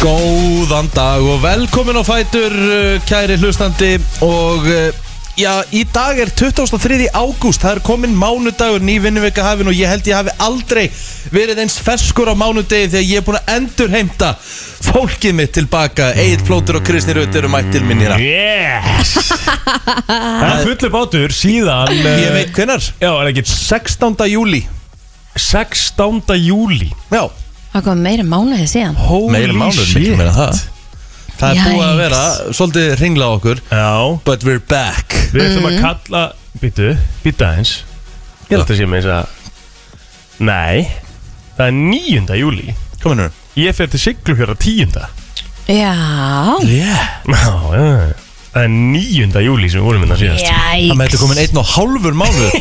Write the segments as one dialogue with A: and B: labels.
A: Góðan dag og velkomin á Fætur, uh, kæri hlustandi og uh, já, í dag er 23. ágúst, það er komin mánudagur, ný vinnuvika hafin og ég held ég hafi aldrei verið eins ferskur á mánudegi þegar ég er búin að endur heimta fólkið mitt tilbaka, Egil Plótur og Kristi Rutt eru mætt til minni hérna.
B: Yes Það er fullu bátur síðan eh,
A: Ég veit hvenar,
B: Já, er það ekki
A: 16. júli,
B: 16. júli
A: já,
C: Það kom meira mánuði síðan
B: Holy
A: meira mánuð,
B: shit.
A: miklu meira en það. Það er búið að
C: Yikes.
A: vera, svolítið ringla á okkur,
B: Já,
A: but we're back.
B: við ætlum
C: Mm.
B: að kalla Býtu, býta eins Ég held að sé með eins að Nei, það er 9. júli
A: Komin nú.
B: Ég fer til Siglufjörða 10.
C: Já
A: Yeah.
B: Já, já Það er 9. júli sem við vorum hérna síðast
A: Það með þetta
C: Jæks
A: komin einn og hálfur mánuð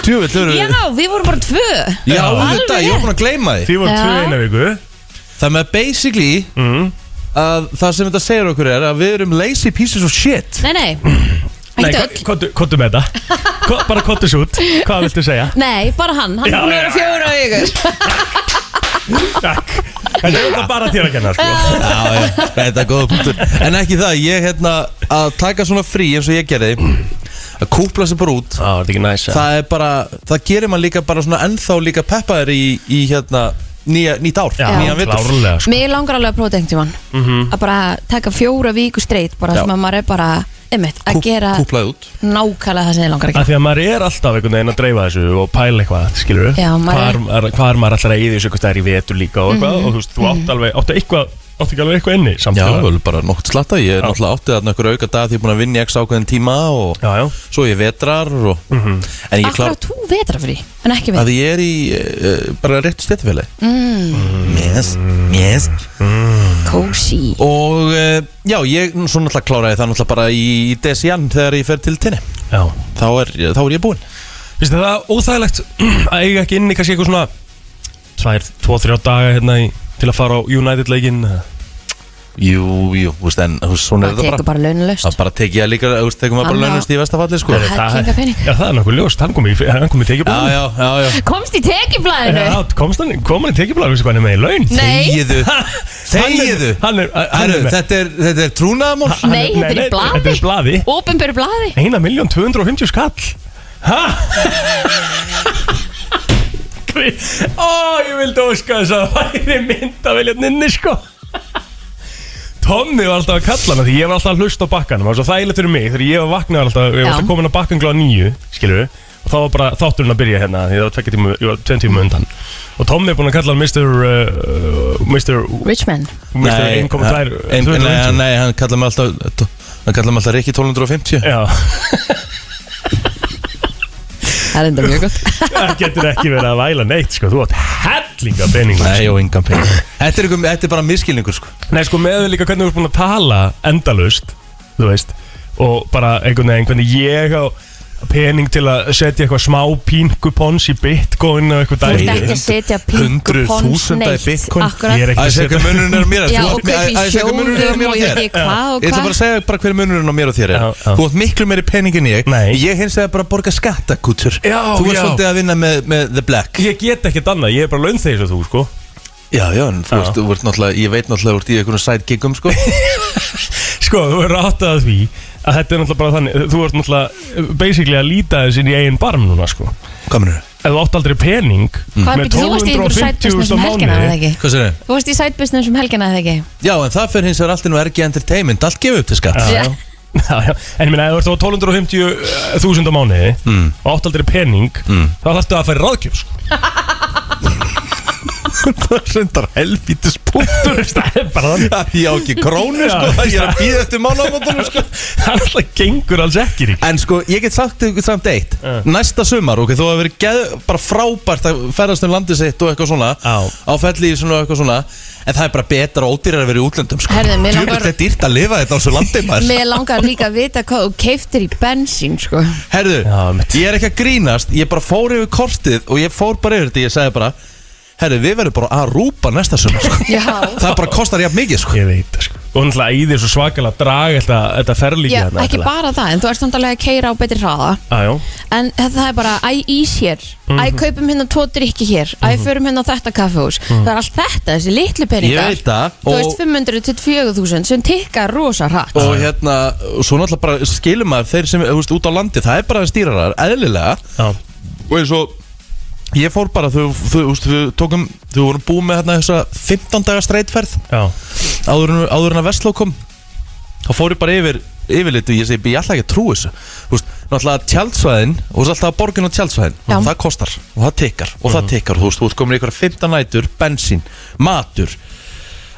A: Tjúvill eru
C: Já, við vorum bara tvö
A: Já,
C: Alveg
A: þetta, ég var búin að gleyma því
B: Því vorum
C: Já.
B: tvö eina viku
A: Það með basically
B: mm.
A: að það sem þetta segir okkur er að við erum lazy pieces of shit
C: Nei, nei
B: Nei,
C: Ekkert öll
B: ko- kottu- kottu með þetta Ko- Bara kottu svo út Hvað viltu segja?
C: Nei, bara hann, hann
B: Já,
C: er búin að
B: já,
C: vera fjóra ykkur
B: Takk En er þetta bara þér að kenna sko
A: Já, já, þetta er góða punktur En ekki það, ég hérna að taka svona frí eins og ég gerði að kúpla sér bara út
B: Á, er þetta ekki næs eða?
A: Það er bara, það gerir mann líka bara svona ennþá líka peppaður í, í hérna nýja, nýtt ár,
B: Já,
A: nýjan vetur
B: klárlega sko.
C: Mér langar alveg að prófa þetta einhvern tímann Að bara taka fjóra viku streitt Bara
A: Mhm. Já.
C: sem að maður er bara Einmitt, að
A: Kúp-
C: gera
A: Kúplaði út
C: nákvæmlega það sem þið langar að
B: Af því að maður er alltaf einhvern veginn að dreifa þessu og pæla eitthvað, skilur við
C: Já, maður er-
B: Hvar hvar maður alltaf reyði þessu eitthvað það er í vetur líka og eitthvað og þú veist, þú átt alveg, áttu eitthvað, áttu ekki alveg eitthvað inni
A: Já,
B: samtilega
A: vel, bara nokkuð slatta, ég er náttúrulega áttið að einhver auka dag því ég er búin að vinna í x ákveðin tíma og
B: Já, já,
A: svo ég vetrar og, en ég
C: gera
A: klar
C: Akkur á tú vetrafri, en ekki við
A: að ég er í uh, bara rétt stéttfélagi mm. yes, yes
C: Cozy
A: og uh, já, ég nú, svo náttúrulega kláraði það náttúrulega bara í, í desian þegar ég fer til tinni
B: já
A: þá er, þá er ég búinn
B: Finnst þið það óþægilegt að eiga ekki inni kannski eitthvað svona tvær, tvo, þrjá daga hérna í, til að fara á United leikinn eða?
A: Jú, jú, þú veist, en þú veist, svona er
C: Það
A: þetta
C: tekur
A: bara
C: bara launalaust
A: það bara tekið að líka, þú veist, tekum að bara
C: Annað-
A: launast í vestafalli sko
C: Herri.
A: Já,
C: Hellinga pening.
B: Já, það er nokkuð ljóst, hann kom í, hann kom í tekjublaðinu
A: já, já, já
C: Komst í tekiblæðinu
B: Já, komst hann, kom hann í tekjublaðinu, veistu hvað hann er með í laun
C: Nei,
A: Þegiðu, þegiðu
B: Hann er, hann
A: Herru,
B: er með
A: þetta er, þetta er trúnaðamál
B: hann
C: nei, þetta er í
B: Þetta er í
C: blaði
B: blaði
C: Ópenbæru blaði
B: Eina miljón 250 skall Hæ? Ó, ég vildi óska þess að það væri mynd að velja nynni sko Tommi var alltaf að kalla hana því ég var alltaf að hlusta á bakkanum Það var svo þægilegt fyrir mig þegar ég var vaknað alltaf Ég var
C: Já.
B: alltaf komin á bakkan glá nýju, skilur við Og þá var bara þátturinn að byrja hérna Því það var tveggja tíma, ég var tveim tíma undan Og Tommi er búinn að kalla hann Mr. Uh, Mr.
C: Richman
B: Mr. 1.2
A: ein- nei,
B: 250.
A: nei, hann kallar mig alltaf Hann kallar mig alltaf Rikki 1250
B: Já
C: Það er enda mjög gott
B: Það getur ekki verið að væla neitt sko, þú átt hellinga peningum
A: Nei, og engan pening Þetta er, ykkur- þetta er bara miskilningur sko
B: Nei sko, með líka hvernig þú ert búin að tala endalust, þú veist og bara einhvern veginn hvernig ég á pening til að setja eitthvað smá pínkupons í bitcoin og eitthvað
C: Þú ert
A: Nei,
C: ekki
B: dæmi
C: að setja
A: hundruð
C: pinkupons
A: þúsunda í
C: neitt
A: bitcoin.
B: Ég er
C: Akkurat
B: ekki að
A: Æs, eitthvað
B: setja
A: munurinn er á mér og
C: Já,
A: þér. Æ, æ,
C: og
A: æ,
C: kaupi
A: eitthvað munurinn er á
C: sjóðum
A: mér
C: og
A: og
C: ég
A: þér
C: veit ekki hvað
A: Ég
C: og
A: ætla bara
C: hvað
A: að segja bara hver munurinn á mér og þér er
B: Já, já.
A: Þú átt miklu meiri pening en ég
B: Nei.
A: Ég hins vegar bara að borga skattakútur Þú
B: Já,
A: ert
B: já.
A: svolítið að vinna með, með The Black
B: Ég get ekkert annað, ég er bara laun þegar þú sko
A: Já, já, en þú
B: Já.
A: veist, þú ert náttúrulega Ég veit náttúrulega þú ert í einhvern sidekikum sko
B: Sko, þú er ráttað að því að þetta er náttúrulega bara þannig þú ert náttúrulega basically að líta þess inn í eigin barm núna sko
A: Hvað munurinn?
B: ef þú átt aldrei pening
C: Hvað er byrjuð, þú varst í einhverju sætbusiness um helgina eða ekki?
A: Hvað sér þið?
C: Þú varst í sætbusiness um helgina eða ekki?
A: Já, en það fyrir hins vegar allt inn á RG Entertainment Allt gefið upp til skatt
B: Já,
C: Já.
B: já. Já, já. En ég meina, ef þú ert á 250.000 á mánuði
A: Mm.
B: og átt aldrei pening þá þarftu að færa ráðgjöf sko.
A: Það er reyndar helvítis
B: Þú veist, það er bara þannig
A: Ég á ekki krónu
B: Já.
A: sko Ég er að býða eftir mánamótunum sko
B: Það alltaf gengur alls ekki rík
A: En sko, ég get sagt ykkur samt eitt
B: Eh.
A: Næsta sumar, ok, þú hefur verið geð, bara frábært að ferðast um landið sitt og eitthvað svona
B: Já.
A: Á felli í svona og eitthvað svona En það er bara betra og ódýrar að vera í útlöndum sko
C: Herðu, mér
A: Djöfull,
C: langar-
A: þetta er dýrt að lifa þetta á svo landið maður
C: Mér langar líka að vita hvað þú keiftir í bensín sko
A: Herðu,
B: Já, mitt.
A: ég er ekki að grínast Ég bara fór yfir kortið og ég fór bara yfir þetta Ég sagði bara herri, við verðum bara að rúpa næsta sumar sko.
C: Já.
A: það bara kostar jafn mikið sko.
B: Ég veit það sko Og náttúrulega í þér svo svakalega drag þetta, þetta ferlíki
C: Já,
A: hérna,
C: ekki bara það, en þú ert náttúrulega að keira á betri hraða
B: Jájó
C: En það er bara, æ, ís hér Æ,
A: Mhm.
C: kaupum hérna tvo drikki hér Æ, förum hérna á þetta kaffehús Það er allt þetta, þessi litlu peningar
A: Mhm. Ég veit það,
C: Þú
A: og-
C: veist, 524.000 sem tikka rosa hratt
A: og hérna, og svo náttúrulega bara skilum maður þeir sem, þú veist, út á landi, það er bara stýrarar, eðlilega
B: Já
A: og eins og ég fór bara, þú þú veist, við tókum þú vorum búið með hérna þessa 15 daga streitferð
B: Já
A: áður, en- áður en að Vestló kom þá fór ég bara yfir yfirlitu, ég segi, ég ætla ekki að trú þessu þú veist, náttúrulega tjaldsvæðin og svo alltaf borgin og tjaldsvæðin,
C: Já.
A: það kostar og það tekkar, og það tekkar, þú veist, þú veist komin í ykkur 15 nætur, bensín, matur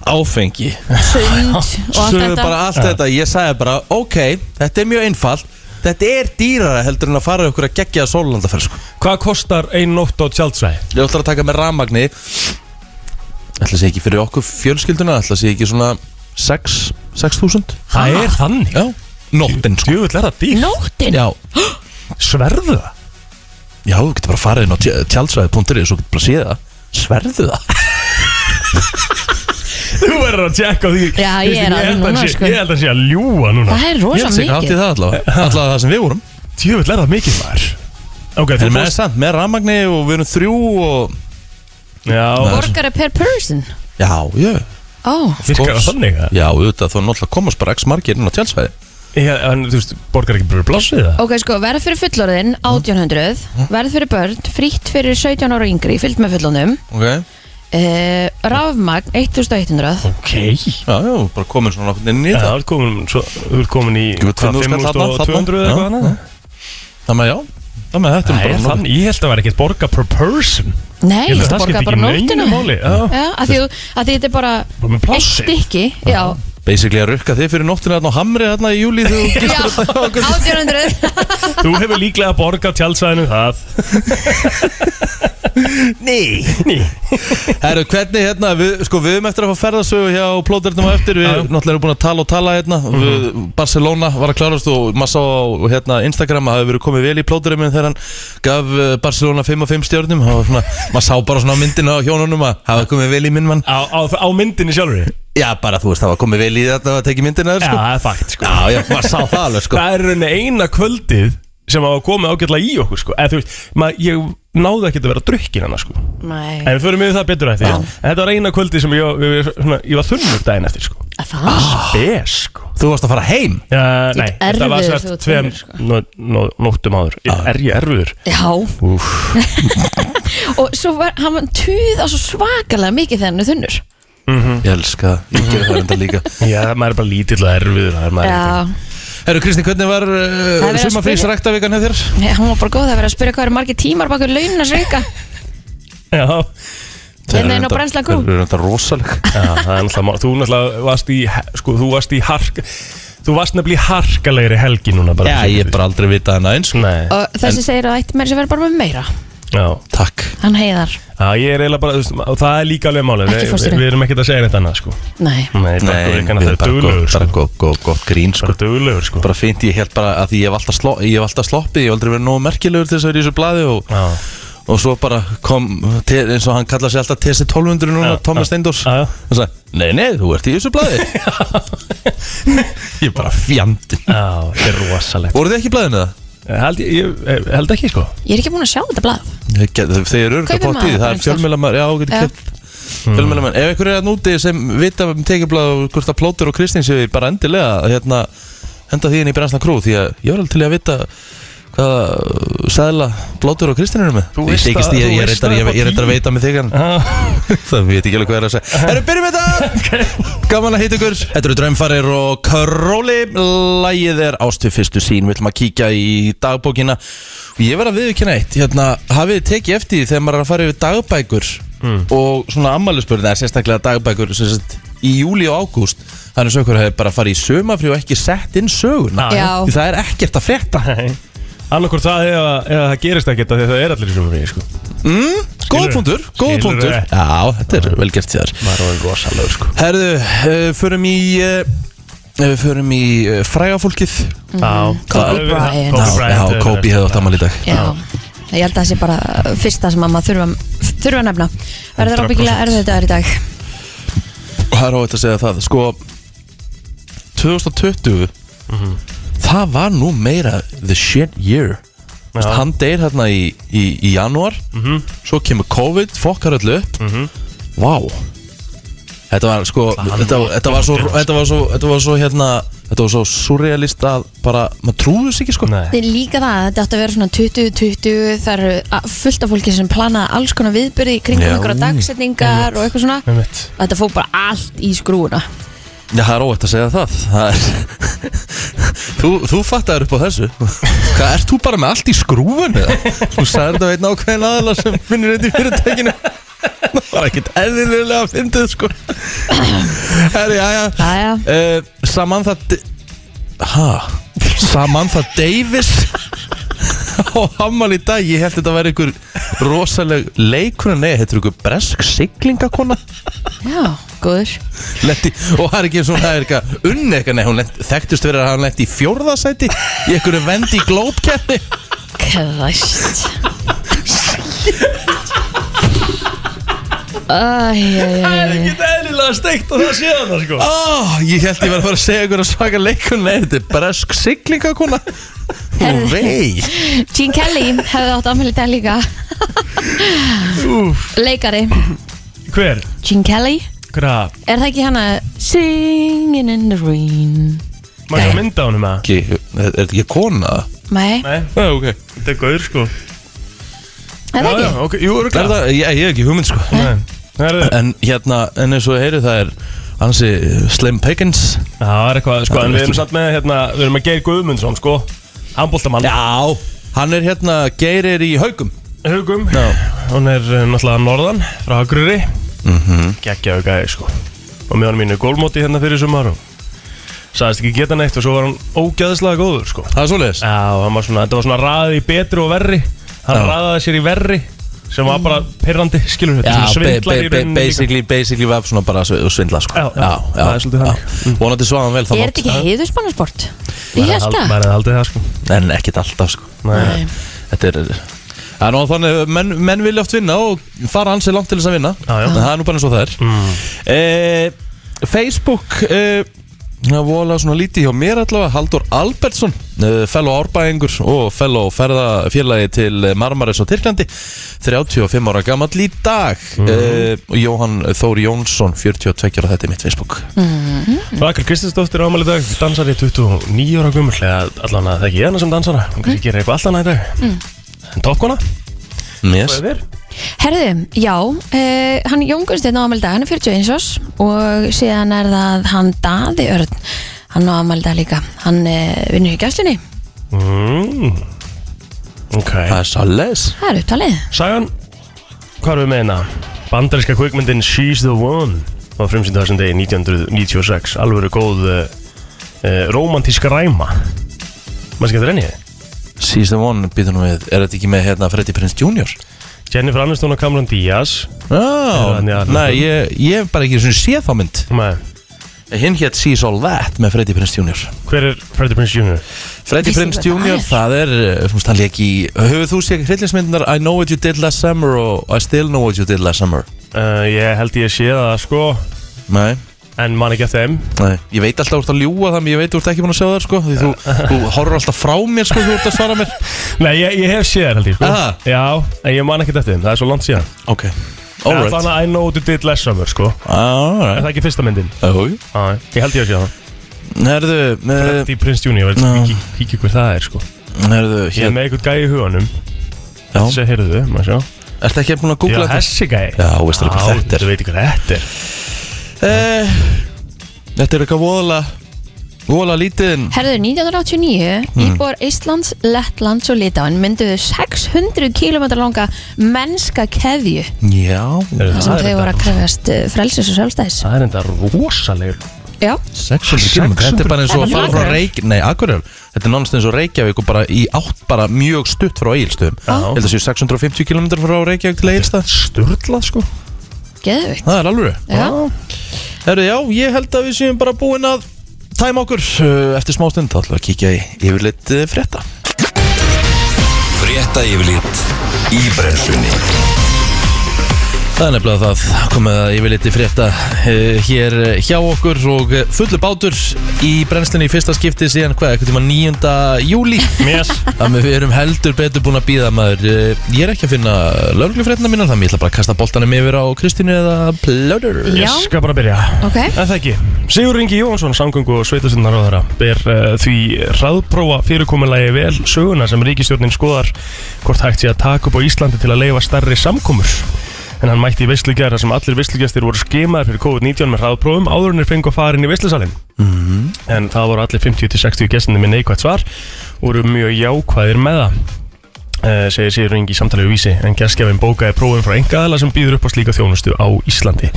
A: áfengi
C: Sund og allt
A: Sögðu
C: þetta
A: bara allt þetta, ég sagði bara ok, þetta er mjög einfalt þetta er dýrara heldur en að fara ykkur að gegja að sólulandaferð sko.
B: Hvað kostar ein nótt á tjaldsvæði?
A: ég ætla að taka með rafmagni ætla að segja ekki fyrir okkur fjölskylduna ætla að segja ekki svona 6 6.000
B: Það er þannig
A: já, nóttin sko.
B: Jöfull er það dýr
C: Nóttin?
A: já,
B: Sverðu það?
A: já, þú getur bara farið inn á tjálsvæði.ri svo getur bara séð það sverðu það
B: Þú verður að tjekka á því
C: Já, ég er alveg
B: held að
C: núna,
B: sé-
C: sko.
B: Ég held að sé að ljúa núna
C: Það er rosa
A: ég held
C: mikið
A: að það allavega allavega það sem við vorum
B: Jöfull er það mikið maður Ok, þú
A: en með,
B: fórst
A: samt, með rafmagni og við erum þrjú og
B: Já,
C: Borgari per person
A: já, já,
C: Ó,
B: virkar það
A: course.
B: þannig að
A: já, auðvitað þá náttúrulega komast bara x margir inn á tjálsvæði
B: Já, en þú veist, borgar ekki bara blossið það?
C: ok sko, verð fyrir fullorðin 1800, verð fyrir börn frítt fyrir 17 ára og yngri, fyllt með fullorðnum
A: ok
C: uh, rafmagn 1100
B: Ok
A: Já, já, bara komin svona nokkurn inn í
B: Já, þú
A: það
B: ert komin, svo, þú ert komin í
A: Þú ert
B: hvað,
A: 5.000 þarna,
B: 5.200 eða
A: þarna.
B: eitthvað annað?
A: Það með já, það með þetta
B: Það
A: bara
B: er
A: nokkuð.
B: þannig, ég held að það væri ekkert borga per person
C: Nei,
B: Ég held að
C: þú
B: það
C: borgar
B: skipti
C: bara
B: ekki
C: nóttina
B: neinu máli, já.
C: Já, að því, þú- að því þetta er bara
B: Bara með
C: eitt
B: plássið.
C: stykki Já,
A: Basically að rukka þig fyrir nóttina þarna á Hamri þarna í júli þegar þú
C: já,
A: gistur þetta á okkur
C: 1800
B: Þú hefur líklega borgað tjaldsæðinu það
A: Nei
B: Ný
A: Herru, hvernig hérna, við, sko við erum eftir að fá ferðasögu hjá plóðurnum á eftir Við
B: Já. Mhm.
A: náttúrulega erum búin að tala og tala hérna við, Barcelona var að klarast og maður sá á hérna, Instagram að það hefur verið komið vel í plóðurnum Þegar hann gaf eh, Barcelona 5 og 5 stjórnum svona, Maður sá bara svona á myndinu á hjónunum að hafa komið vel í minn mann
B: Á, á, á myndinni sjálfur Já,
A: Já, bara þú veist, það var komið vel í þetta að teki myndina þér, sko.
B: það er fakt sko
A: Já, já, maður sá það alveg sko
B: Það er rauninni eina kvöldið sem hafa komið ágætlega í okkur sko Eða þú veist, maður, ég náði ekkert að vera drukkin hana sko En
C: Nei,
B: við förum yfir það betur eftir En þetta var eina kvöldið sem ég, ég, svona, ég var þunnur daginn eftir sko
C: að það
B: Spes sko
A: Þú varst að fara heim
B: Já, nei,
C: ert
B: þetta var
C: erfiður
B: svært
C: þegar þú ert
B: tveim
C: þunnur, sko.
B: nó, nó, nóttum áður Er ég erfiður?
C: Já,
B: Úf
C: og svo var hann tuða svo svakalega mikið þegar hann er þunnur
A: Ég elska, það. ég gerði það enda líka
B: Já, maður er bara lítill og erfiður það er maður ekkert.
C: Já,
A: Herru Kristi, hvernig var
C: Það er
A: uh,
C: verið að
A: sumafrís
C: spyrja-
A: ræktavíkan hefur þér?
C: Nei, hann var bara góð að vera að spyrja hvað eru margir tímar bakur launina sveika
B: Já,
C: Hérna inn á Brennslan Crew.
A: Það er enda rosaleg
B: já, það er náttúrulega mál. Þú náttúrulega varst í, sko, þú varst í hark Þú varst nefnilega í harkalegri helgi núna bara
A: Já, ég er bara aldrei vitað hana eins
B: Nei,
C: Og þessi segir að ætti meira sem vera bara með meira
B: já,
A: Takk
C: Hann heiðar,
B: já, ég er eiginlega bara, þú veist, og það er líka alveg málið
C: Ekki
B: Við-
C: fórstu
B: Við við erum ekkert að segja neitt annað, sko
C: nei
B: Nei, bara
A: við
B: gurkan að það
A: erum
B: er
A: bara gott-
B: duglegur,
A: bara
B: sko
A: gott- gott- gott grín sko
B: Bara duglegur, sko
A: Bara fint, ég held bara að því ég hef alltaf, sló, ég hef alltaf sloppið Ég hef aldrei verið nógu merkilegur til þess að vera í þessu blaði og,
B: Já,
A: og svo bara kom, til, eins og hann kallar sig alltaf TC1200 núna,
B: Já,
A: Thomas
B: já.
A: Steindors
B: Já, já.
A: Hann sagði, nei, nei, þú ert í þessu blaði Ég er bara fjandinn
B: já, þetta er rosalegt
A: Voruð þið ekki í blaðinu það?
B: Eh, Held, ég- ég, held ekki, sko
C: Ég er ekki búin að sjá þetta blað
A: Ég get- Þeir eru örgulega
C: Kaupir
A: bótt í því, það
C: maður bara
A: er
C: einhvers staðar.
A: fjölmjölamæður, já, þú getur
C: Já.
A: kjöpt fjölmjölamæður. Ef einhver er að núti sem vita um tekjublað og hvort að Plóter og Kristín séu bara endilega, hérna, henda því inn í Brensla Krú, því að ég var alveg til í að vita hvaða sæðla Plóter og Kristín eru með.
B: Þú
A: Ég
B: veist
A: þykist
B: að-
A: því
B: þú
A: að ég
B: veist
A: reyndar-
B: að
A: ég-
B: það
A: ég
B: er
A: reyndar að veita með þig en
B: Já,
A: það veit ekki alveg hvað er að segja. Herru, byrjum við þetta! Gaman að hitta ykkur. Þetta eru Draumfarir og Karóli. Lægið er ástu fyrstu sín, við ætlum að kíkja í dagbókina. Og Ég verð að viðurkenna eitt, hérna, hafið þið tekið eftir því þegar maður er að fara yfir dagbækur
B: Mm.
A: og svona ammælisbörn, eða sérstaklega dagbækur sem sagt, í júli og ágúst, þannig að ykkur hefur bara farið í sömafrí og ekki sett inn söguna.
B: Já.
C: Ah, Já.
A: Því það er ekkert að frétta.
B: Annarkvort það eða, eða það gerist ekkert af því að það er allir í sumafríi, sko
A: Góð
B: Skilurðu?
A: Mm? punktur, góð
B: Skilurðu?
A: punktur. Já, þetta er velgert þér.
B: Maður er orðinn rosalegur, sko
A: Herðu, uh, förum í uh, uh, förum í uh, frægafólkið
B: Já,
C: Kobe
B: það-
C: Bryant.
B: Kobe
A: Já,
B: Bryant
A: já Kobe hefði átt amal í dag
C: Já, ég held að það sé bara fyrsta sem að maður þurfa að þurfa að nefna Verður
B: 100%.
C: ábyggilega erfið dagar í dag
A: Og það er óvægt að segja það Sko 2020 Það var nú meira The shit year Þú
B: sko.
A: veist, Hann deyr hérna í, í, í janúar Svo kemur COVID Fokkar öllu upp Vá Þetta var sko þetta, þetta, var svo, þetta var svo Þetta var svo hérna Þetta var svo surrealist að bara Maður trúðu sig ekki sko
B: Nei.
C: Þetta er líka það, að þetta átti að vera svona 20-20 Það eru a- fullt af fólki sem planaði alls konar viðbyrði í kringum
A: Já.
C: einhverja dagsetningar og eitthvað svona
B: Einmitt.
C: og þetta fór bara allt í skrúuna
A: Já, það er óvægt að segja það, það er... þú, þú fattar upp á þessu Hvað, ert þú bara með allt í skrúfun eða? Þú sagði þetta veit nákvæðin aðla sem finnir þetta í fyrirtækinu Það var ekkert eðlilega að fyndið sko Herri, já, já
C: Jæja,
A: uh, Samantha D- Ha? Samantha Davis á hammal í dag Ég held þetta að vera ykkur rosaleg leikuna Nei, þetta er ykkur bresk siglingakona
C: já, góður
A: Lendi, og það er ekki eins og hún það er eitthvað unni eitthvað, nei, hún lent, þekktist verið að hann lendi í fjórðasæti í einhverju vendi í glópkerni
C: Kvæst Æjæjæj
B: Þetta er eðlilega steikt að það sé þarna sko
A: oh, Ég held ég var að fara að segja einhverja svaka leikun Nei, þetta er bresk siglingakona Hún vei
C: Gene Kelly hefði átt afmæli í dag líka Leikari
B: Hver?
C: Gene Kelly
B: Hver að?
C: Er það ekki hana Singing in the rain
B: Má ég mynda honum að?
A: Ekki, Er þetta ekki kona?
C: Nei,
B: Nei,
A: Já, ok
B: þetta er gaur sko
C: er það
B: Já, já,
C: ekki?
B: ok, jú,
A: Er
B: örgulega
A: það, ég, ég hef ekki hugmynd sko
B: Það er
A: En hérna, en eins og heyrið það er Hansi Slim Pickens
B: Já, það er eitthvað, sko,
A: Það er
B: en við erum
A: ekki-
B: samt með, hérna, við erum að Geir Guðmundsson, sko Handbóltamann
A: Já Hann er hérna, geirir í haugum
B: Hugum Hún er eh, náttúrulega að norðan, frá Hagruri
A: Mhm.
B: Gekkjaðu gæði, sko Og með hann mínu gólmóti hérna fyrir sumar og Sæðist ekki geta neitt og svo var hann ógæðislega góður, sko
A: Það er svoleiðis
B: Já, og hann var svona, þetta var svona raðið í betri og verri Hann
A: Já.
B: raðaði sér í verri Sem var bara pirrandi, skilur þetta
A: Já, ba-
B: svona svindlar í
A: ba- ba-
B: rauninni líka.
A: basically, basically var svona bara svi- svindla sko.
B: Já, já, það er svolítið þannig.
A: já. Vonandi svo hann vel þá
C: Er
A: langt
C: þetta ekki heiðusbannarsport? Ég held
B: Hald-
C: það
B: Maður hefði haldið það, sko
A: En ekkit alltaf sko.
B: Nei.
A: Þetta er Það er nú þannig að menn, menn vilja oft vinna og fara hans er langt til þess að vinna
B: Já, já.
A: En Það er nú bara eins og það er e, Facebook e, Það vola svona lítið hjá mér allavega Haldur Albertsson e, Fellow árbæðingur og fellow ferðafélagi til Marmaris og Tyrklandi 35 ára gamall í dag e, Jóhann Þóri Jónsson 42 ára þetta er mitt Facebook
B: Rakel Kristinsdóttir ámæli dag, dansar í 29 ára gummul eða allan að það ekki ég hana sem dansara hún kannski gerir eitthvað allan að dag mm. en toppkona,
A: Yes.
B: hvað er þér?
C: Herðu, já, uh, hann Jón Gunnsteinn á amaldag, hann er 41 ás og síðan er það hann Daði Örn, hann á amaldag líka, hann uh, vinnur í gæslinni,
B: Mm. ok,
A: Það er svolítið
C: það er upptalið.
B: Sagan hvað erum við meina? bandaríska kvikmyndin She's the One var frumsýnd á þessum degi 1996 alvöru góð uh, uh, romantísk ræma maður skemmtir enni
A: Season 1 býtum við, er þetta ekki með hérna Freddy Prince Jr.?
B: Jennifer Aniston og Cameron Diaz
A: Já,
B: hann í aðra
A: nei, ég, ég hef bara ekki svona séð þá mynd
B: Nei.
A: Hinn hétt Sees All That með Freddy Prince Jr.
B: hver er Freddie Prinze Jr.?
A: Freddy
C: Vissi
A: Prince
C: hvað það
A: Jr.
C: er?
A: það er, eh, þú veist, hann leik í Höfðu þú séð hryllingsmyndunar I Know What You Did Last Summer og I Still Know What You Did Last Summer?
B: Uh, ég held ég sé það sko
A: Nei,
B: en man ekki eftir þeim
A: nei, ég veit alltaf úr að ljúga þannig, ég veit úr ekki búin að sjá það, sko Því þú, þú horfur alltaf frá mér, sko, þú ert að svara mér
B: Nei, ég, ég hef séð þær held ég sko
A: Aha.
B: Já, en ég man ekkert eftir þeim, það er svo langt síðan
A: Ok,
B: En
A: alright
B: Þannig að I know what you did last summer sko Er
A: Alright,
B: það ekki fyrsta myndin?
A: Jú, jú.
B: Já, ég held ég að sé það
A: herðu, eh,
B: Freddy Prince Jr. verður
A: já.
B: ekki kíkja hver það er sko
A: herðu,
B: Ég er
A: hérna
B: með einhvern gæi í huganum
A: já.
B: Þessi heyrðu, maður sjá
A: Ertu ekki búin að
B: Já,
A: googla þetta?
B: þessi gæi
A: Já, veistu alveg hvað þetta er?
B: Þú veit ykkur þetta er
A: Eh, Þetta er eitthvað voðalega Voðalega lítiðin
C: Herðu, 1989,
B: Mm.
C: íbúar Íslands, Lettlands og Litáin mynduðu 600 km langa mennska keðju
A: Já
B: Heyrðu,
C: þar sem
B: er
C: þau voru að
B: enda-
C: krefjast eh, frelsis og sjálfstæðis.
B: Það er enda rosalegur
C: Já,
A: 600 km Þetta er bara eins og að
C: Þetta er
A: fara
C: bara
A: frá Reykjavík Nei, Akureyri Þetta er nánast eins og Reykjavík og bara í átt bara mjög stutt frá Egilstöðum
B: Já.
A: Ég held að séu 650 km frá Reykjavík til Egilstöð
B: Sturlað sko
C: geðvikt.
A: Það er alveg
C: Já,
A: Herru, já, ég held að við séum bara búin að tæma okkur Uh, eftir smá stund þá ætlum við að kíkja í yfirleitt uh, frétta
D: Frétta yfirlit í brennslunni
A: Það er nefnilega það komið að yfirliti frétta eh, hér eh, hjá okkur og eh, fullur bátur í brennslinni í fyrsta skipti síðan hvað, eitthvað tíma 9. júli
B: Yes.
A: Þannig við erum heldur betur búin að býða maður Eh, Ég er ekki að finna lögreglufréttina mínar þannig ég ætla bara að kasta boltanum yfir á Kristínu eða Plöður
C: Já.
B: Ég Eh, skal bara byrja
C: Ok.
B: En það ekki Sigur Ingi Jóhansson, samgöngu og sveitastundar á þeirra ber uh, því hraðprófa fyrirkomulagi vel söguna sem ríkistjórnin skoðar hvort hægt sé að taka upp á Íslandi til að leifa starri samkomur en hann mætti í veislugjara sem allir veislugjastir voru skemaðir fyrir COVID-19 með hraðprófum áðurinnir fengu að fara inn í veislusalinn -hmm. en það voru allir 50-60 gestinni með neikvægt svar og voru mjög jákvæðir með það uh, segir Sigur Ingi í samtalið við vísi en gestgjafin bókaði prófum frá engaðala sem býður upp á slíka þjónustu á Íslandi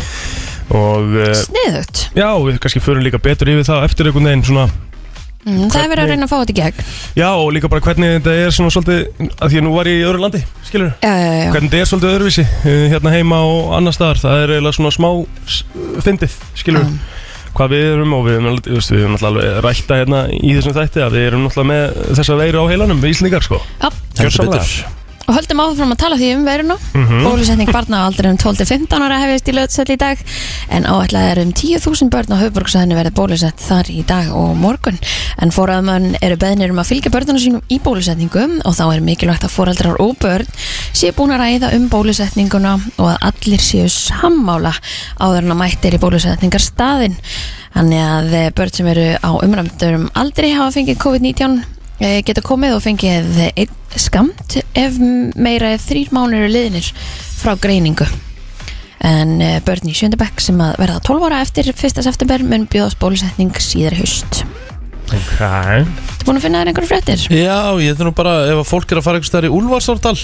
B: og uh,
C: Sniðugt
B: Já, við kannski förum líka betur yfir það á eftir einhvern veginn svona
C: mm, Það er verið að
B: Hvernig-
C: reyna að fá þetta í gegn
B: Já, og líka bara hvernig þetta er svona svolítið að Því að nú var ég í öðru landi, skilur
C: Já, já, já, já.
B: Hvernig þetta er svolítið öðruvísi eh, hérna heima og annar staðar Það er eiginlega svona smá s- fyndið, skilur Hvað við erum og við erum, alveg- þú veist, við erum alltaf alveg rækta hérna í þessum þætti að Við erum alltaf með þessa veiru á heilanum, við Íslendingar sko
C: Já.
B: Gjörsamlega.
C: Og höldum áfram að tala því um veruna Bólusetning barna á aldrinum 12-15 ára hefist í löðsett í dag en áætlað er um 10.000 börn á höfburgsæðinu verið bólusett þar í dag og morgun en foræðmann eru beðnir um að fylgja börnunum sínum í bólusetningum og þá er mikilvægt að forældrar og börn séu búin að ræða um bólusetninguna og að allir séu sammála áður en að mættir í bólusetningar staðin Þannig að eh, börn sem eru á umræmdurum aldrei hafa fengið COVID-19 eh, geta komið og fengið einn skamt ef meira en þrýr mánur eru liðinir frá greiningu en eh, börn í sjöndabæk sem að verða 12 ára eftir 1. september mun bjóðast bólusetning síðar í haust
B: okay.
C: Þú búin að finna þér einhverju fréttir?
A: Já, ég þetta nú bara, ef að fólk er að fara einhvers staðar í Úlfarsárdal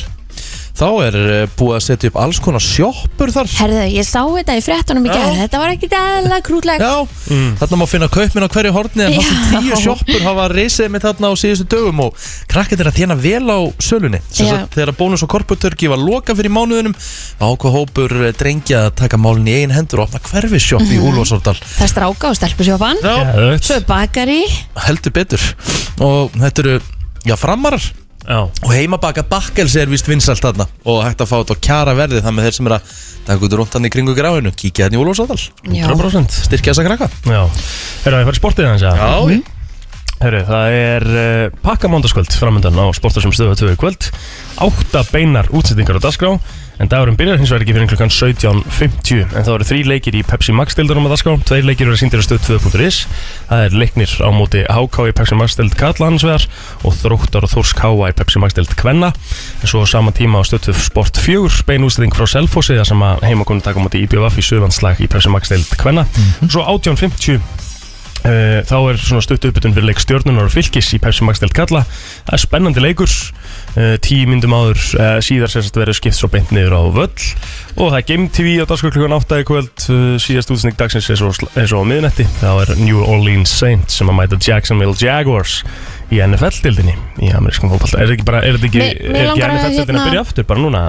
A: þá er eh, búið að setja upp alls konar sjoppur þar
C: Herðu, ég sá þetta í fréttunum í gerð þetta var ekki eðla krútleg
A: Já, þarna má finna kaupminn á hverju horni en hátum
C: Mm. Já.
A: tíu sjoppur hafa reysið mitt þarna á síðustu dögum og krakkið er að þjána vel á sölunni sem
C: Já.
A: sagt, þegar bónus og korputurki var loka fyrir mánuðunum ákvað hópur eh, drengja að taka málin í einn hendur og opna hverfi sjopp
C: Mhm.
A: í Úlfarsárdal
C: það er stráka og stelpusjópan svo er bakari
A: heldur betur og þetta eru, já, framarar
B: Já,
A: og heimabaka bakkels er vist vinsalt þarna og hægt að fá þetta á kjara verði þannig að þeir sem er að taka út rundan í kringu gráinu kíkja þarna í Úlfarsárdal,
C: Já.
B: 100%
A: styrkja þessa krakka
B: Já, erum við að fara í sportið hans Já
A: mm.
B: Herru, það er uh, pakkamándaskvöld framöndan á sportarsum stöðu 2 í kvöld Átta beinar útsettingar á dagskrá En dagurinn byrjar hins vegar ekki fyrir klukkan 17.50 En það eru þrý leikir í Pepsi Max deildarum á dagskrá Tveir leikir eru síndir á stöðu 2.is Það er leiknir á móti HK í Pepsi Max deild Kalla hans vegar Og þróttar og þórs KA í Pepsi Max deild Kvenna En svo á sama tíma á stöðu sport 4 Bein útsetting frá Selfossi Það sem að heimakonu taka á móti IBVF í Suðvanslag í Pepsi Max deild Kvenna Svo 18.50 Eh, Þá er svona stutt uppbytun fyrir leik stjórnunar og fylgis í Pepsi Max deild Kalla Það er spennandi leikur eh, Tíu myndum áður eh, síðar sérst verður skipt svo beint niður á völl Og það er Game TV á dagsköld klukkan 8 í kvöld eh, Síðast útsnygg dagsins er svo, er svo á miðnetti Þá er New Orleans Saints sem að mæta Jacksonville Jaguars í NFL-dildinni Í amerískum fólkvall Er þetta ekki, bara- er þetta ekki,
C: Mig- mig
B: er ekki
C: langar að
B: NFL-dildin að
C: hérna-
B: byrja aftur bara núna?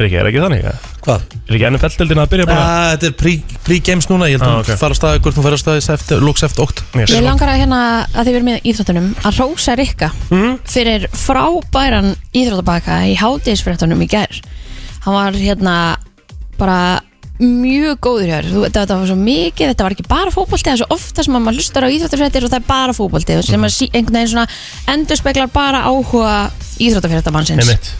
B: Er ekki, er ekki þannig? eða?
A: Hvað?
B: Er ekki NFL-dildin að byrja bara?
C: Uh,
A: Ah, þetta er pre- pre-games núna, ég held að
B: Ah,
A: hún
B: ok.
A: fara að staða hvort hún fara að staða í seft- lóks eftir 8
B: Yes.
C: Ég langar að hérna að þið verðum með íþróttunum að rósa Rikka fyrir frábæran íþróttabaka í hátíðisfréttunum í gær hann var hérna bara mjög góður hér þú, þetta, þetta var svo mikið, þetta var ekki bara fótbolti það er svo ofta sem að maður hlustar á íþróttafréttir og það er bara fótbolti og sem að sí, einhvern veginn svona endurspeglar bara áhuga íþróttafréttamannsins
B: Einmitt.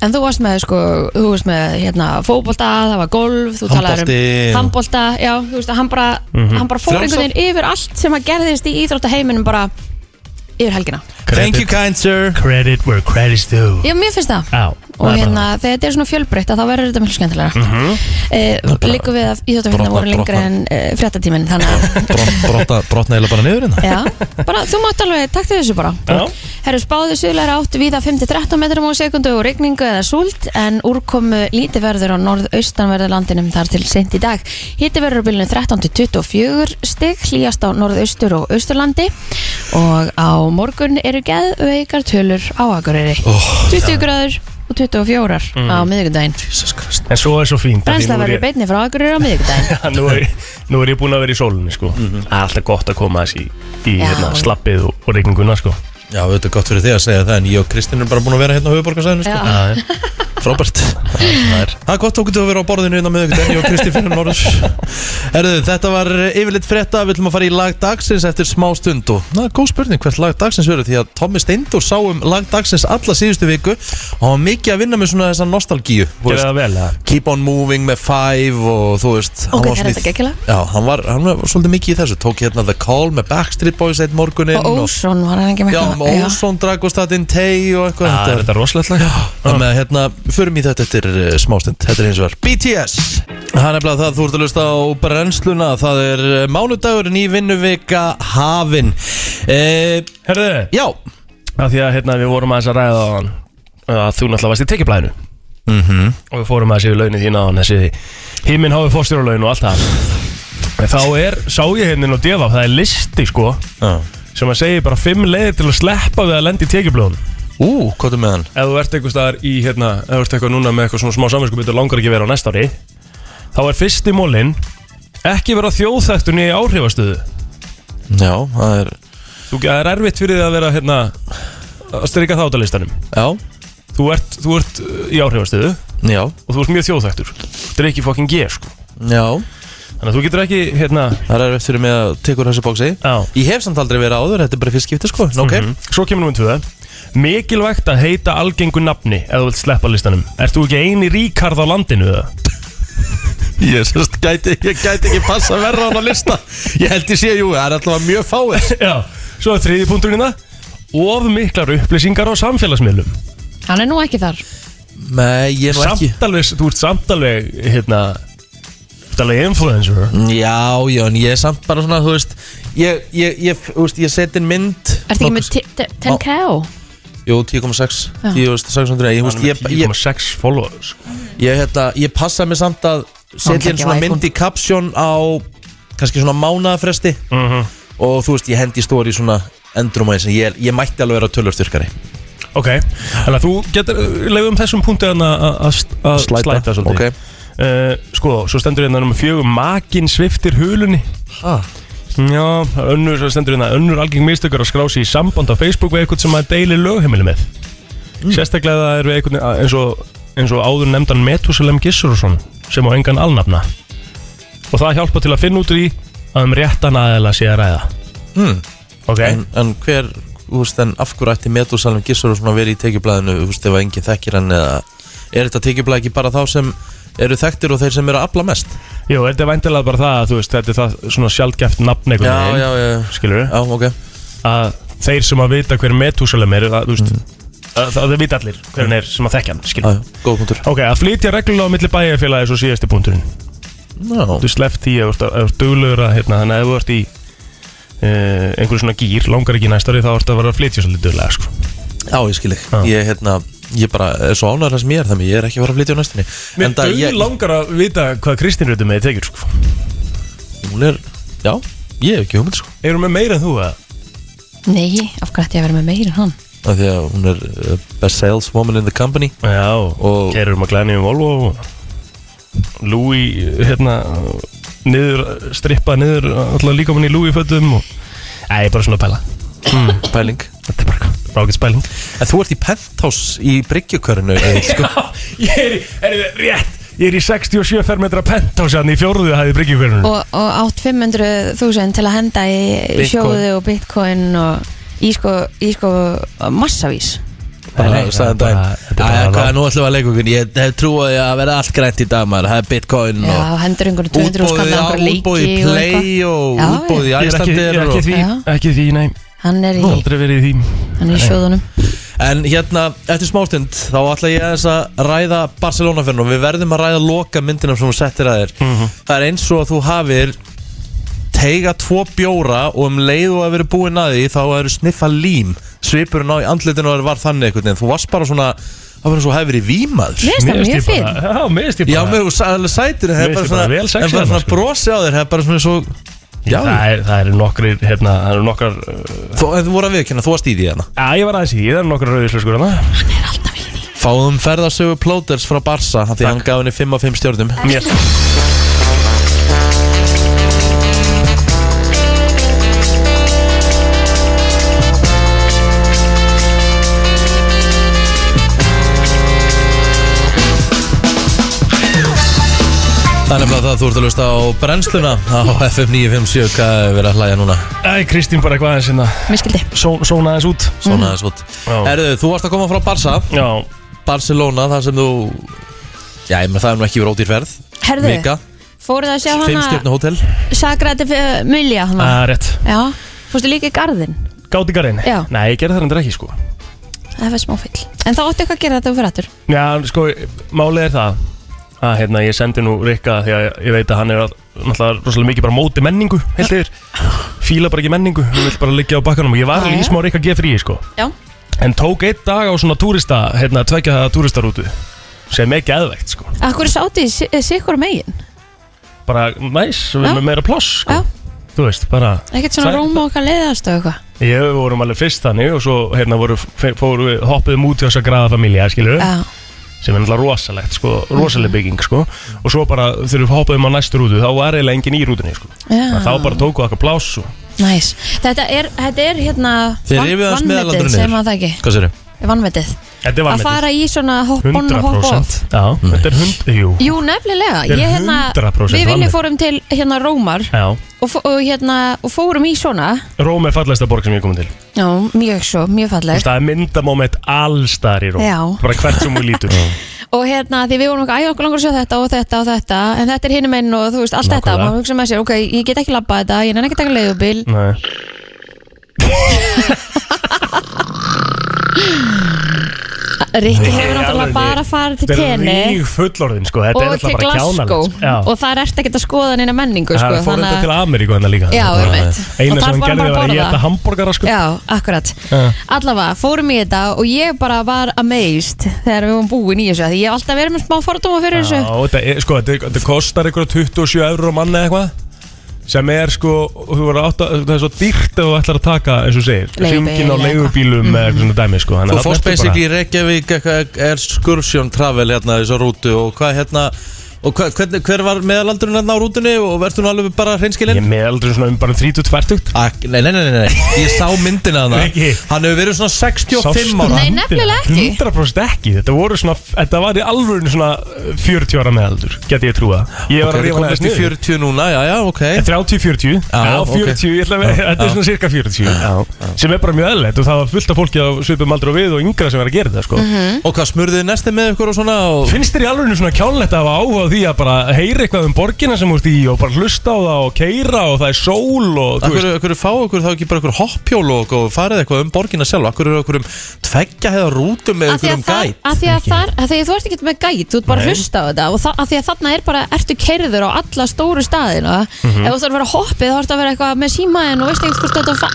C: en þú varst með sko, þú varst með hérna fótbolta, það var golf þú talaðir
A: Handbolti. Mhm.
C: um handbolta, já, þú veist að hann bara, hann bara fór
A: Frjálsar.
C: einhvern veginn yfir allt sem að gerðist í íþróttaheiminum bara yfir helgina
A: Thank you kind sir
B: Credit where credit's due
C: já, mér finnst það
B: Já,
C: og hérna, þegar þetta er svona fjölbreytt að þá verður þetta mjög skemmtilegra mm
A: Mhm.
C: líku við að íþróttafréttina
A: Brotnar,
C: voru lengri
A: brotnar.
C: en uh, fréttatíminn þannig að,
A: Brot- brotna- Brotna eða bara niður hérna
C: já, bara þú mátt alveg takk til þessu bara
B: Já.
C: Herru spáðu suðlæra átt víða 5-13 metrum á sekundu og regningu eða súld en úrkomu lítið verður á norðaustanverðu landinum þar til sent í dag. Hitti verður á bylunum 13-24 stig, hlýjast á norðaustur og austurlandi og á morgun eru geðveikar tölur á Akureyri. 20 gráður og 24 á miðvikudaginn.
A: Jesus Christ
B: En svo er svo fínt að því nú
C: Brennsla
B: er
C: verður í
B: ég-
C: beinni frá Akureyri á miðvikudaginn.
B: nú, er, nú er ég búin að vera í sólunni sko. Alltaf gott að koma þess í, í
C: Já.
B: hérna, slappið og, og regninguna sko.
A: Já, þetta er gott fyrir þig að segja það en ég og Kristinn er bara búin að vera hérna á höfuborgarsæðinu sko.
C: Já.
B: Já,
A: Frábært
B: Það er
A: Það er gott okkur til að vera á borðinu innan með ykkur Ég og Kristi fyrir Norðurs Herðu, þetta var yfirleitt frétta Við ætlum að fara í lag dagsins eftir smá stund Og það er góð spurning hvert lag dagsins verður Því að Tommi Steindur sá um lag dagsins alla síðustu viku Og hann var mikið að vinna með svona þessa nostalgíu þú
B: Gerðu
A: veist,
B: það vel, eða?
A: Keep on moving með Five Og þú veist hann
C: Ok,
A: var svona
C: það er
A: í-
C: þetta gekkilega
A: Já, hann var, hann var svolítið mikið í þessu Tók hérna The Call með Backstreet Boys eitt morguninn
C: Og Ósson var hann ekki með
A: Já,
C: eitthvað-
A: með Ósson drakk og statinn tei og eitthvað
B: Það er
A: þetta-
B: Ah, þetta rosalegt lag
A: Þannig að hérna, förum í þetta eftir uh, smástund Þetta er eins og var BTS Það er nefnilega það, þú ert að lusta á brennsluna Það er uh, mánudagurinn í vinnuvika hafin e,
B: Herðu,
A: Já,
B: af því að hérna, við vorum aðeins að ræða á hann að þú náttúrulega varst í tekjublæðinu
A: Mhm.
B: og við fórum aðeins yfir launin þín á hann þessi himinn háið fórstjóralaun og allt það En þá er, sá ég hérna og defa, það er listi sko sem að segja bara fimm leiðir til að sleppa við að lenda í tekjublóðun
A: ú, hvað er með hann?
B: ef þú ert einhver staðar í hérna, ef þú ert eitthvað núna með eitthvað svona smá samvinskupið og langar ekki að vera á næsta ári þá er fyrsti mólin ekki vera þjóðþæktun í áhrifastöðu
A: Já, það er,
B: þú það er erfitt fyrir þig að vera hérna að strika þáttalistanum
A: já,
B: þú ert, þú ert uh, í áhrifastöðu
A: já,
B: og þú ert mjög þjóðþæktur þetta er ekki fokkin G sko
A: já
B: þannig að þú getur ekki hérna
A: Það er eftir mig að tekur þessu bóksi
B: á
A: Ég hef samt aldrei verið áður, þetta er bara fyrst skipti sko Ok,
B: Svo kemur nummer tvö Mikilvægt að heita algengu nafni ef þú vilt sleppa listanum Ert þú ekki eini ríkarð á landinu eða?
A: ég, sérst, gæti, ég gæti ekki passa verra á hann að lista Ég held ég sé, jú, það er alltaf mjög fáið
B: Já, svo er þriði punkturinn það Of miklar upplýsingar á samfélagsmiðlum
C: Hann er nú ekki þar
A: Nei, ég er nú ekki
B: Samt alveg, þú ert samt alveg hérna Þú ert alveg influencer
A: Já, já, en ég er samt bara svona, þú veist Ég, ég, ég, þú veist, ég seti inn mynd
C: Ertu ekki með 10k?
A: Jú, 10,6
C: Já.
A: 10,600 Ég, þú veist, ég, ég,
B: 10,6 followers
A: ég, hérna, ég passa mig samt að setja inn
C: Hann tekja á
A: svona
C: iPhone.
A: mynd í kapsjón á kannski svona mánaðafresti
B: Mhm.
A: og þú veist, ég hendi stóri svona endrum aðeins, en ég, ég mætti alveg vera tölvörstyrkari
B: Ok, þannig að þú getur Leifum þessum punktu hérna að- að að slæta svolítið
A: Ok
B: Eh, Sko, svo stendur hérna nummer fjögur Makin sviftir hulunni
A: ah.
B: Já, önnur, svo stendur hérna, önnur algeng mistökur að skrá sig í samband á Facebook við eitthvað sem maður deilir lögheimili með
A: Mm.
B: Sérstaklega það er við eitthvað eins og, eins og áður nefndan Metusalem Gissursson sem á engan alnafna og það hjálpa til að finna út úr í að um réttan aðeila sé að ræða
A: Mm.
B: Ok,
A: en, en hver, þú veist, en af hverju ætti Metusalem Gissur og svona verið í tekjublaðinu þú veist, ef enginn þekkir hann eða er þetta tekjublað ekki bara þá sem eru þekktir og þeir sem eru að afla mest
B: jú, þetta er væntilega bara það að þú veist, þetta er það svona sjaldgæft nafn einhvern veginn,
A: já,
B: skilur
A: já, ok
B: að þeir sem að vita hver Metusalem er, það, þú veist
A: Mm.
B: að, það, það vita allir hver hann er sem að þekkja hann,
A: já,
B: skilur
A: já, góð punktur
B: Ok, að flytja reglulega á milli bæjarfélagi er svo síðasti punkturinn
A: já,
B: þú sleppt því ef þú ert- ef þú ert duglegur að hérna, þannig að ef þú ert í uh, einhverju svona gýr, langar ekki næstari þá ert að vera að flytja svolítið duglega sko.
A: já, ég skil
B: Já.
A: ekki ég, hérna, ég bara er svo ánæður þess mér þannig, ég er ekki að fara að flytja á næstunni
B: Mér
A: Enda
B: dug
A: ég,
B: langar að vita hvað Kristín reytur með tekjur sko.
A: hún er, já, ég hef ekki hugmynd sko,
B: Erum við meira en þú að?
C: Nei, af hverju ætti ég að vera með meira en hann?
A: af því að hún er uh, best saleswoman in the company
B: Já, og
A: Og-
B: gerum að glæni um Volvo og Louis hérna, niður, strippa niður alltaf líka mann í Louis fötum og... Æ, bara svona pæla
A: pæling,
B: Þetta er bara rákitt spæling
A: en þú ert í penthouse í bryggjukörinu, sko
B: Ég er, í- er þið rétt Ég er í 67 fermetra penthouse hann í fjóruðu hæði bryggjufjörnum
C: Og, og átt 500.000 til að henda í
A: Bitcoin.
C: sjóðu og bitcoin og í sko, í sko massavís
A: bara,
B: Nei,
A: sagði
B: það er
A: daginn
B: bara- þetta er bara
A: Æja,
B: rangt.
A: hvað er nú ætlum við að leika okkur Ég hef trúið að verða allt grænt í dag maður Það er bitcoin
C: Já,
A: og
C: hendur einhverjum 200 og
A: útboðið
C: skallar
A: á
C: einhverjum leiki
A: útboðið í
C: og
A: play og
C: eitthvað Já, já.
A: útbóðið í
B: Ég er ekki, ég
A: æslandir
B: er ekki
A: hérna og...
B: því,
C: Já.
B: ekki því, nei
C: Hann er í,
B: Aldrei verið í því
C: hann er í sjóðunum
A: En hérna, eftir smástund Þá ætla ég aðeins að ræða Barcelona fyrir og við verðum að ræða loka myndina sem hún settir að þér
B: Mhm.
A: Það er eins og að þú hafir teiga tvo bjóra og um leið og að vera búinn að því þá eru sniffa lím svipurinn á í andlitinu og var þannig einhvern veginn þú varst bara svona, það var eins og hefur í vímaður
C: Mér finnst það
B: Mér
C: mjög
B: finnst ég
C: fín
B: bara- Já, mér finnst ég
A: Já,
B: bara
A: mér og alveg sætir Það
B: Mér
A: er
B: finnst
A: bara
B: ég bara vel
A: svona,
B: sexy
A: en bara
B: þarna,
A: svona
B: sko.
A: brosi á þér Það er bara svona svo Já,
B: Það er, það er nokkrir, hérna, það eru nokkar uh,
A: þú, en þú voru að viðkynna, þú varst í því hérna
B: Já, ég var aðeins í, það eru nokkrar sko, hérna. rauðislöskur hana
A: Fáðum ferðarsögu Plóters frá Barsa Því hann gaf henni 5 af 5 stjórnum
B: Mér
A: er nefnilega það að þú ert að lusta á brennsluna á FM 957 hvað er verið að hlæja núna
B: Æ, Kristín bara hvað aðeins hérna
C: Mér skildi
B: Són- Sóna aðeins út
A: svona mm. svott
B: Já.
A: Herðu, þú varst að koma frá Barca
B: Já,
A: Barcelona, þar sem þú Já, ég með það er nú ekki verið ódýr ferð
C: Herðu,
A: Mika,
C: fóruð að sjá
A: fimm
C: hana
A: stjórna hótel
C: Sagrati Mulja
B: það
C: hana.
B: er rétt
C: Já, fórstu líka í garðin
B: Gátt í garðin?
C: Já.
B: Nei, ég gerði það hendur ekki sko
C: Það var smá fyll En þá áttu eitthvað að gera þetta fyrir aftur
B: Já, sko, málið er það að hérna, ég sendi nú Rikka því að ég veit að hann er að, náttúrulega rosalega mikið bara á móti menningu, held yfir fíla bara ekki menningu, hann vil bara liggja á bakkanum og ég var
C: Já,
B: alveg í
C: já.
B: smá Rikka G3 sko
C: Já,
B: en tók einn dag á svona túrista hérna, tvekja það túristarútu sem er geðveikt sko,
C: akkur sáttu í si- sikur megin
B: bara næs við
C: Já.
B: erum með meira pláss sko,
C: Já,
B: þú veist, bara
C: ekkert svona
B: Sæt-
C: róma okkar leiðast og eitthvað
B: ég við vorum alveg fyrst þannig og svo hérna voru, f- fóru, við- hoppuðum út hjá þess að graða familja, skilur
C: Já, Mhm.
B: sem er náttúrulega rosalegt, sko, rosaleg bygging sko. og svo bara þegar við hoppuðum á næstu rútu þá var eiginlega engin í rútunni sko.
C: já
B: Þannig að þá bara tókuðu okkar pláss og...
C: Næs, þetta er, þetta er hérna
A: Þið
C: van-
A: rifið aðeins meðalaldurinn
C: vanmetið
A: niður.
C: sem að það ekki,
A: Hvað sér þau?
C: vanmetið
B: þetta var
C: að fara í svona hopp on hopp off
B: 100% já, þetta er hund, jú
C: Jú, nefnilega
B: Þetta er
C: Ég, hérna,
B: 100%
C: Við
B: vanmetið.
C: viljum fórum til hérna Rómar
B: já.
C: og, fó- og, hérna, og fórum í svona
B: Róm er fallegsta borg sem ég er komin til
C: Já, mjög svo, mjög
B: Þú
C: falleg
B: veist, það er myndamómet allstar í Róm
C: Já.
B: bara hvert sem við lítur
C: Og hérna, því við vorum ekki æja okkur langar að sjá þetta og þetta og þetta En þetta er hinum einn og þú veist, allt þetta
B: Nákvæmlega.
C: Og maður hugsa með sér, ok, ég get ekki labbað þetta Ég nenni ekki að taka leiðubil
B: Nei.
C: Rikki hefur náttúrulega
B: alveg.
C: bara farið til
B: þetta er
C: tenni
B: rík fullorðin sko. þetta er
C: Og til
B: alltaf bara
C: Glasgow
B: kjánalegt sko. Já.
C: Og það er eftir ekkert að skoða neina menningu sko,
B: það fór
C: þannig
B: þetta
C: að-
B: til Ameríku hennar líka
C: Já,
B: Þannig að-
C: einmitt. Og
B: eina sem
C: þar fór
B: hann
C: hann
B: gerði
C: bara
B: var
C: að
B: að
C: borða.
B: geta hambúrgara sko.
C: Já, akkurat
B: Já.
C: Allavega, fórum í þetta og ég bara var amazed þegar við vorum búin í þessu af Því ég hef alltaf verið með smá fordóma fyrir
B: Já,
C: þessu
B: þetta er- sko, þetta þetta kostar ykkur 27 eurur á manni eða eitthvað sem er sko, þú verður átt að það er svo dýrt ef þú ætlar að taka, eins og þú segir
C: Leigubíl
B: hringin á
C: eða Mm.
B: leigubílum eða eitthvað svona dæmi sko þannig
A: Þú
B: að
A: fórst
B: þarna ertu
A: basically í Reykjavík eitthvað Excursion Travel hérna þessu rútu og hvað hérna og hva, hvernig, hver var meðalaldurinn hérna á rútunni og verður nú alveg bara
B: bara,
A: hreinskilinn?
B: ég er með aldrei svona um bara 30-20
A: Ak, nei, nei, nei, nei, nei, ég sá myndina hana
B: Ekki.
A: Hann hefur verið svona 65 ára
C: Nei, nefnilega ekki.
B: 100% ekki, þetta voru svona þetta var í alvöru svona uh, 40 ára með aldur geti ég trúa ég
A: Ok, við
B: var að rífa
A: komum
B: næst
A: næst í
B: niður
A: 40 núna, já, já, ok
B: 30-40,
A: Já,
B: já,
A: ok.
B: 40, ég ætla að vera, þetta er svona cirka 40 já. sem er bara mjög eðlægt og það var fullt af fólki á svipum aldrei og við og yngra sem var að gera þetta sko.
C: Mhm.
A: Og hvað smurðið þið næsti með ykkur og svona og...
B: Finnst þér í alveg svona kjánlegt að hafa áhuga á því að bara heyra eitthvað um borgina sem þú ert í og bara hlusta á það og keira og það er sól og þú
A: Akkur, akkur fá okkur þá ekki bara okkur hoppjól og, og farið eitthvað um borginna sjálf Akkur eru okkur um tveggja hefða rútum með
C: Af því
A: okkur
C: að
A: um
C: þar-
A: gæt
C: af því að þar, af því að þú ert ekki með gæt, þú ert bara að hlusta á þetta og það, af því að þarna er bara, ertu kerður á alla stóru staðina
B: Mhm.
C: ef þú þarf að vera hoppið þá ertu að vera eitthvað með símaðin og veist ekki hvort þú ert að fa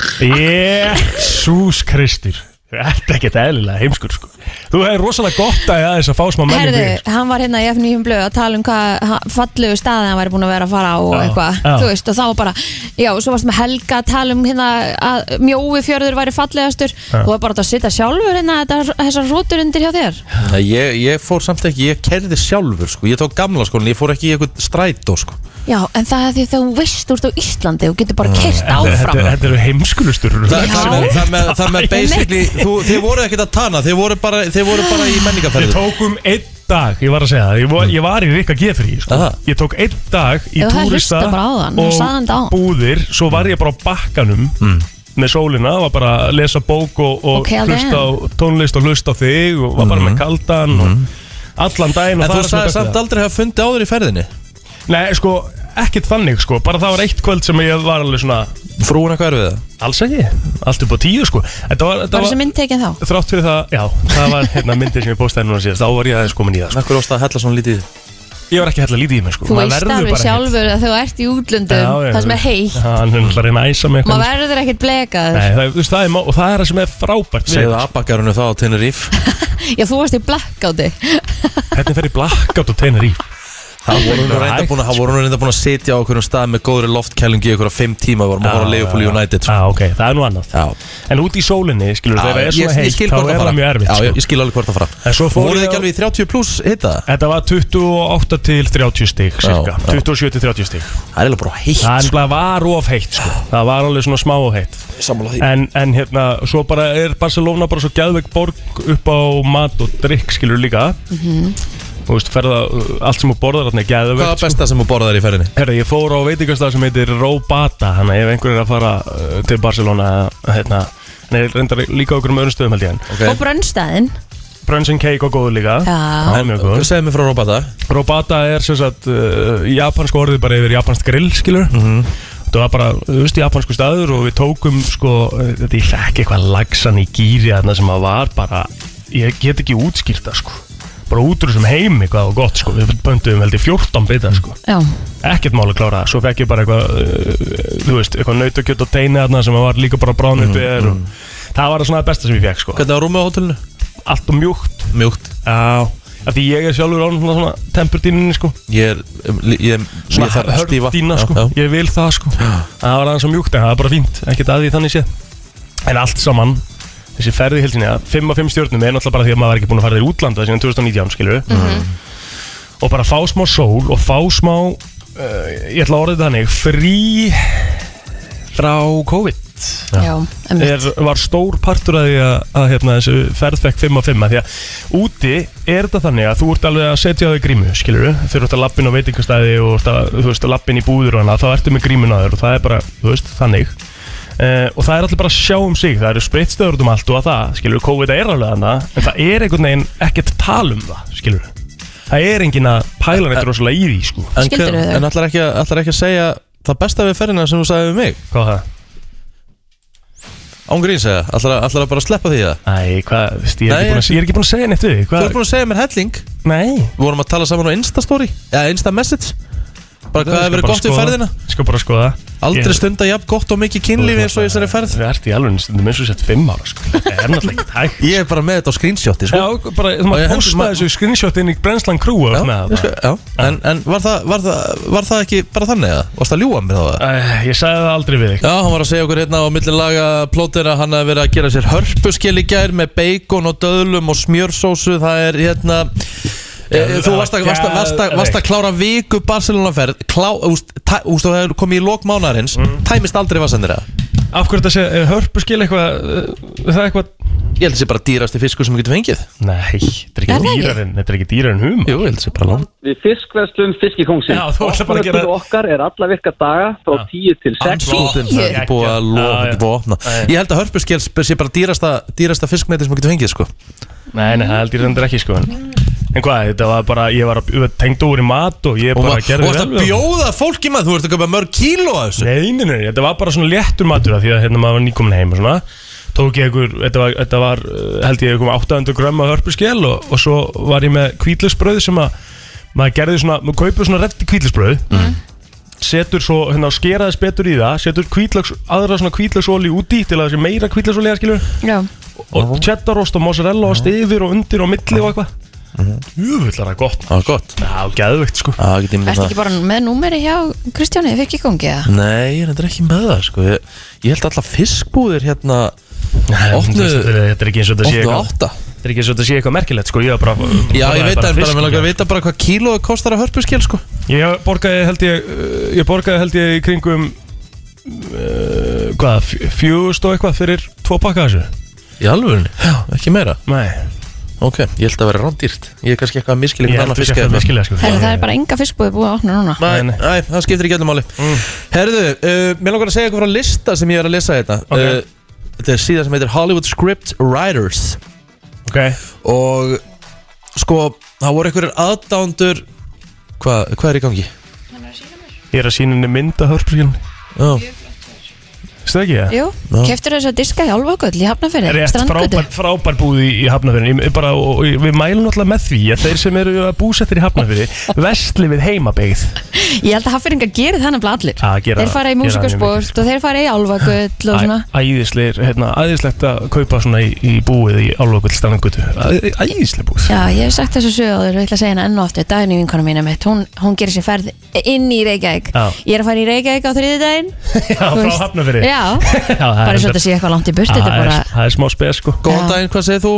B: Jésús Kristur Þetta er ekkert eðlilega heimskur sko Þú hefur rosalega gott að aðeins að fá smá menningu
C: Herðu,
B: í þér.
C: hann var hérna í F9 blöð að tala um hvað ha- fallegu staði hann væri búin að vera að fara á og
B: Já,
C: eitthvað,
B: já.
C: þú veist, og þá var bara já, og svo varst með Helga að tala um hérna að mjói fjörður væri fallegastur þú var bara að sitja sjálfur hérna þetta- þessar rútur undir hjá þér
A: Nei, ég, ég fór samt ekki, ég kerði sjálfur sko. Ég tók gamla skólan, ég fór ekki í eitthvað strætó sko.
C: Já, en það er því þegar þú veist úr þú ert á Íslandi og getur bara kert
B: Mm, Þetta-
C: áfram
B: Þetta þetta eru heimskulustur
A: Það,
C: Já.
A: það, með, það, með, það með basically þú, Þið voru ekkert að tana, þið voru bara, þið voru bara í
B: Ég
A: menningarferðu
B: tók um einn dag, ég var að segja það, ég var, ég var í Rikka G3 sko.
A: Aha.
B: Ég tók einn dag í
C: Já, það
B: túrista
C: hlusta bara á þann, hann sagði hann þetta
B: og
C: áðan.
B: búðir Svo var ég bara á bakkanum
A: Hmm.
B: með sólina Var bara að lesa bók og, og
C: Ok, alveg.
B: hlusta á tónlist og hlusta á þig Og var bara með kaldan og allan daginn
A: Mhm. En
B: og
A: þú
B: það er svona
A: sagði
B: besta.
A: samt aldrei hafa fundið áður í ferðinni
B: Nei, sko, ekkert þannig sko Bara það var eitt kvöld sem ég var alveg svona
A: Frúin eitthvað er við það
B: Alls ekki, allt upp á tíu sko Þetta var, þetta
C: Var þessi
B: var
C: mynd tekin þá?
B: þrátt fyrir það Já, það var hérna myndir sem ég postaði núna síðast Þá var ég aðeins komin í það sko.
A: Akkur ást að hella svona lítið í þig?
B: Ég var ekki að hella lítið í mig sko
C: Þú
B: Maður
C: veist
B: verður
C: alveg
B: bara ekkert-
C: sjálfur að þú ert í útlöndum
B: Já, já,
C: það sem
B: þú veist.
C: er heitt
B: Já, Hann er náttúrulega að reyna að æsa mig
C: maður verður ekkert blekaður
B: Nei, það, þú veist, það er, má- og það er það sem er frábært við-
A: Segðu abbakarinu þá á Teneríf
C: Já, þú varst í blackouti
B: Hvernig fer í blackout og teinar í
A: Það voru nú
B: Hægt,
A: reynda búin að, það voru nú reynda búin að sitja á okkur stað með góðri loftkælingi í okkur á fimm tíma Við vorum að horfa að Leopold United sko.
B: Já, ok, það er nú annað
A: Já,
B: En út í sólinni, skilur,
A: Já,
B: þegar það er
A: ég, ég
B: svona heitt
A: skil
B: Þá
A: hvort
B: er
A: að
B: það
A: fara
B: mjög erfitt
A: um. Já,
B: sko.
A: ég, ég skil alveg hvort að
B: En svo
A: fara
B: fór
A: Voruð þið
B: ég á-
A: ekki alveg í 30 pluss hita það?
B: Þetta var 28 til 30 stig cirka.
A: já.
B: 27 til 30 stig
A: Það er eiginlega bara heitt
B: Það
A: sko.
B: nefnilega var of heitt sko. Það var alveg svona smá of heitt
A: Sammála því.
B: en, en hérna, svo bara er Barcelona bara svo gæðvegg borg upp á mat og drikk skilur líka Þú veist, ferða, allt sem þú borðar þarna er
A: Hvað var
B: geðveikt
A: besta sem þú borðaði í ferðinni?
B: Herra, ég fór á veitingastaf sem heitir Robata Þannig að ef einhver er að fara uh, til Barcelona hérna, Nei, reyndar líka á einhverjum öðrum stöðum held ég en
C: Og brönnstæðin
B: Brunch and Cake og góður líka
C: Já.
B: Það er mjög góð
A: Segðu mér frá Robata
B: Robata er sem sagt uh, japansku orðið bara yfir japanskt grill skilur Það var bara, þú veist, japansku staður og við tókum sko, uh, þetta ég fekk eitthvað lagsan í gýri þarna sem að var bara, ég get ekki útskýrta sko, bara út úr þessum heimi hvað og gott sko, við bönduðum held ég 14 bita sko,
C: Já,
B: ekkert mál að klára það, svo fekk ég bara eitthvað, uh, þú veist, eitthvað nautakjöt og teini þarna sem að var líka bara brán upp mm, og það var það svona það besta sem ég fekk sko,
A: Hvernig var rúmið á hótelinu?
B: allt og mjúkt,
A: Mjúkt
B: já, af því ég er sjálfur án svona, svona tempurdýninni sko,
A: Ég er, um, ég, ég, ég
B: svona
A: þarf að stífa
B: hörndína sko,
A: já, já.
B: ég vil það sko það var aðeins svo mjúkt en það var bara fínt, ekkert að því þannig sé en allt saman, þessi ferði helsini að 5 af 5 stjórnum er náttúrulega bara því að maður var ekki búin að fara til útlanda síðan 2019 skilur við og bara fá smá sól og fá smá uh, ég ætla að orða þetta þannig frí frá COVID
C: já, emmi
B: er, var stór partur að því að, að hérna, þessu ferð fekk 5 af 5 að því að úti er þetta þannig að þú ert alveg að setja á þig grímu skilur þú, þegar þú ert að lappin á veitingastæði og ert að, þú veist að lappin í búður og hana þá ertu með grímun á þér og það er bara, þú veist, þannig Uh, og það er allir bara að sjá um sig það eru spritstöður út um allt og að það skilur, COVID er alveg þarna en það er einhvern veginn ekkert tal um það skilur, það er enginn að
A: Eh,
B: pæla neitt rosalega í því sko,
A: En,
C: Skildirðu
A: hver-
C: þau?
A: en allar, ekki, að- ætlar ekki að segja það besta við ferðina sem þú sagði við mig
B: hvað það
A: Ángrín segja, allar, allar að bara sleppa því það
B: Æ, hvað, veist, ég,
A: Nei,
B: er ekki búin að, ég er ekki búin að segja neitt við því,
A: Þú
B: hvað,
A: ert búin að segja mér helling Við
B: nei
A: vorum að tala saman á Instastory Eða Instamessage Bara sko. hvað
B: Ég
A: hefur verið
B: skal bara
A: gott við
B: skoða-
A: ferðina
B: Ég skal bara skoða
A: Aldrei
B: Ég-
A: stunda jafn gott og mikið kynlífi eins og í þessari ferð
B: Það ert í alveg stundum eins og sett fimm ára sko. Það er náttúrulega ekki hægt
A: Ég er bara með þetta á screenshoti sko.
B: Já, bara,
A: Og
B: þú
A: ég
B: maður
A: hendi-
B: posta
A: ma-
B: þessu screenshot inn í Brensland Crew og
A: Já,
B: með
A: ég
B: það
A: sko,
B: bara.
A: já. En, en var, það, var, það, var það ekki bara þannig að Varst að ljúga mér þá að
B: Æ, Ég sagði það aldrei við þig
A: Já, hann var að segja okkur hérna á millilaga plótir að hann hafi verið að gera sér hörpuskil í gær með bacon og döðlum og smjörsósu það er hérna e,
B: Já,
A: þú varst að, varst, að, varst, að, varst að klára viku Barcelonaferð klá, úst, tæ, úst, og það hefur komið í lok mánaðarins
B: Mm.
A: tæmist aldrei vassandir að
B: Af hverju þetta sé, er hörpuskil eitthvað uh, Það er eitthvað
A: ég held að það sé bara dýrasti fiskur sem við getum fengið
B: Nei, þetta er
C: Er
B: ekki
C: það ekki?
B: dýrar en Þetta er ekki dýrar en hum
A: Jú, ég held að sé bara langt
D: Við fiskverslum fiskikóngsins
B: Já, þú ætlar bara að gera-
D: Opnunartími okkar er alla virka daga frá
B: Já.
D: 10 til 6
A: Andskotin, það er ekki búið að lofa
B: Já, já.
A: ekki búið að opna
B: Nei.
A: Ég held að hörpuskil sé bara dýrasta, dýrasta fiskmeti sem við getum fengið sko
B: Nei, nei, það er aldrei reyndar ekki sko En, en hvað, þetta var bara, ég var að- tengd úr í mat og ég
A: Og
B: bara
A: maður- og
B: gerði
A: varst að
B: við það.
A: bjóða fólki maður, þú ert að köpa mörg kíló að þessu
B: Nei, nei, nei, þetta var bara svona léttur matur af Því að hérna maður var nýkomin heim og svona Tók ég einhver, þetta var, þetta var uh, held ég einhver 800 grömm af hörpuskjel og, og svo var ég með kvítlusbröð sem að Maður gerði svona, maður kaupið svona reddi kvítlusbröð Setur svo, hérna skeraðis betur í það Setur kvítlags, aðra svona kvítlagsóli út í Til að það sé meira kvítlagsóli að skilur
C: Já,
B: Og cheddarost og mozzarella ost yfir og undir og milli og eitthvað Jöfull er það gott
A: Það var gott
B: Já, geðvegt sko
A: Já, get ég myndið
C: ertu
A: það
C: ekki bara með númeri hjá Kristjáni, fikk ég kongi eða?
A: Nei, ég er endur ekki með það sko Ég, ég held alltaf fiskbúðir hérna Opnu
B: Þetta er ekki eins og þetta
A: Opnu
B: sé eitthvað
A: átta
B: Þetta er ekki eins og þetta sé eitthvað merkilegt sko, ég var bara
A: Já, ég veit það, en
B: bara
A: bara
B: fisk
A: mér langar
B: í
A: að
B: gær.
A: vita bara hvað kílóið kostar að hörpuskil sko
B: Ég borgaði held ég, uh, ég borgaði held ég í kringum uh, Hvað, fjúst og eitthvað fyrir tvo pakka af þessu?
A: Í alvörunni? Já, ekki meira
B: Nei,
A: Ok, ég held að vera rándýrt Ég er kannski eitthvað að miskilja
B: ég
A: hvernig annað
B: held að
A: fiskja
B: þetta
A: þetta
B: miskilega sko
C: Herra, það er bara enga fiskbúið búið að opna núna
A: hérna. Nei, Mm.
B: Nei, nei.
A: nei, það skiptir ekki öllum máli Herðu, uh, mér langar að segja eitthvað frá lista sem ég er að lesa þetta
B: Ok.
A: uh, Þetta er síðan sem heitir Hollywood Script Writers
B: Ok,
A: Og sko, það voru einhverjir aðdándur Hvað hva er í gangi?
B: ég er að sína henni mynd að hörpurskilni
A: Já,
B: Veistu það ekki það?
C: Jú, keftur þess að diska hjá Álfagull í Hafnafyrir,
B: Rétt
C: strandgötu
B: frábær, frábær búð í, í Hafnafjörðin Ég- bara, og, og Við mælum alltaf með því að þeir sem eru að búsettir í Hafnafjörði Vestli við heimabyggð
C: Ég held að Hafnfyringa gerir þannig að allir
B: Já, gera-
C: Þeir fara í
B: gera það mjög
C: músikasport og þeir fara í Álfagull og svona
B: Æ- Æðislegir, hérna, æðislegt að kaupa svona í, í búið í Álfagull Stanangutu Æðisleg búð
C: Já, ég hef sagt þessu sögður, ég ætla að segja hana enn og aftur Daginn í vinkonu mína mitt, hún, hún gerir sér ferð inn í Reykjavík
B: Já.
C: Ég er að fara í Reykjavík á þriðjudaginn
B: Já,
C: þú
B: frá
C: veist.
B: Hafnarfirði.
C: Já,
B: Já, það
C: bara
B: er reyndar-
C: eins og þetta sé eitthvað langt í burt Þetta
B: Það
C: er
B: er-
C: bara,
B: Það er smá spes sko
A: Góðan
C: Já.
A: daginn, hvað segir þú?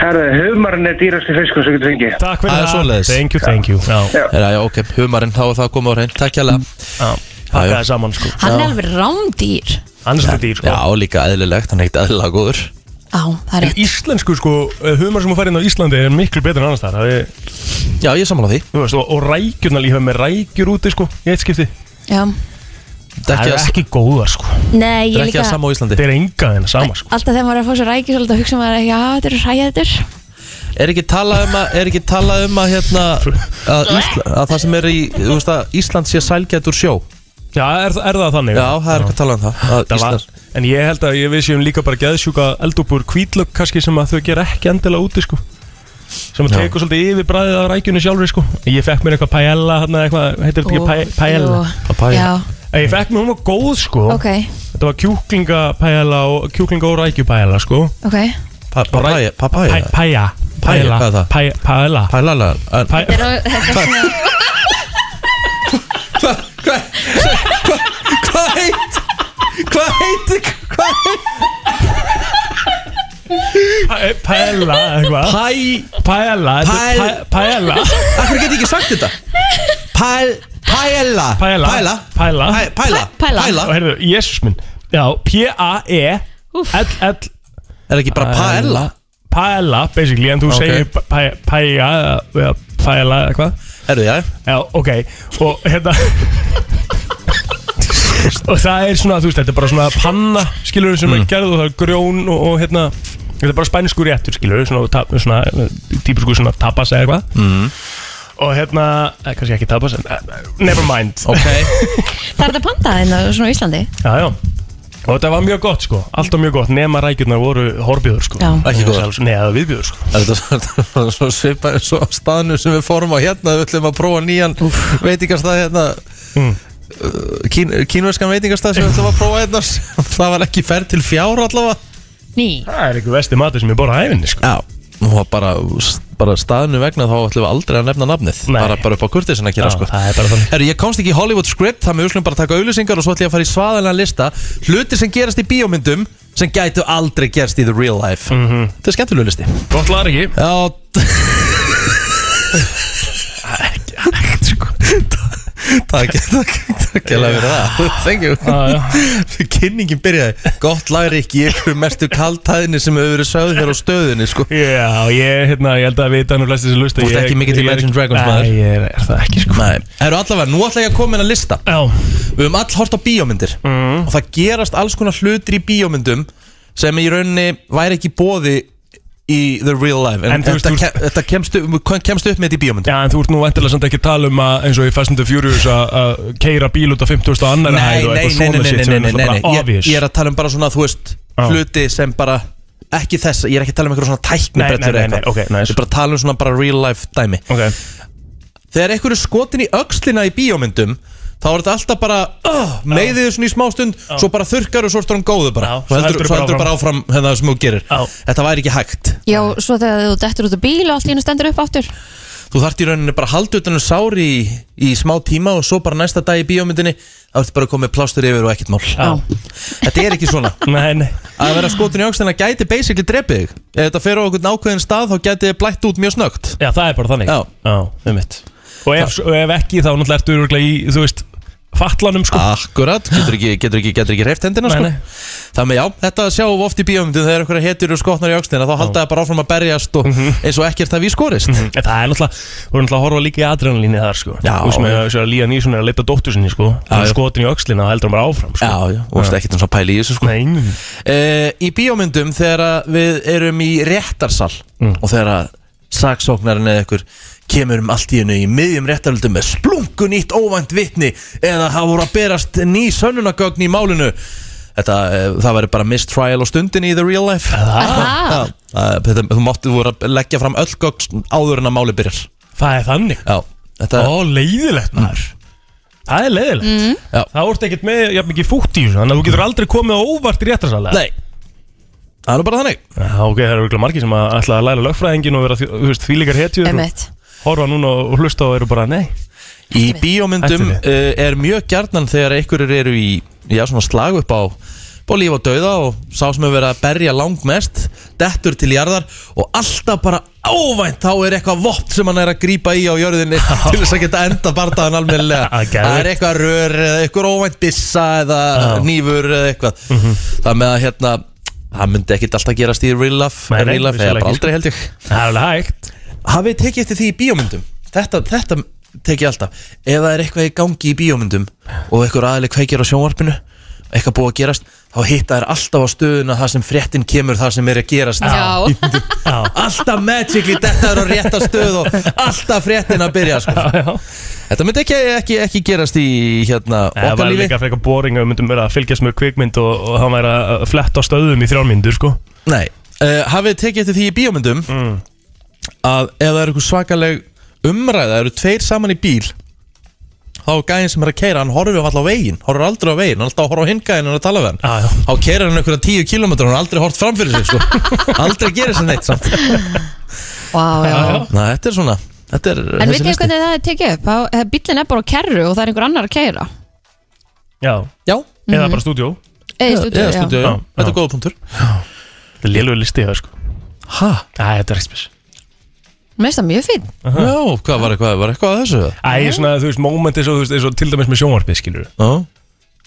E: Herðu, eh, humarinn er dýrasti fiskur sem getur fengið.
B: Takk fyrir
A: Það er svoleiðis.
B: Thank you, thank you Já,
A: Er, já, ok, humarinn, þá er það komið á hrein Takk hérlega
B: já
A: Já,
B: Pakka
A: já.
B: það saman sko
C: hann er alveg rándýr
B: Annars er þetta dýr sko
A: Já, líka eðlilegt, hann er ekkert eðlilega góður
C: Á, það er
B: En
C: rétt
B: íslensku sko, eh, humar sem þú fær inn á Íslandi er miklu betur en annars þar Það er
A: Já, ég er sammála því
B: Þú veist, og, og rækjurnar líka með rækjur úti sko, í eitt skipti
C: Já,
A: Þetta er
B: Það er
A: ekki,
B: ekki góðar sko
A: að-
C: nei, ég
A: þetta er ekki
C: líka
A: að sama á Íslandi
B: Þetta er enga þeirna sama sko
C: Alltaf þegar maður er að fá sér rækjur svolítið að hugsa maður já, þetta eru hræðir
A: Er ekki talað um að, er ekki talað um að, hérna, að, Ísla, að það sem er í, þú veist að Ísland sé sælgætt úr sjó
B: Já, er, er það þannig?
A: Já, það er ekki að tala um það að
B: Það var,
A: Ísland-
B: en ég held að ég vissi um líka bara geðsjúka eldúpur kvítlögg kannski sem að þau gera ekki endilega úti sko sem að
A: Já.
B: tekur svolítið yfir bræðið af rækjunni sjálfur sko ég fekk mér eitthvað paella hérna eitthvað heitir þetta
C: Ú,
B: ekki pa- paella
C: jú.
A: Papaya.
C: Já,
B: En ég fekk mér hún var góð sko
C: ok,
B: þetta var kjúklinga paella og kjúklinga og rækjupaella sko
C: ok
A: Pa- Papaya Papaya
B: Pa- paella
A: Paella, hvað er það?
B: paella paella
A: Pælala en-
B: Pa-
C: Þetta er á- þetta er svona
A: Hva- hva- hva- Hvað heit Hvað heitir Hvað heit
B: pa- paella eitthvað
A: Pæ
B: paella þetta er
A: Pael-
B: pa- paella
A: Akkur get ég ekki sagt þetta Pæl Pæla
B: Paella.
A: Pæla
B: Paella.
A: Pæ- Pæla
C: Pa- pæla.
B: og heyrðu, jésus minn já, E P-A-E L-L
A: Er ekki bara pæla
B: paella basically en þú
A: Ok.
B: segir pa- pa- paella eða- eða paella eða eitthvað
A: Herru, já
B: já ok og hérna og það er svona þú veist þetta er bara svona panna skilur sem
A: Mm.
B: er gerð og það er grjón og, og hérna þetta er bara spænskur réttur skilur svona, ta- svona típisku svona tapas eða eitthvað mm. og hérna eh, kannski ekki tapas en eh, never mind
A: Ok
C: Það er þetta pandaðinn og svona á Íslandi
B: já já og þetta var mjög gott sko alltaf mjög gott nema rækjurnar voru horbiður sko
C: Já.
A: Ekki góðar.
B: neða viðbjöður sko
A: Þetta var svo svipað eins og á staðnum sem við fórum á hérna Við ætlum að prófa nýjan veitingastað hérna uh,
B: Mm.
A: kín, Kínverskan veitingastað sem við ætlum að prófa hérna Það var ekki ferð til fjár allavega
C: Ný
B: það er eitthvað vesti matur sem ég borða á æfinni sko
A: Já Hún var bara, bara staðinu vegna þá ætlum við aldrei að nefna nafnið
B: Nei.
A: bara, bara upp á kurtisinn að gera
B: Já,
A: sko
B: það er bara þannig.
A: Herru, ég komst ekki í Hollywood script þannig við slum bara taka auðlýsingar og svo ætlum ég að fara í svaðalega lista hluti sem gerast í bíómyndum sem gætu aldrei gerst í the real life
B: Mhm.
A: Þetta er skemmtilega listi
B: Gott lagar ekki
A: Já,
B: sko.
A: takk Takk að vera það Thank you
B: já.
A: Kynningin byrjaði Gott lagri ekki í ykkur mestu kaltæðinni sem hefur verið sögð hér á stöðinni sko
B: Já, ég, hérna, ég held að vita nú flestir sem lusta
A: Þú ert ekki mikill í Imagine Dragons, maður.
B: Nei, ég er, er það ekki sko
A: Nei, herru allavega, nú ætla ég að koma inn að lista
B: Já,
A: Við höfum all hort á bíómyndir
B: Mhm.
A: og það gerast alls konar hlutir í bíómyndum sem í rauninni væri ekki bóði í the real life en,
B: En þú veist,
A: þetta,
B: þú-
A: kem, þetta kemst, upp, kemst upp með þetta í bíómyndum
B: já, en þú ert nú vantilega samt ekki að tala um að eins og í Fast and the Furious að- að keira bíl út á 50 og annar
A: Nei,
B: hæð og
A: nei,
B: eitthvað
A: nei, nei,
B: svona
A: nei,
B: shit
A: nei,
B: sem
A: nei,
B: er
A: nei, nei.
B: náttúrulega bara
A: Ég,
B: obvious
A: ég er að tala um bara svona, þú veist,
B: Já.
A: hluti sem bara ekki þess, ég er ekki að tala um eitthvað svona tækni
B: Nei, nei, nei, nei, ok,
A: Ég
B: nice.
A: er bara að tala um svona bara real life dæmi
B: Ok,
A: Þegar einhverju skotin í öxlina í bíómyndum þá er þetta alltaf bara uh, meiðið þau svona í smástund, svo bara þurkar og svo ertu hann góðu bara,
B: Já,
A: svo heldur, svo heldur bara
B: bara
A: áfram það sem þú gerir,
B: Já.
A: þetta væri ekki hægt
C: Já, svo þegar þú dettur út af bíl og allt í hennu stendur upp áttur
A: þú þart í rauninni bara að halda utan um sári í, í smá tíma og svo bara næsta dag í bíómyndinni þá ertu bara að koma með plástur yfir og ekkert mál
C: Já.
A: þetta er ekki svona
B: nei, nei
A: að vera skotin í öxlina gæti basically drepið þig ef þetta fer á okkur ákveðin stað þá gæti þið blætt út mjög snögt
B: Já, það er bara þannig
A: Já.
B: já um mitt og ef, og ef ekki þá náttúrulega ertu örgulega í, þú veist, fatlanum sko
A: Akkurat, getur ekki, getur ekki, getur ekki reyft hendina sko.
B: Nei, nei.
A: Þannig já, þetta sjáum við oft í bíómyndum þegar einhverja hetur og skotnar í öxlina þá halda það bara áfram að berjast og eins og ekkert að við skorist
B: En Það er náttúrulega, þú erum náttúrulega að horfa líka í adrenalíni þar sko
A: Já.
B: Þú veist með þessu að Líja Nýsson er að leita dóttur sinni sko Hún
A: já.
B: er skotin í öxlina og heldur hann bara áfram sko
A: Já, já, og veist ekkert eins og pæli í þessu sko
B: Nei, nei.
A: uh, Í bíómyndum þegar að við erum í réttarsal og þegar að saksóknarinn eða ykkur kemur um allt í hennu í miðjum réttaröldum með splungun ítt óvænt vitni eða það voru að berast ný sönnunagögn í málinu Þetta, eh, það væri bara mistrial á stundinni í the real life
C: Aha.
A: Já, eh, þetta, Þú máttu voru að leggja fram öll gögn áður en að máli byrjar
B: Það er þannig
A: Já, þetta
B: Ó, leiðilegt maður Það er leiðilegt mm.
A: Já.
B: Það vorst ekkert með jafn mikið fútt í þessu Þannig að þú getur aldrei komið á óvart í réttarsalega
A: Nei Það er nú bara þannig
B: Já, ok, það eru örugglega margir sem að ætla að læra lögfræðingin og vera því- þú veist, þvílíkar hetjur og
C: Emmett
B: horfa núna og hlusta og eru bara nei
A: Í bíómyndum
B: Hættu
A: uh, er mjög gjarnan þegar einhverjur eru í já, svona slag upp á bá líf og dauða og sá sem hefur verið að berja langmest dettur til jarðar og alltaf bara óvænt þá er eitthvað vopt sem hann er að grípa í á jörðinni til þess að geta enda bardaðan almennilega
B: Ah, geðveikt.
A: það er eitthvað rör eða eitthvað óvænt bissa eða nýfur eða eitthvað
B: Mhm.
A: það með að hérna það myndi ekkit alltaf gerast í real life,
B: Nei, nei,
A: real life eða
B: vissulega
A: bara
B: ekki, sko.
A: aldrei held ég
B: Það er alveg hægt
A: hafið þið tekið eftir því í bíómyndum þetta, þetta tek ég alltaf ef það er eitthvað í gangi í bíómyndum og eitthvað aðli kveikir á sjónvarpinu eitthvað búið að gerast, þá hitta þær alltaf á stöðuna það sem fréttin kemur, það sem er að gerast
C: Já,
A: alltaf magically þetta er á rétta stöð og alltaf fréttin að byrja sko. þetta myndi ekki, ekki, ekki gerast í hérna,
B: Það
A: okkar
B: var
A: lífi
B: líka frekar boring að við myndum vera að fylgjast með kvikmynd og, og hann væri að fletta á stöðum í þrjármyndur sko
A: Nei, uh, hafið þið tekið eftir því í bíómyndum
B: Mm.
A: að ef það eru eitthvað svakaleg umræða, það eru tveir saman í bíl þá er gæðin sem er að keira hann horfir alltaf á veginn, horfir aldrei á veginn hann er alltaf að horfa á hinn gæðin en að tala við hann
B: Ah, Já, já.
A: þá keira hann einhverja tíu kilometrar hann er aldrei hort fram fyrir sig sko. aldrei gerir sér neitt samt
C: Vá, já, já.
A: Næ, þetta er svona þetta er,
C: En
A: þessi
C: veitum við
A: listi.
C: hvernig það er tekið upp? Þá- eh, Bíllinn er bara á kerru og það er einhver annar að keira
B: Já,
A: Já,
B: eða bara stúdjó
C: Eða í
A: eða
C: stúdíu, já
A: stúdíu, já.
B: Já,
A: þetta
B: já.
A: er góða punktur
B: Þetta er lélugur listi það sko
A: Hæ,
B: Æ, þetta er ekki spes
C: Mér finnst það mjög fín
A: já, hvað var eitthvað, var eitthvað að þessu?
B: Æ, svona, þú veist, momenti svo, þú veist, eins og til dæmis með sjónvarpið, skilur
A: Já,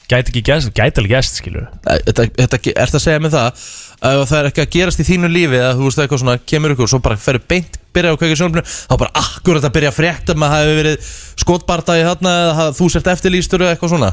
B: Gæti ekki gæst, gæti alveg gæst, skilur
A: Þetta, þetta, ertu að segja mig það að ef það er ekki að gerast í þínu lífi eða þú veist eitthvað svona kemur ykkur og svo bara ferur beint byrja á kveikið sjónlunum þá bara akkurat að byrja að frétta maður hafi verið skotbardagi þarna eða að þú sért eftirlýstur eða eitthvað svona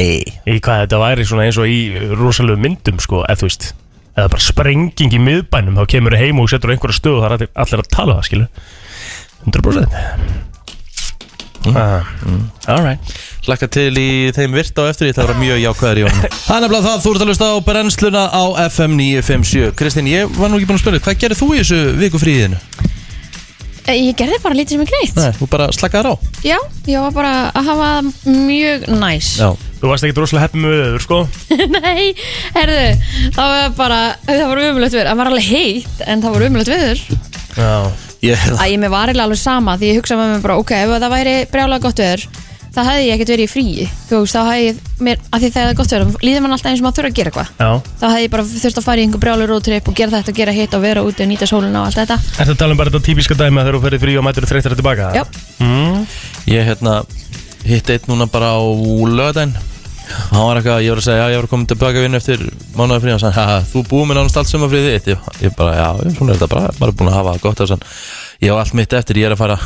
A: Nei
B: Í hvað þetta væri svona eins og í rosalegu myndum, sko, eða þú veist Eða bara sprenging í miðbænum, þá kemur heim og setur á einhverja stöð og það er allir- allir að tala um það, skilur 100% ah, Alright
A: Laka til í þeim virt á eftir því það var mjög jákvæður í honum Það er nefnilega það, þú ert að lusta á brennsluna á FM 957 Kristín, ég var nú ekki búin að spila hvað gerir þú í þessu viku fríðinu?
C: Eh, Ég gerði bara lítið sem er greitt
A: Nei, þú bara slakaðar á
C: Já, ég var bara að hafa það mjög næs
B: Þú varst ekki rosalega heppið með öður, sko
C: Nei, herðu Það var bara, það var umlögt viður Það var alveg heitt, en það var umlögt viður
B: Já
A: Ég,
C: Æ, ég mér var eiginlega alveg sama Því ég hugsaði með mér bara, ok, ef það væri brjálega gott viður Það hefði ég ekkert verið í fríi Þú veist, þá hefði ég, mér, að því þegar það er gott viður Líður mann alltaf eins og maður þurfa að gera eitthvað
B: Já
C: Þá hefði ég bara þurft að fara í einhver brjálega rótrip Og gera þetta, og gera hitt og vera úti og nýta sóluna og allt þetta
B: Ertu að tala um bara þetta típiska dæmi að þegar þú ferði frí og mætur þreyttir tilbaka?
C: Já.
B: Mm.
A: Ég hérna hitt eitt núna bara á löðin Hann var eitthvað, ég var að segja, já, ég var að koma tilbaka vinnu eftir mánuði frí og hann sagði, "Ha, þú búið mér nánast allt sumarfríð þitt ég, ég bara, já, já, svona er þetta bara, maður er búin að hafa það gott og sann, ég á allt mitt eftir, ég er að fara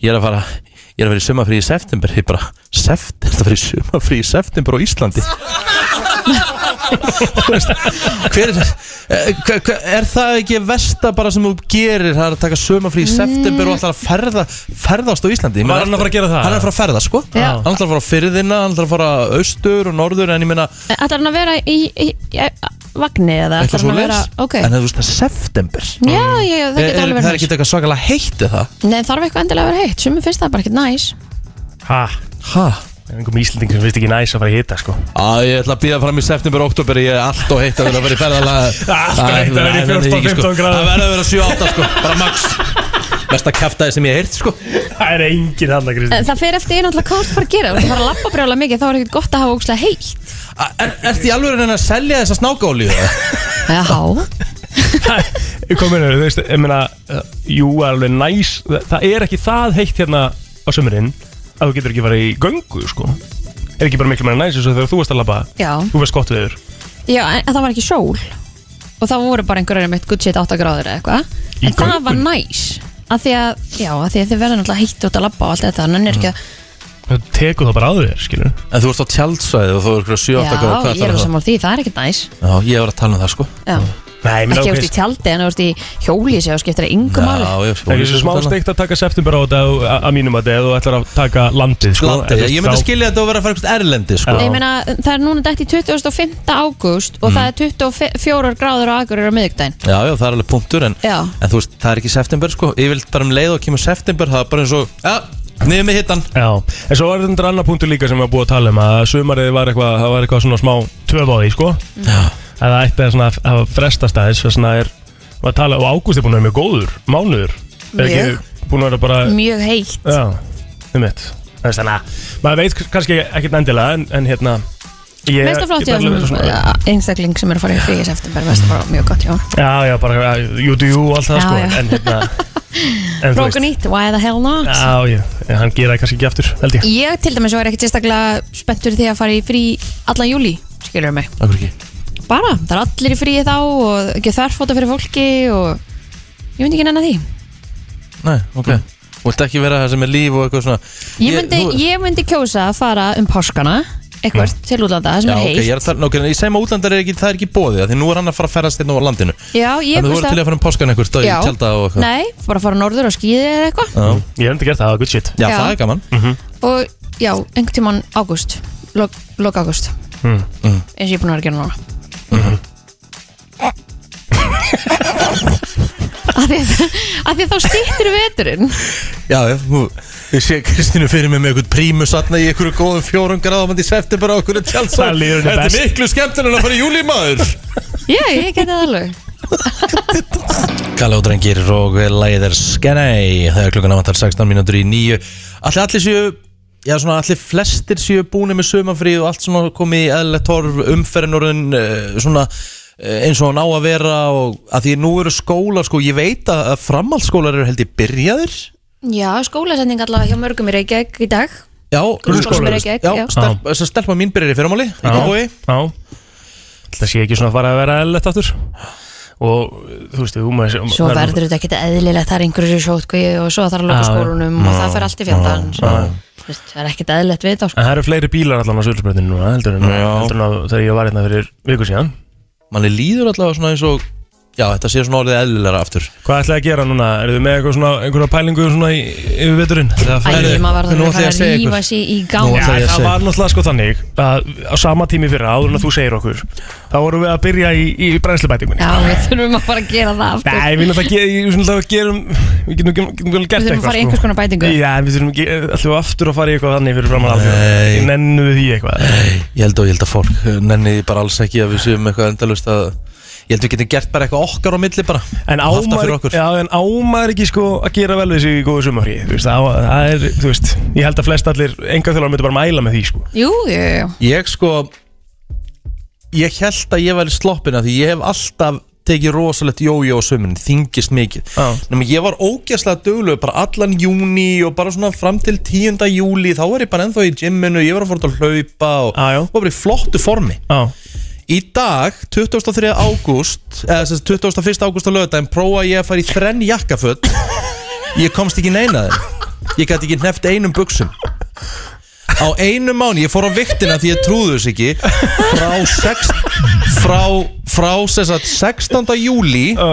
A: ég er að fara, ég er að fara í sumarfrí í september, ég bara, september þetta fara í sumarfrí í september á Íslandi Þú veist, hver er eh, hva- hva- er það ekki versta bara sem þú gerir, það er að taka sumarfrí í september og alltaf að ferða, ferðast á Íslandi Ég meina,
B: Var hann að fara að gera það?
A: Hann er að fara að ferða sko
C: Já.
A: Hann ætlar að fara á fyrðina, hann ætlar að fara austur og norður En ég meina
C: Ætlar hann að vera í, í, í, í vagni eða ætlar
A: eitthvað svo
C: hann að vera
A: leis
C: Ok,
A: En þú veist það er september
C: já, ég, það
A: Er-
C: getur
A: er- Það
C: alveg verið
A: er
C: næs
A: ekki eitthvað svakalega heitt eða
C: Nei, þarf eitthvað endilega að vera heitt Sumum finnst það bara ekkert næs
B: Ha,
A: Hæ?
B: það er einhverjum íslendingur sem finnst ekki næs að fara að hita, sko.
A: Á, ég ætla að býða fram í september og oktober Ég er allt og heitt að vilja vera í ferðalega
B: Allt of heitt að vera í 14-15 gráður.
A: sko. Það verður að vera 7-8 sko, bara max Mesta kæftæði sem ég heirt sko
B: Það er engin hann að
C: En
B: Kristi.
C: Eh, Það fer eftir einhvern veginn hvað þú fara að gera Þú fara að lappa brjála mikið, þá er ekkert gott að hafa ógslag heitt
A: A- Er, Ertu í alveg að selja þessa snákaolíu? eða?
C: Já,
B: Kom inn, þú veist, ég meina, uh, jú, það er alveg næs. Það, það er ekki það heitt hérna á sömurinn að þú getur ekki fara í göngu, sko. Er ekki bara miklu meira næs eins og þegar þú varst að labba,
C: já,
B: þú varst gott viður.
C: já en það var ekki sól Og það voru bara einhverjar mitt good shit 8 gráður eða eitthvað
B: Í
C: En það var
B: göngunni?
C: næs að því að, já, að því að þið verður náttúrulega heitt út að lappa og allt þetta Þannig er ekki að,
B: Þú tekur það bara á þér, skilur.
A: En þú ert á tjaldsvæði og þú er ykkur 7-8 gráður,
C: já,
A: hvað
C: ég er
A: ætlarðu þá?
C: að samála því, það er ekkert næs
A: Já, ég var að tala um það sko
C: Já,
B: Nei,
C: ekki að þú ert í tjaldi en þú ert í hjólísi og skiptir það yngu máli
A: Já, ég
B: Það er svo smá steikt að taka september á þetta ef- að að mínum að þetta ef þú ætlar að taka landið sko.
A: Glata,
B: Eða,
A: ég,
B: þú
A: ég
B: veist,
A: myndi
B: þá-
A: skilja þetta að vera að fara eitthvað erlendi sko.
C: Ég meina, það er núna dætt í 25. ágúst og það er 24 gráður á Akureyri á miðvikdæn
A: Já, já, það er alveg punktur en,
C: Já.
A: en þú veist, það er ekki september sko Ég vil bara um leið og kemur september Það er bara eins og, já, niður með hittan
B: Já, en svo var þetta endur annar punktur líka sem við var búið að tala um að sumarið var eitthvað, það var eitthvað svona smá töf á því, sko
A: Já,
B: að það ætti að svona að hafa frestast aðeins þess að er, var að tala, og ágúst er búin að vera mjög góður mánuður, er
C: Mjög.
B: ekki búin að vera bara,
C: Mjög
B: já,
C: heitt
B: um mitt þannig að maður veit kannski ekkert endilega en, en hérna ég,
C: Mesta flott
B: ég
C: hjá
B: bara verið
C: þessum
B: svona-
C: ja, einstakling sem er að fara í fríis eftir bara mesta bara mjög gott hjá honum.
B: já, já, bara, jú, jú, jú, allt það,
C: Já,
B: sko
C: já.
B: en hérna en, þú veist,
C: Broken it, why the hell not?
B: já, já, en hann gera það kannski ekki aftur, held ég
C: Ég til dæmis var ekkert sérstaklega spenntur því að fara í frí allan júli skilur mig,
A: okkur ekki
C: bara, það er allir í fríi þá og ekki þarfóta fyrir fólki og ég myndi ekki nennan því
B: Hm.
A: Nei, ok Þú vilt ekki vera það sem er líf og eitthvað svona
C: Ég myndi,
A: þú-
C: ég myndi kjósa að fara um páskana eitthvað til útlanda, það
A: Já,
C: sem er
A: ok,
C: heitt
A: ég er að tala, ok, ég segi maður útlandar er ekki, það er ekki bóðið Því nú er hann að fara að ferðast inn á landinu
C: Já, ég
A: En þú
C: veist
A: voru til að fara um páskan eitthvað, í
C: Já.
A: tjálta og eitthvað
C: Nei, bara fara norður og skýði eða eitthvað
A: Já,
B: Ég hef enda gert það, það er good shit
A: Já,
C: Já.
A: það er gaman
C: Og já, einhvern tímann ágúst Lok, lok ágúst
A: Mm,
C: Eins og ég er búin að vera að gera núna
A: Mm-hmm.
C: Af því að af því að þá stýttir veturinn
A: Já, ég, þú- ég sé Kristínu fyrir mig með eitthvað prímus Atna í einhverju góðum fjórum gráðum í september á einhverju tjálsa
B: Það líður henni
A: Þetta er
B: best.
A: miklu skemmtinn en að fara í júlímaður
C: Já, ég geti það alveg
A: Kalla og drengir og lagið er skennei Það er klukkan aðvantar 16 mínútur í nýju Allir, allir séu Já, svona allir flestir séu búinir með sömafríð og allt svona komið í eðlilegt torf umferðinurinn svona eh, eins og hann á að vera og að því nú eru skólar sko, ég veit að að framhaldsskólar eru held ég byrjaðir
C: Já, skólasending allavega hjá mörgum í Reykjavík í dag
A: Já,
C: Grunnskólar
A: grunnskólar,
C: eru ekki,
A: já,
C: já.
A: stelp, þess að stelpa mín byrjar í fyrramáli í Kópavogi
B: Já Það sé ekki svona að fara að vera eðlilegt aftur Og þú veist, þú maður
C: Svo
B: það er-
C: verður þetta ekkert eðlilegt, það er einhverju sjótkví og svo þarf að loka
B: Já, já.
C: skólunum og það fer allt í fjöndan Það er ekkert eðlilegt við þetta sko.
B: En það eru fleiri bílar allan á Söðursbröndinu núna heldur en,
A: Já.
B: heldur en að, þegar ég var hérna fyrir viku síðan
A: manni líður allavega svona eins og já, þetta sé svona orðið eðlilega aftur
B: Hvað ætlaði að gera núna? Eru þið með eitthvað svona, einhverja pælingu svona í, yfir veturinn? Þegar
C: Æ,
B: það-
A: Herðu,
C: maður var
A: nú
C: þannig að
A: ætla ég
C: fara
A: að
C: að
A: segja
C: rífa
A: ykkur.
C: sig í gang
A: Nú ætla- Það
B: Já,
C: Já,
A: ég að
B: það
A: segja.
B: var náttúrulega sko þannig að á sama tími fyrir áður en að þú segir okkur þá vorum við að byrja í, í brennslubætingunni
C: við þurfum að fara að gera það aftur
B: Nei, við náttúrulega ge- ég vil náttúrulega gerum við getum, getum, getum vel gert
C: Við
B: eitthvað
C: þurfum að fara
B: sko.
C: í einhvers konar bætingu.
B: Já, við þurfum ekki alltaf aftur að fara í eitthvað þannig fyrir framann
A: Nei.
B: alveg Nennu við því eitthvað
A: Ég held og ég held að fólk eh, nenni bara alls ekki að við séum eitthvað endalust að Ég held við getum gert bara eitthvað okkar á milli bara
B: En
A: Og haft það fyrir
B: ámaður,
A: okkur
B: já, en ámaður ekki sko að gera vel við sig í góðu sumafrí Þú veist, það, það er, þú veist Ég held að flest allir, enga þjólar myndi bara mæla með því sko
C: Jú, jú, jú,
A: Ég sko Ég held að ég væri sloppin af Því ég hef alltaf tekið rosalegt jójó á sömurinn Þingist mikið
B: Já.
A: Nefnum ég var ógæslega döglu Bara allan júni og bara svona fram til 10. júli Þá var ég bara ennþá í gymminu Ég var að fór út að hlaupa og
B: Já, já.
A: Var bara í flottu formi
B: Já,
A: Í dag, 23. ágúst eða sem sagt 21. ágúst á lögudaginn prófa ég að fara í þrenn jakkaföt ég komst ekki neina þeim ég gæti ekki hneft einum buksum á einu mánu, ég fór á viktina því ég trúðu þess ekki frá, sex, frá, frá sem sagt, 16. júli
B: já,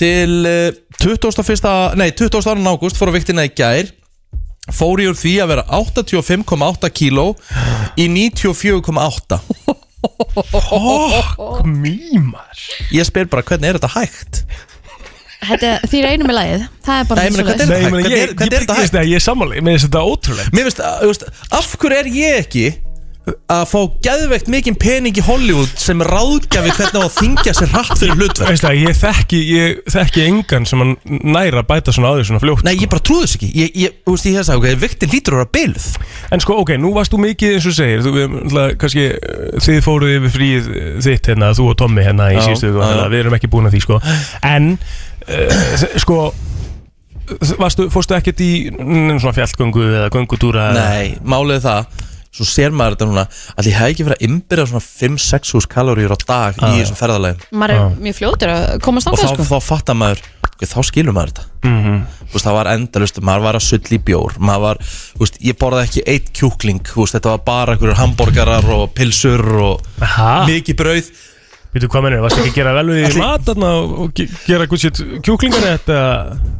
A: til eh, 21. nei 22. ágúst fór á viktina í gær fór ég úr því að vera 85,8 kíló í 94,8
B: mýmar
A: ég spyr bara hvernig er þetta hægt
C: þetta, þið er einu með lagið Það er
A: Nei, ég
C: bara
A: meina,
C: svoleiðis.
A: hvernig
B: Nei, ég meina,
A: Hvernig er-
B: ég,
A: hvernig
B: ég
A: er þetta
B: byggist
A: hægt?
B: það, ég er sammáli Mér finnst þetta ótrúlegt
A: Mér finnst, að, þú veist, af hverju er ég ekki að fá geðveikt mikinn pening í Hollywood sem ráðgjafi hvernig á að þingja sér hratt fyrir hlutverk
B: Veist það, ég þekki, ég þekki engan sem hann næra bæta svona á því svona fljótt
A: Nei, ég bara trúðu þess ekki Ég, ég, þú veist, ég hef sagt, ok, viktin lítur að vera byggð
B: En sko, ok, nú varst þú mikið eins og segir Þú, við, náttúrulega, kannski, eh, þið fóruð yfir fríð eh, þitt hérna, þú og Tommi hérna í
A: Já,
B: síðustu viku,
A: já.
B: þannig að Við erum ekki búin að því, sko En, uh, sko Varstu, fórstu ekkert í mm, svona fjallgöngu eða göngutúra
A: Nei, málið er það Svo sér maður þetta núna að ég hef ekki verið að innbyrja svona 5-6 hús kaloríur á dag í þessum ferðalegum
C: Maður er mjög fljótur að komast
A: og
C: þangað
A: þá,
C: sko.
A: þá fattar maður ok, þá skilur maður þetta mm veist, það var endalust, maður var að sull í bjór maður var, þú veist, ég borði ekki eitt kjúkling þú veist, þetta var bara einhverjur hambúrgarar og pilsur og
B: Aha.
A: mikið brauð
B: Býtu, hvað mennir, varstu ekki að gera vel við því
A: Ætli-
B: mat þarna og og ge- gera gútt sétt kjúklingar eða,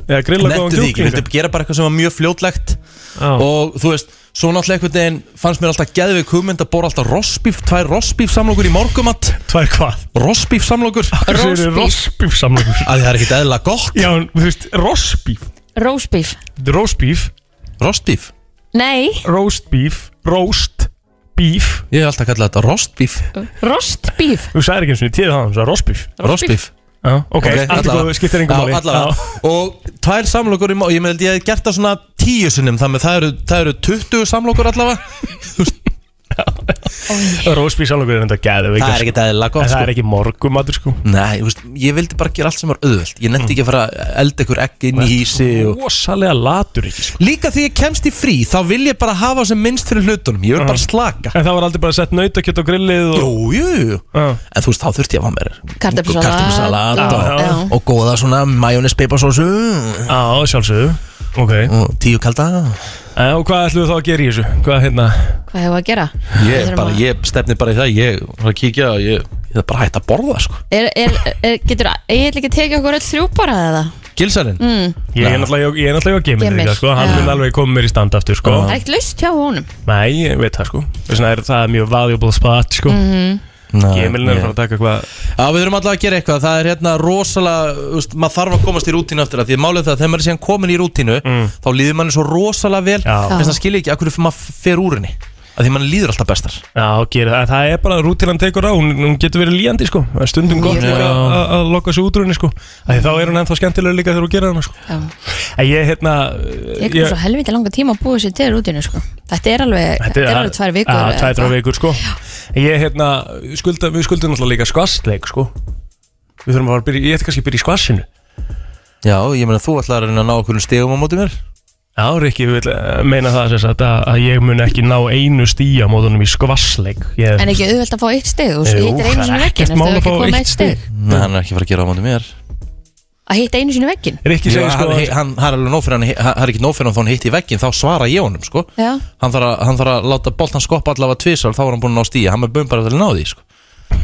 B: eða grilla góðan
A: nettu því ekki,
B: kjúklingar
A: vildi gera bara eitthvað sem var mjög fljótlegt
B: um Já.
A: og þú veist, svo náttúrulega einhvern veginn fannst mér alltaf geðveik hugmynd að borða alltaf rosbíf, tvær rosbíf samlokur í morgumat
B: Tvær hvað?
A: rosbíf samlokur að
B: Rossbíf Rossbíf samlokur
A: því það er ekkit eðla gott
B: Já, en, þú veist, rossbíf
C: Rósbíf
B: Rossbíf
A: rosbíf,
C: Nei,
B: Roastbíf Roastbíf
A: ég hef alltaf kallað þetta rosbíf
C: rostbíf
B: Þú sagðir ekki eins og ég tíði það, þú sagði rossbíf
A: rosbíf
B: Já, ok, okay allt
A: allavega.
B: góð, skiptir engum
A: Já,
B: máli
A: allavega.
B: Já.
A: Og tvær samlokur í máli Ég með held ég hef gert það svona tíu sinnum Þannig að það eru, það eru 20 samlokur allavega
B: Roastbíf samlokur er enda gæði
A: Það er ekki eðla
B: En
A: gott
B: það
A: sko
B: er ekki morgumatur sko
A: Nei, þú veist, ég vildi bara gera allt sem var auðvöld Ég nefndi ekki að fara að elda ykkur egg inn í hísi og...
B: Rosalega latur ekki sko
A: Líka því ég kemst í frí Þá vil ég bara hafa sem minnst fyrir hlutunum Ég vil bara slaka
B: En það var aldrei bara sett nautakjött á grillið og...
A: Jú, jú, jú
B: Já.
A: En þú veist, þá þurfti ég að hafa mér
C: Kartöflusalat.
A: kartöflusalat
C: Já,
A: og,
C: já.
A: og góða svona majónis peiparsósu
B: Já, sjálfsögðu Ok
A: og tíu kalda
B: Eh, Og hvað ætlum við þá að gera í þessu? Hvað hérna?
C: Hvað hefur að gera? Við
A: ég,
C: þurfum
A: bara,
C: að-
A: ég stefni bara í það ég var að kíkja og ég, ég er bara hægt að borða sko.
C: Er, er, er, getur, ég ætla ekki að tekið okkur öll þrjú bara eða?
A: gilsarinn
C: Mm.
B: Ég er náttúrulega ég er náttúrulega í
C: Gemil,
B: gaming líka sko Hann
C: já.
B: mun alveg koma mér í stand aftur sko
C: Það er ekkert laust hjá honum
B: Nei, ég veit það sko Þess vegna er það mjög valuable spot sko Gemilin er að fara að taka hvað
A: Já, við þurfum alltaf að gera eitthvað, það er hérna rosalega, úst, maður þarf að komast í rútínu aftur að því að málið er það að þegar maður er síðan komin í rútínu þá líður manni svo rosalega vel
B: Já.
A: þess að skilja ekki að hverju maður fer úr henni að því manni líður alltaf bestar
B: Já, gerir það, en það er bara rútinan tekur á, hún, hún getur verið líjandi sko Það er Stundum gott
C: Mjög.
B: líka að að loka sig útrunni sko Æ, Þá er hún ennþá skemmtilega líka þegar hún gerir hana sko
C: Já.
B: En ég, hérna
C: Ég kom svo helviti langa tíma að búa sér til rútinu sko. Þetta er alveg, þetta er alveg tvær vikur
B: Já,
C: eða
B: tvær,
C: eitthvað.
B: þrjár vikur sko En Ég, hérna, skulda, við skuldum náttúrulega líka skvassleik sko Við þurfum að fara að byrja, ég ætti kannski að byrja í skvassinu
A: Já, ég meina þú ætlar að reyna að ná okkur stegum á móti mér
B: Já, Rikki, ég vil eh, meina það sem sagt að, að ég mun ekki ná einu stíja mótunum í skvassleik ég,
C: En ekki auðvelt að fá eitt stig Þú
B: Jú,
C: hittir
B: það
C: einu
B: er
C: sinni
B: ekkert
C: veggin
B: mál að
C: Ertu ekki
B: fá
C: að koma
B: eitt
C: eitt stig
A: Nei, hann er ekki að fara að gera á móti mér
C: Að hitta einu sinni veggin
B: Rikki
A: Ég
B: segir
A: segi
B: sko
A: sko
B: að-
A: hann, hann, hann er alveg nóg fyrir hann, hann hann er ekki nóg fyrir hann þá hann hitti í veggin þá svara ég honum sko
C: Já,
A: Hann þarf að, hann þarf að láta boltan skoppa allavega tvisar þá er hann búin að ná stíja, hann er bum bara til að ná því sko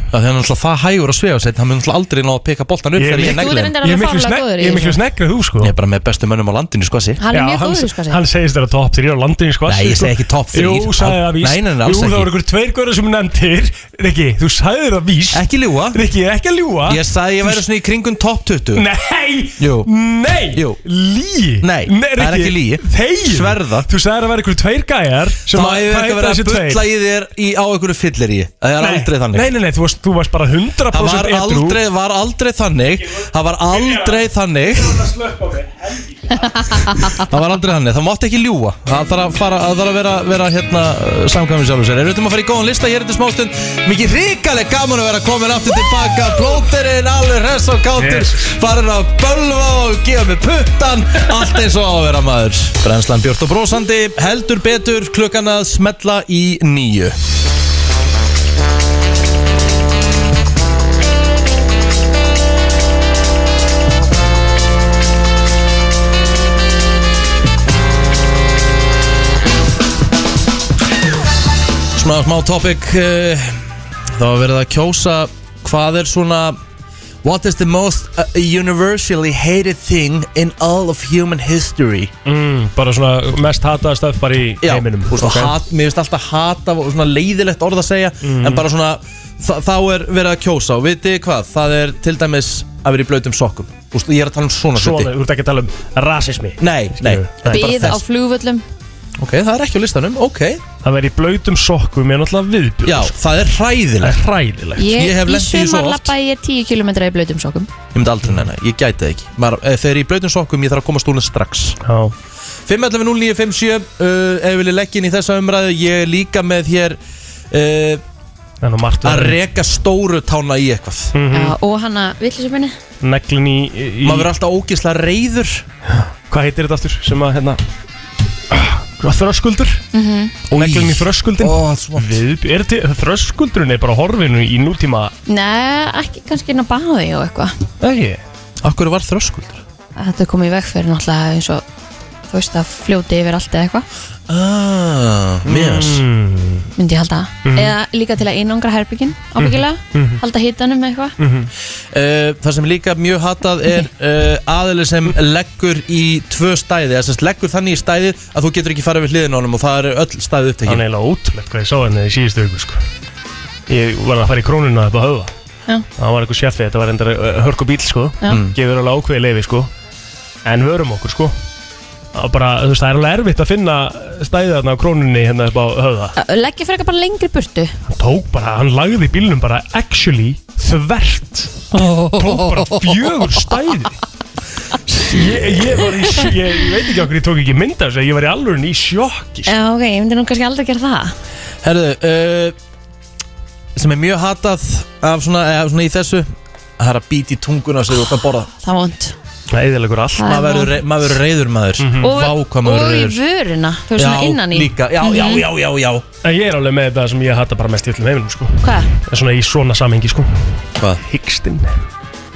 A: Það er náttúrulega það hægur að svega sér, hann mun náttúrulega aldrei ná að peka boltan upp
B: Ég er
A: þegar ég
B: miklu-
A: negli
C: þú er
A: hann.
C: reyndar
B: Ég er
C: alveg
B: miklu
C: fárlega
B: snegg-
C: góður
B: ég
C: í
B: er miklu
C: þessu
B: sneggri að þú sko
A: Ég er bara með bestu mönnum á landinu sko sig
C: Hann er mjög
B: hann,
C: góður sko
B: hann segist þeirra top 3 á landinu sko
A: Nei, ég segi ekki top þrír.
B: Jú, sagði það víst
A: Nei, nei, nei, alls
B: Jú, það
A: ekki.
B: voru ykkur tveir góður sem nefndir Rikki, þú sagði það víst
A: Ekki ljúa
B: Rikki, ekki að ljúa
A: Ég sagði ég væri svona í kringum top 20
B: Nei,
A: Jú.
B: nei,
A: Jú.
B: lí
A: Nei, það er ekki lygi.
B: Þeir,
A: Sverða.
B: Þú sagði það var ykkur tveir gæjar sem
A: Þá
B: að-
A: hefur
B: hvað
A: ekki
B: heita
A: verið
B: þessi
A: að
B: tveir?
A: bulla í þér í, á einhverju fyllir í Það er aldrei þannig
B: Nei, nei, nei, þú varst, þú varst bara 100%
A: Það var aldrei, var aldrei þannig Það var aldrei þannig Það var aldrei þannig, það mátti ekki ljúa Það þarf að, fara, það þarf að vera, vera hérna, samkvæmið sjálfur sér Erum við um að fara í góðan lista hér eftir smástund Mikið ríkaleg gaman að vera komin aftur tilbaka Plóterinn, alveg hress og kátur
B: Yes.
A: Farin að bölva og gefa mig puttan Allt eins og á að vera maður Brennslan Björn og Brósandi Heldur betur klukkan að smetla í nýju Svona smá topic uh, Það var verið að kjósa Hvað er svona What is the most uh, universally hated thing In all of human history
B: mm, Bara svona mest hataða stöf bara í heiminum
A: og svona
B: Ok.
A: hat, Mér finnst alltaf hata og svona leiðilegt orð að segja
B: Mm.
A: En bara svona þa Þá er verið að kjósa og vitið þið hvað Það er til dæmis að vera í blautum sokkum Úst, Ég er að tala um svona,
B: Svona,
A: hluti
B: þú ert ekki að tala um rasismi
A: Nei, nei,
B: Skilur.
A: þetta er bara
C: Bíð á
A: þess
C: flugvöllum
A: Ok, það er ekki á listanum, ok
B: Það verið í blautum sokkum er náttúrulega viðbjörn
A: Já, það er
B: Það
A: hræðilegt
B: er hræðilegt
C: Ég,
A: Ég hef
C: í
A: lent í því svo
C: sumar
A: oft.
C: lappa ég 10 km í blautum sokum
A: Ég myndi aldrei neina, ég gæti það ekki Maður, eh, Þegar ég er í blautum sokkum, ég þarf að koma stúlinn strax
B: Já,
A: 5.11.09.57 uh, Ef við viljum leggja inn í þessa umræðu Ég er líka með hér uh,
B: það er nú margt
A: Að
B: verra.
A: reka stóru tána í eitthvað
B: Mhm.
C: Já, Og hann að villisöpunni
B: Neglin í, í
A: Maður verður alltaf ógislega reyður
B: Hvað heitir þetta aftur? Sem að hérna Hvað, Þröskuldur Neglin í þröskuldin
A: Ó, það er svo vont.
B: Við, er þetta, Þröskuldurinn er bara horfinu í nútíma
C: Nei, ekki kannski inn á baði og eitthvað
B: Ekki
A: Akkur var þröskuldur
C: Þetta kom í veg fyrir náttúrulega eins og þú veist að fljóti yfir allt eða eitthvað
A: ah, yes.
B: mm.
C: myndi ég halda
A: Mhm.
C: eða líka til að einangra herbyggin ábyggilega, halda hitanum eitthvað
A: Mhm. uh, Það sem er líka mjög hatað er uh, aðeili sem leggur í tvö stæði eða sem sagt leggur þannig í stæði að þú getur ekki farið við hliðin á honum og það er öll stæði
B: Það er
A: upptekið
B: eiginlega ótrúlegt hvað ég sá henni í síðustu auku sko. Ég var að fara í krónuna upp á höfða
C: Já.
B: Það var eitthvað sjafi, þetta var endara hörku bíl sko.
C: Já.
A: Mhm.
C: Mm.
B: Gefur alveg ákveði leifi sko. En vörum okkur sko. Það, bara, þú veist, það er alveg erfitt að finna stæðið þarna á krónunni hérna upp á höfða
C: Að leggja fyrir eitthvað bara lengri burtu
B: Hann tók bara, hann lagði bílnum bara actually þvert Tók bara fjögur stæði Ég, ég var í, sj- ég, ég veit ekki okkur ég tók ekki mynda þessu Ég var í alveg í sjokki sko.
C: Já, ok, ég myndi nú kannski aldrei gera það
A: Herðu, uh, sem er mjög hatað af svona, af svona í þessu Það er að býti tunguna sér út að borða
C: Það er vond
B: Það eðilegur allt
C: Það er
A: Maður verður
C: vond.
A: rei- maður verður reyður maður Vá
C: og,
A: hvað maður
C: og í
A: verður reyður
C: vöruna, þú veist svona innan í Mhm.
A: líka, já, já, já, já, já
B: En ég er alveg með þetta sem ég hata bara mest í öllum heiminum sko
C: Hvað?
B: En Svona í svona samhengi sko
A: Hvað?
B: Hyggstinn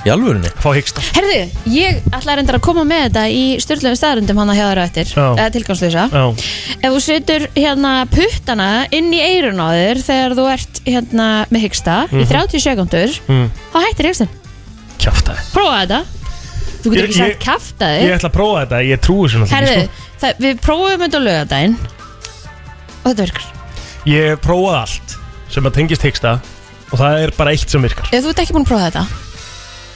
A: Í alvörunni?
B: Fá hyggsta
C: Herðu, ég ætla reyndar að koma með þetta í styrlegu staðarundum hana hjá þér á eftir
B: Já.
C: eða tilgangslösa
B: Já,
C: Ef þú setur hérna puttana inn í eirun á þér þegar þú ert hérna með hyggsta í 30 sekundur
B: Mhm.
C: þá hættir hygstan,
B: kjafta
C: prófa þetta Þú getur
B: Ég-
C: ekki sagt
B: ég-
C: kaftaði
B: Ég ætla að prófa þetta, ég trúi þessu náttúrulega
C: Herðu,
B: ekki,
C: það, við prófum þetta á lögadaginn og þetta virkar
B: sko. Ég prófaði allt sem að tengist hyggsta og það er bara eitt sem virkar
C: Ef þú ert ekki búin að prófa þetta,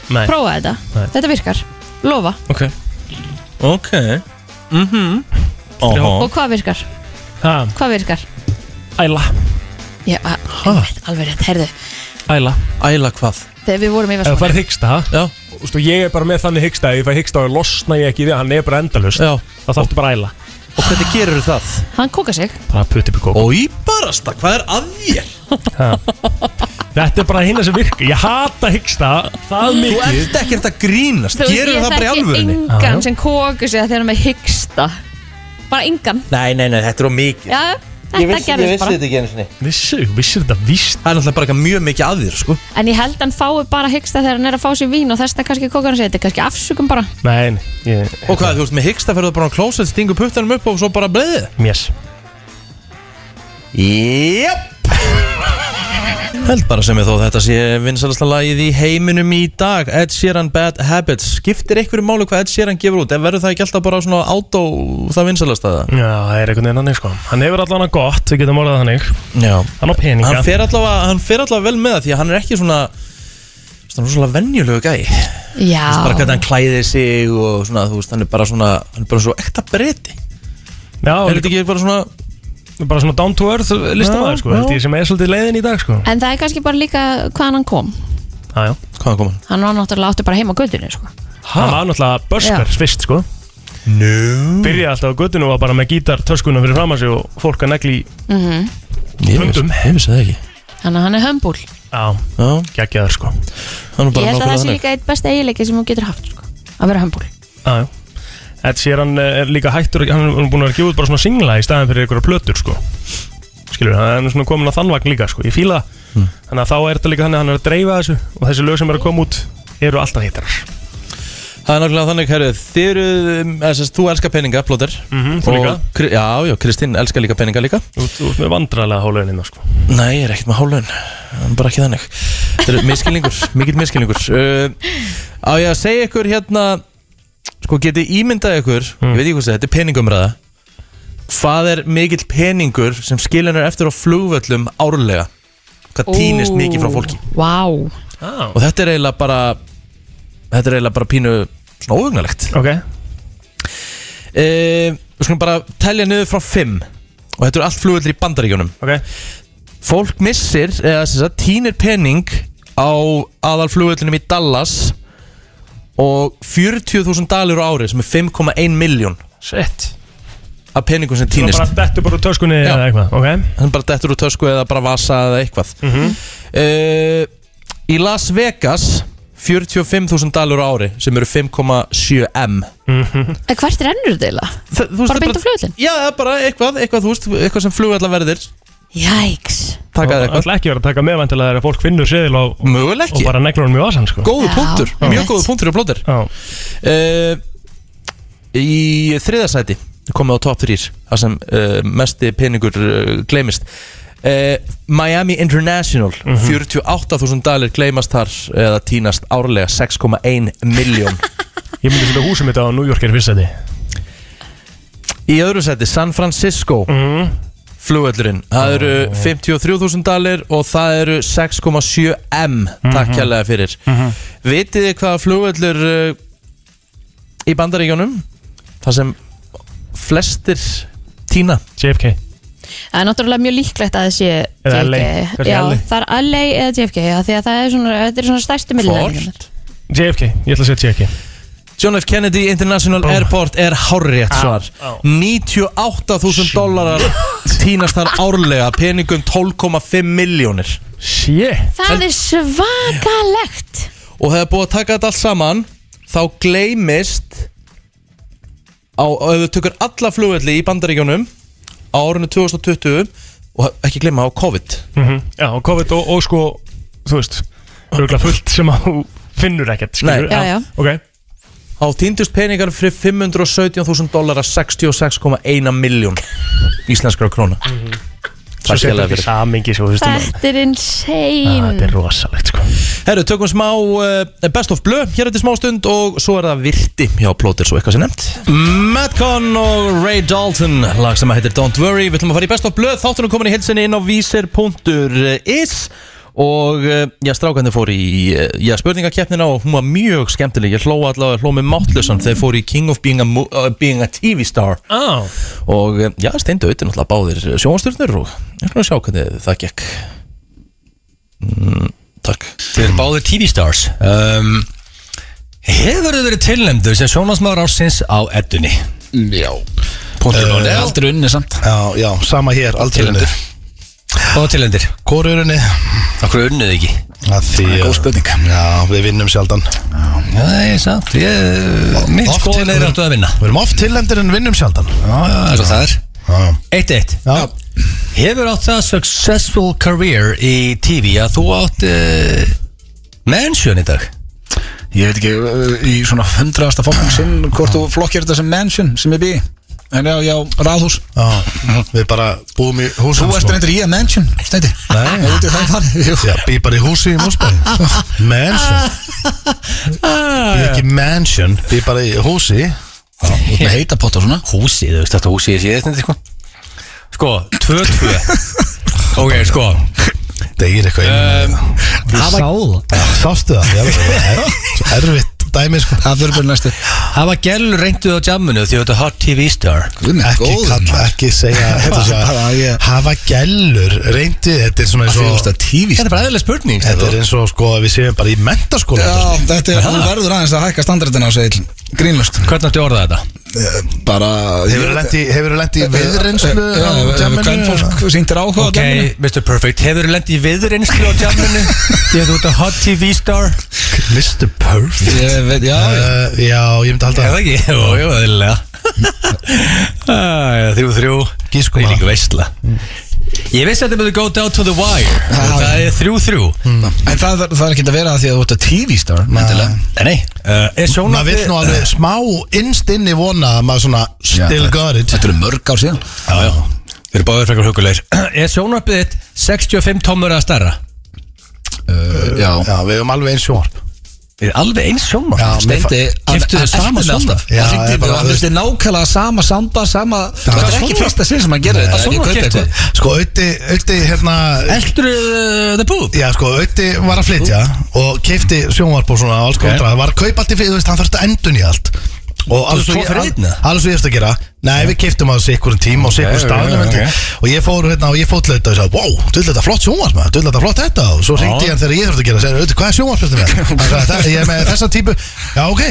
B: Nei,
C: prófa þetta
B: Nei.
C: Þetta virkar, lofa
A: Ok Ok Mhm
C: Og hvað virkar,
B: það,
C: hvað virkar
B: æla,
C: Ég, a, einmitt, alveg rétt, herðu
B: æla
A: Æla hvað?
C: Þegar við vorum í
B: Ef þú
C: Vestmannaeyjum-
B: færð hyggsta,
A: Já,
B: þú veist, og ég er bara með þannig hyggsta ef ég fæ hyggsta og losna ég ekki við, hann er bara endalust
A: já
B: þá þarftu bara að æla
A: Og hvernig gerir það?
C: Hann kóka sig
B: bara putti upp í kók
A: Ói barasta, hvað er að þér?
B: Þetta er bara hinn sem virkar, ég hata hyggsta það
A: Þú
B: mikið
A: ert ekki eftir að grínast
C: Þú veist,
A: Gerir
C: ég
A: það bara í
C: þekki
A: alvörunni?
B: Já, já.
C: engan sem kóka sig að þegar hann með hyggsta Bara engan
A: Nei, nei, nei, þetta er á mikið
C: Já, þetta gerðist bara
A: ekki einu sinni
B: Vissir, vissir þetta víst
A: Það er náttúrulega bara eitthvað mjög mikið að þér, sko
C: En ég held hann fái bara hyggsta þegar hann er að fá sér vín og þess að kannski kóka hann sig Þetta er kannski afsökum bara
B: Nei, nei, ég,
A: Og hvað, þú veist, með hyggsta ferðu bara á klósett, stingu puttanum upp og svo bara bleiði
B: mjess
A: Jöp Held bara sem ég þó þetta sé vinsalasta lagið í heiminum í dag Ed Sheeran Bad Habits Skiptir einhverju máli hvað Ed Sheeran gefur út En verður það ekki alltaf bara svona átó það vinsalasta það?
B: Já, það er einhvern veginn annir sko Hann hefur allan að gott, við getum orðað þannig
A: Já
B: Hann á peninga
A: Hann fer allavega, hann fer allavega vel með það Því að hann er ekki svona Svona svona venjulegu gæ Þú veist bara
C: Já,
A: hvernig hann klæðir sig og svona Þú veist, hann er bara svona Hann er bara svo ekta breyti
B: Já,
A: Er
B: líka,
A: þetta ekki bara svona
B: bara svona down to earth listamæður
A: Já,
B: sko Held ég sem er svolítið leiðin í dag sko
C: en það er kannski bara líka hvaðan hann kom
B: Já, já
A: Hvaðan kom hann?
C: Hann var náttúrulega áttu bara heima á göttinu sko.
B: Hann var náttúrulega börskar fyrst sko
A: Nú
B: Byrjaði alltaf á göttinu og var bara með gítar töskuna fyrir fram að sig og fólk að negli í Mhm.
A: Ég vissi
B: pundum
A: ég vissi það ekki
C: Þannig að hann er hömbúl
B: Já,
A: Já,
B: geggjaður sko
A: hann er
C: Ég
A: bara
C: held
A: nákvæmlega
C: að það sé
A: þannig
C: líka eitt besta eiginleiki sem þú getur haft sko. Að vera hömbúl
B: Já, já Þetta sér hann eh, er líka hættur Hann er búin að gefa út bara svona singla í staðin fyrir einhverja plötur sko Skilur, hann er svona komin á þannvagn líka sko Ég fíla það Þannig að þá er þetta líka þannig að hann er að dreifa þessu Og þessi lög sem eru að koma út eru alltaf hittar
A: Það er nákvæmlega þannig, herru, þið eru, um, þess að þú elskar peninga, plóter
B: Mhm, þú líka.
A: Kri- Já, já, Kristín elskar líka peninga líka
B: Þú þú ert með vandræðlega hálaunina sko
A: Nei, ég er ekkert með hálun, það er Mm, bara ekki þannig Það eru miskilningur, mikill miskilningur uh, Á ég að segja ykkur hérna, sko getið ímyndað ykkur, ég veit ekki hvað það, er, þetta er peningumræða Hvað er mikill peningur sem skilin er eftir á flugvöllum árlega? Hvað týnist mikið frá fólki?
C: Vá
B: ah.
A: Og þetta er eiginlega bara, þetta er eiginlega bara pínu svona óhugnalegt
B: Ok,
A: Eh, Við skulum bara telja niður frá 5 Og þetta eru allt flugvöldur í bandaríkjunum
B: ok
A: Fólk missir, eða sem sagt, tínir pening Á aðal flugvöldunum í Dallas Og 40.000 dalir á ári Sem er 5,1 miljón
B: Shit
A: Af peningum sem
B: Það
A: tínist
B: bara
A: Það
B: dettur bara úr töskunni
A: Já.
B: eða eitthvað Ok,
A: er bara dettur úr tösku eða bara vasa eða eitthvað Eh, Í Las Vegas 45.000 dalur á ári sem eru 5,7 M
C: En hvert rennur þetta eiginlega?
A: Þa- þú veist,
C: Bara
A: það er
C: beint á flugvöllinn?
A: Já, það er bara eitthvað, eitthvað, þú veist, eitthvað sem flugvöldla verðir
C: Jæks
A: Takaði
B: það Mm.
A: eitthvað
B: ætla ekki verið að taka með vantilega þegar fólk finnur seðil á
A: Möguleg
B: Og
A: ekki
B: bara neglur hann mjög asan sko
A: Góðu
C: Já,
A: punktur,
C: já.
A: mjög góðu punktur í plóter
B: Já,
A: uh, Í þriðasæti komið á top 3 Það sem uh, mesti peningur uh, gleymist uh, Miami International
B: Mhm.
A: 48.000 dalir gleymast þar eða tínast árlega 6,1 miljón
B: ég myndi setja húsum mitt á New York er fyrst seti
A: Í öðru sæti San Francisco
B: mm.
A: flugvöllurinn Það eru 53.000 dalir og það eru 6,7 M Takk kjærlega fyrir Vitið þið hvaða flugvöllur uh, í bandaríkjónum þar sem flestir tína
B: JFK
C: Það er náttúrulega mjög líklegt að það sé
B: Eða LA,
C: JFK.
B: kannski
C: Já,
B: LA.
C: það er LA eða JFK já, Því að það er svona, þetta er svona stærstu millilendingarnar.
B: JFK, ég ætla að segja JFK
A: John F. Kennedy International
B: Búm.
A: Airport er hárrétt
B: Á,
A: svar
B: á.
A: 98.000 dólarar tínast þar árlega peningum 12,5 miljónir
B: Shit
C: Það er svakalegt
A: og það er búið að taka þetta allt saman þá gleymist á, og ef þú tökur alla flugvelli í bandaríkjónum á árinu 2020 og ekki gleyma á COVID
C: Mhm.
B: Já, og COVID og, og sko, þú veist Örgulega fullt sem að þú finnur ekkert
A: Nei.
B: skilur
C: Já, já.
B: Ok,
A: Þá týndust peningar fyrir 517.000 dólar 66,1 miljón íslenskra króna
B: svo
A: Takk
B: setjum
A: hérlega
B: þetta í
A: fyrir
B: samingi svo, þú veist, um-
C: Þetta er
B: Ah, Þetta
C: insane
B: er rosalegt sko
A: Herru, tökum smá uh, Best of Blue hér eftir smá stund og svo er það virti hjá plótir svo eitthvað sem nefnt Madcon og Ray Dalton lag sem að heitir Don't Worry, við ætlum að fara í Best of Blue þáttunum komin í hilsinni inn á vísir.is og eh, já, strákandi fór í eh, já, spurningakeppnina og hún var mjög skemmtileg ég hló allavega, hló með máttlösan þeir fór í King of Being a, Mo- uh, Being a TV Star
B: ah.
A: og eh, já, steindu auðvitað náttúrulega báðir sjónstjörnur og ég ætlum að sjá hvernig það gekk mm, Takk
F: Þið eru báðir TV stars um, Hefur þið verið tilnæmdu sem sjónvarsmaður ársins á eddunni?
G: Já,
F: Puntur
G: Eh,
F: Aldrei unni samt
G: já, já, sama hér, aldrei
F: Tilnefndur.
G: unnið
F: Báða tilhendir
G: Hvor er unnið?
F: Akkur unnið þið ekki
G: Að Því, eh,
F: er góð spurning.
G: Já, við vinnum sjaldan
F: Já, ég er samt
A: eh,
F: ég, Mitt
G: Oft
F: skoðin er
G: tilnefndur.
F: aftur að vinna
G: Við erum oft tillendir en vinnum sjaldan
F: Já, já, eins og það er
G: Já,
F: Eitt eitt
G: já.
F: Hefur átt það successful career í TV að þú átt uh, mansion í dag
G: Ég veit ekki, eh,
H: Ég- í svona hundraðasta fólkum sinn hvort þú flokkir þetta sem mansion sem ég bý í. en já, já, ráðhús
G: já, við bara búum í húsum
H: þú ert reyndir í að mansion, stendi
G: Nei. Já, bý bara í húsi í Mósbæði Mansion Bý ekki mansion, bý bara í húsi
H: með heita potta svona
F: Húsið, þú veist þetta húsið ég sé þetta sko Sko, 2-2 Ok, sko Ehm,
G: Degir eitthvað um,
F: Hafa,
G: Sástu það, ég alveg Svo erfitt dæmi sko
H: það fyrir bara næstu
F: hafa gælur reynduð á jamminu því þetta hot TV star
H: Guð minn
G: Ekki
H: góður,
G: kalla,
H: maður.
G: ekki segja þetta sé að-
H: Bara ég-
G: Hafa gælur, reyndi þetta er svona eins
H: Þú veist
G: og
H: að tífist
F: Þetta er bara eðlileg spurning
G: Þetta er eins og sko að við séum bara í mentaskóla
H: Já, þetta er, þú verður aðeins að hækka standardina á segil Grínlust
F: Hvernig áttu orða þetta?
H: Eh, Bara Eh,
G: Hefur þú lent í viðreynslu
H: Já,
G: á
H: hefur
G: jamminu?
H: hvern fólk eh, sýndir áhuga á
F: Ok,
H: dæminu
F: Mr. Perfect, hefur þú lendið viðreynslu á jamminu? Því að þú ert að hot TV star
G: Mr. Perfect
H: Ég veit, já, já.
G: Uh, já, ég myndi
H: Eh,
G: halda
F: Er það
G: það
F: ekki? Jú, jú, eðlilega Æ, Þrjú, þrjú
G: Gískum
F: Þvílík
G: að.
F: veisla Ég vissi að þetta myndi go down to the wire
H: Já,
F: Það er þrjú, þrjú
G: Hmm.
H: En það, það er ekki að vera það því að þú ert að TV-star Mæntilega Eh.
F: Nei, nei uh, Er
G: Maður vill
F: sjónvarpið
G: nú alveg smá innst inni vona að maður svona still got it
H: Þetta eru mörg ár síðan
F: Já, já Þeir eru báður frekar hugulegir Er sjónvarpið þitt 65 tómur að starra?
H: Uh, Já,
G: Já, við höfum alveg eins sjónvarp
F: Er alveg eins sjónvarp?
G: Já, mér fa-
H: Steindi,
F: Keyptu þið sama
H: sjónvarp?
F: sjónvarp?
G: Já,
H: Já, það
G: ég
H: er
G: bara-
H: bara Það er nákvæmlega sama samba, sama Það er ekki
F: sjónvarp?
H: fyrsta sinn sem hann gerir þetta
F: Hvað
H: Það er
F: sjónvarp
H: ekki
F: keyptu
H: kaupa
F: þið?
H: eitthvað
G: Sko, Ötti, Ötti, hérna
F: Eldur uh, the boob?
G: Já, sko, Ötti var að flytja og keipti sjónvarp og svona og alls kontra Það var að kaupa allt í fyrir, þú veist, hann þurfti að endun í allt Og alveg
F: tvo
G: svo ég,
F: fyrir einn, eða?
G: al- alveg svo ég eftir að gera Nei, við keiptum að þessi ykkur tíma og þessi ykkur staðnum
F: ok,
G: held ég. Og ég fór hérna og ég fótt lauta og ég sagði Wow, þú vil þetta flott sjónvarp með, þú vil þetta flott þetta Og svo ringdi ég hann þegar ég þurfti að gera Segði, Ötti, hvað er sjónvarp þetta með? Hann sagði, "Þetta- Ég er með þessa típu Já, ok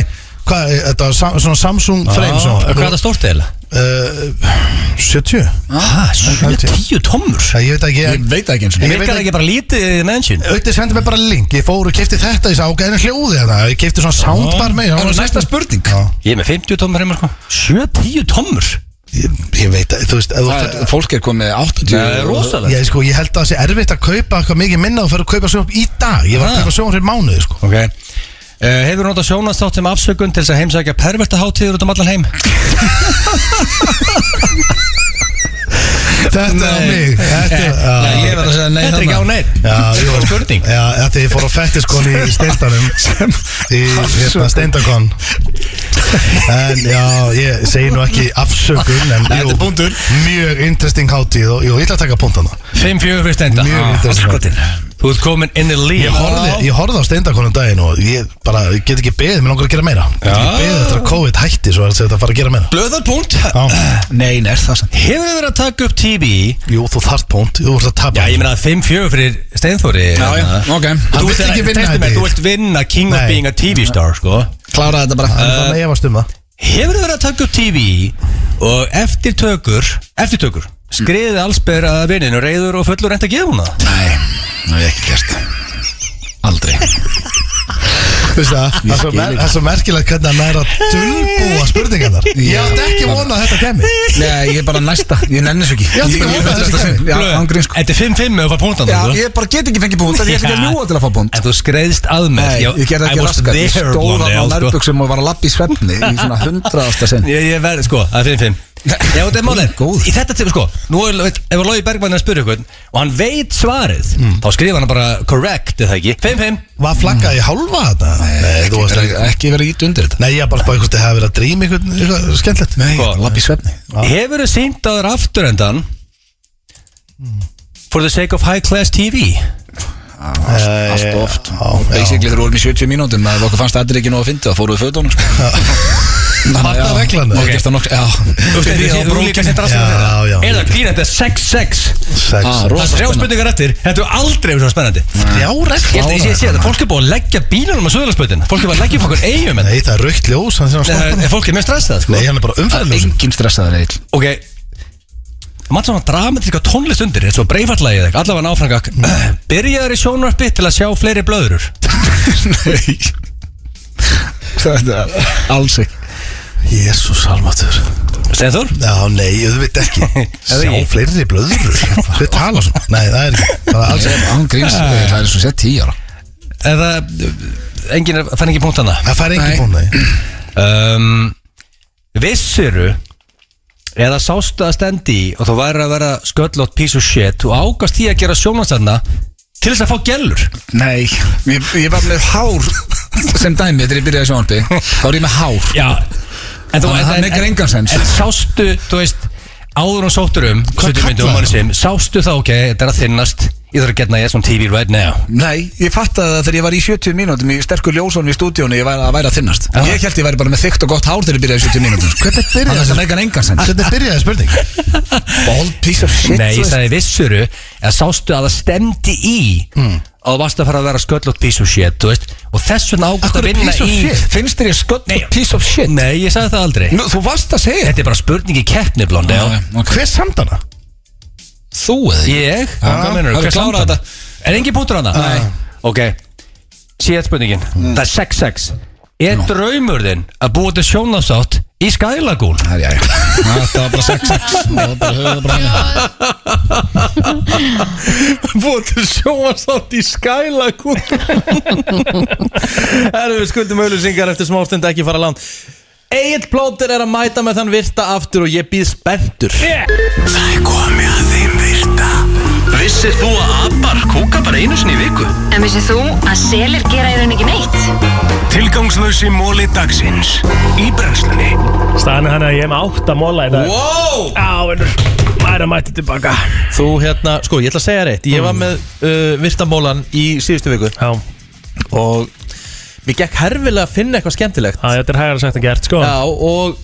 G: Hvað, eh, þetta var sam- svona Samsung frame
F: Hvað er
G: sjónvarp.
F: það stórt eða?
G: Eh, 70
F: Ah, 70 tómur
G: Það ég veit ekki
H: Ég veit ekki eins og
G: Ég
F: Virkar
G: veit
F: það
G: ekki
F: ekki bara lítið mennsjun?
G: Auðvitað sendi mér bara link Ég fór og kefti þetta Ég sá ok, hérna en hljóði þetta Ég kefti svona soundbar með
H: Það er næsta spurning
G: Já.
F: Ég er með 50 tómur heima sko 70 tómur?
G: Ég, ég veit að, þú veist ef þú
H: Það
G: ert-
H: er- Fólk er komið 80
F: Það er rosalegt
G: Ég, sko, ég held að það sé erfitt að kaupa eitthvað mikið minna og fyrir að kaupa sjónvarp í dag Ég var að
F: Ah.
G: kaupa sjónvarp í mánuði sko.
F: Ok Uh, hefur notað sjónastátt sem afsökun til þess að heimsækja perverta hátíður út um allan heim?
G: Þetta er á mig Þetta er
H: Nei,
G: já.
H: Eh, ég verð að segja nei
F: Þetta er ekki á
H: þarna.
F: neinn
G: Já,
F: Þetta er
G: jú.
F: bara spurning
G: Já, af því ég fór á fettiskon í steindanum Í hérna steindakon En já, ég segi nú ekki afsökun En jú, mjög interesting hátíð Og jú, ég ætla að taka punktana
F: 5-4 fyrir stenda
G: Mjög interessant.
F: Andskotin. Ah, Þú ert komin inn í líf
G: Ég horfði, ég horfði á steindakonum daginn og ég bara ég get ekki beðið, mér langar að gera meira Ég get ekki beðið eftir að COVID hætti svo er þetta að fara að gera meira
F: Blöðarpunkt
G: Já,
H: Nei, nei, er það sann
F: Hefur þið verið að taka upp TV
G: jú, þú þarft punkt, þú ert að
F: Já,
G: tapa
F: ég meina 5-4 fyrir Steinþóri
H: Já, já, ok
G: Hann
F: Þú
G: vill
F: ert
G: ekki
F: ekki
G: vinna
F: vinna
G: þetta
F: Þú
G: í.
F: ert vinna King of
G: Nei.
F: being a TV star sko
H: Klára þetta bara
G: Þannig að um ég var stumma
F: Hefur þið verið að taka upp TV og eftir tökur eftir tökur skriðið allsber að vinninu reyður og fullur reynd að gefa hún það
H: Nei, það hef ég ekki gert Aldrei
G: Veistu það, það er svo mer- það er svo merkilegt hvernig hann er að dulbúa spurningarnar Ég átti ekki vona að þetta kemi
H: Nei, ég er bara næsta, ég nenni svo ekki
G: Ég átti ekki að vona að þetta kemi
H: Já, ángrín sko
F: Þetta er 5-5 ef þú fær punktan
H: Já, ég bara get ekki fengið búnt, ég ætla ekki að ljúa til að fá búnt
F: sko. En þú skreiðst að mér
H: Nei, ég gerði ekki raskat, ég stóð á nærbuksum og var að lappa í svefni í svona hundraðasta sinn
F: sko. Ég, ég verð, sko, það er 5-5 Já, þetta er málið,
H: Góð.
F: í þetta tíma, sko Nú er, veit, ef að Lói Bergmann er að spyrja ykkur Og hann veit svarið
H: Hmm.
F: Þá skrifa hann bara correct, eða ekki 5-5
G: Var flaggað í hálfa þetta? Nei, þú varst ekki
H: Ekki verið ít undir þetta
G: Nei, ég er bara að spáði hvort þið hafi verið að drýma ykkur, ykkur skemmtilegt Nei,
F: Sko,
H: Lappa í svefni
F: Hefur þið sýnt á þér aftur endan For the sake of high class TV
H: Allt
G: eh,
H: of oft Og Basically þegar við vorum í 70 mínútum að okkur fannst allir ekki nóg að fyndi og fóruðu fötunum sko. Þannig
G: Fattar
H: að já,
G: reglan, ok.
H: okay. gert það nokk Já,
F: Þú veist, þú líka sett raskat
G: Já, já.
F: Er það klín, þetta er 6-6
G: sex
H: Ah,
F: Það er
H: rosa
F: þrjá
H: spenna.
F: spurningar eftir Þetta er aldrei verið svona spennandi
G: Já,
F: Ég held að ég sé- ég sé þetta, fólk er búið að leggja bílunum á söðlarspötin Fólk er búið að leggja upp okkur eigum en
G: Nei, það er raukt ljós, hann sem að stoppa
F: Nei, Fólk Eh, er með stressað, sko
G: Nei, hann er bara umfæðljós
H: Engin stressaður eill
F: Ok Mann svona dramatíska tónlist undir eins og breifallagið eða eitthvað, allavega náfrangak Byrjaður í sjónvarpi til að sjá fleiri blöðurur
H: Alls ekki
G: Jésús almatur
F: Stenþór?
G: Já, nei, auðvitað ekki Sjá
F: ég.
G: fleiri blöður Við tala svona Nei, það er ekki Það er alls ekki
H: Ángríns, það er svo sett 10 ára
F: Eða, enginn er- fann ekki punkt hana
G: Það fær
H: Nei.
G: engin búin það
F: um, Vissiru eða sástu að stendi í og þú væri að vera sköllótt piece of shit og ágast því að gera sjónvansarna til þess að fá gellur
H: Nei, ég, ég var með hár sem dæmi þegar ég byrjaði sjónarbi þá er ég með hár
F: Já En þú
H: Þannig að það
F: en-
H: meikar
F: en-
H: engan sens.
F: En sástu, þú veist, áður og sóttur um 70 myndum
G: kallar
F: manni sem, sástu þá ok, þetta er að þinnast ég þarf að getna ég svona TV right now
H: Nei, ég fattaði það þegar ég var í 70 mínútum í sterkur ljósónu í stúdíónu ég væri að væri að þinnast Ég held ég væri bara með þykkt og gott hár þegar ég byrjaði í 70 mínútum sko. Þannig
G: Hvernig
H: að
G: byrjaði
H: það meikar engan sens
G: Hvernig byrjaði spurning?
H: Bald piece of shit
F: Nei,
H: þú
F: ég
H: veist.
F: sagði vissuru eða sástu að það stemdi í og þú varst að fara að vera sköllótt piece of shit þú veist, og þess vegna ágast að
H: Akkur er
F: vinna
H: piece of
F: í
H: shit Finnst þér ég sköld
F: Nei.
H: piece of shit
F: Nei, ég sagði það aldrei
H: Nú, Þú varst að segja
F: Þetta er bara spurning í keppni, Blondel
H: Já, já, ok.
G: Hver samt hana?
H: Þú eða ég?
F: Ég? Hvað meinar
H: það er
F: Hver klára
H: klárað
F: þetta? Er engin punktur hana? Nei Ok Síðan spurningin
I: Mm.
F: Það er 6-6 Er draumur þinn að búa til sjónafsátt í Sky Lagoon?
H: Það er ég Þetta var bara 6-6 Það var bara höfðu bara
F: Búa til sjónafsátt í Sky Lagoon
A: Herru, við skuldum auðlýsingar eftir smástund ekki fara langt Egil Plóter er að mæta með þann virta aftur og ég býð spenntur
I: Það er komið að þeim virta Vissir þú að abar kúka bara einu sinni í viku?
J: En vissið þú að selir gera í raun ekki neitt?
I: Tilgangslösi móli dagsins Í brennslunni
B: Staðan er hann að ég er með átta móla í dag
A: Wow!
B: Á, en maður er að mæta tilbaka
A: Þú hérna, sko, ég ætla að segja reitt Ég var
F: Mm.
A: með uh, virtamólan í síðustu viku
B: Já,
A: og mér gekk herfilega að finna eitthvað skemmtilegt
B: á, þetta er hægara sagt en gert sko
A: Já, og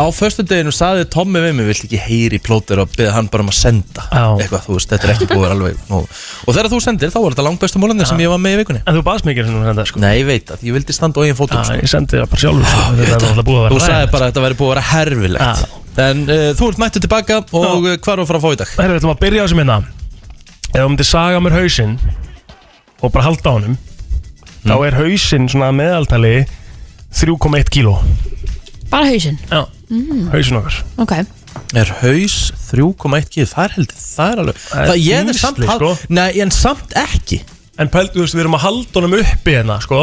A: á föstudeginu saði Tommi við mig, vilt ekki heyri plóter og beða hann bara um að senda
B: Já.
A: eitthvað, þú veist, þetta er ekki búið að vera alveg nú. og þegar þú sendir, þá var þetta langbestu mólanir sem ég var með í vikunni
B: En þú baðst mikið sem þú senda sko
A: Nei, ég veit að, ég vildi standa á eigin fótum
B: Já,
A: sko.
B: ég sendi það bara sjálfur sko Þetta er alltaf búið að vera
A: Þú sagði
B: hræðilegt.
A: bara að þetta væri búið að vera herfilegt En uh, þú ert mættu tilbaka og uh, hvað er að fara að fá í dag?
B: Herra, við ætlum að byrja á þessu minna Ef þú myndir saga mér hausinn og bara halda á honum þá er hausinn svona að meðaltali 3,1 kíló
C: Bara hausinn,
B: Já, hausinn okkar
C: ok
A: Er haus 3,1 kíl, það er heldur, það er alveg
B: Það er
A: Það ég er samt,
B: þyngsli,
A: hal-
B: sko.
A: nei, en samt ekki
B: En pældu, þú veist, við erum að halda honum uppi hérna, sko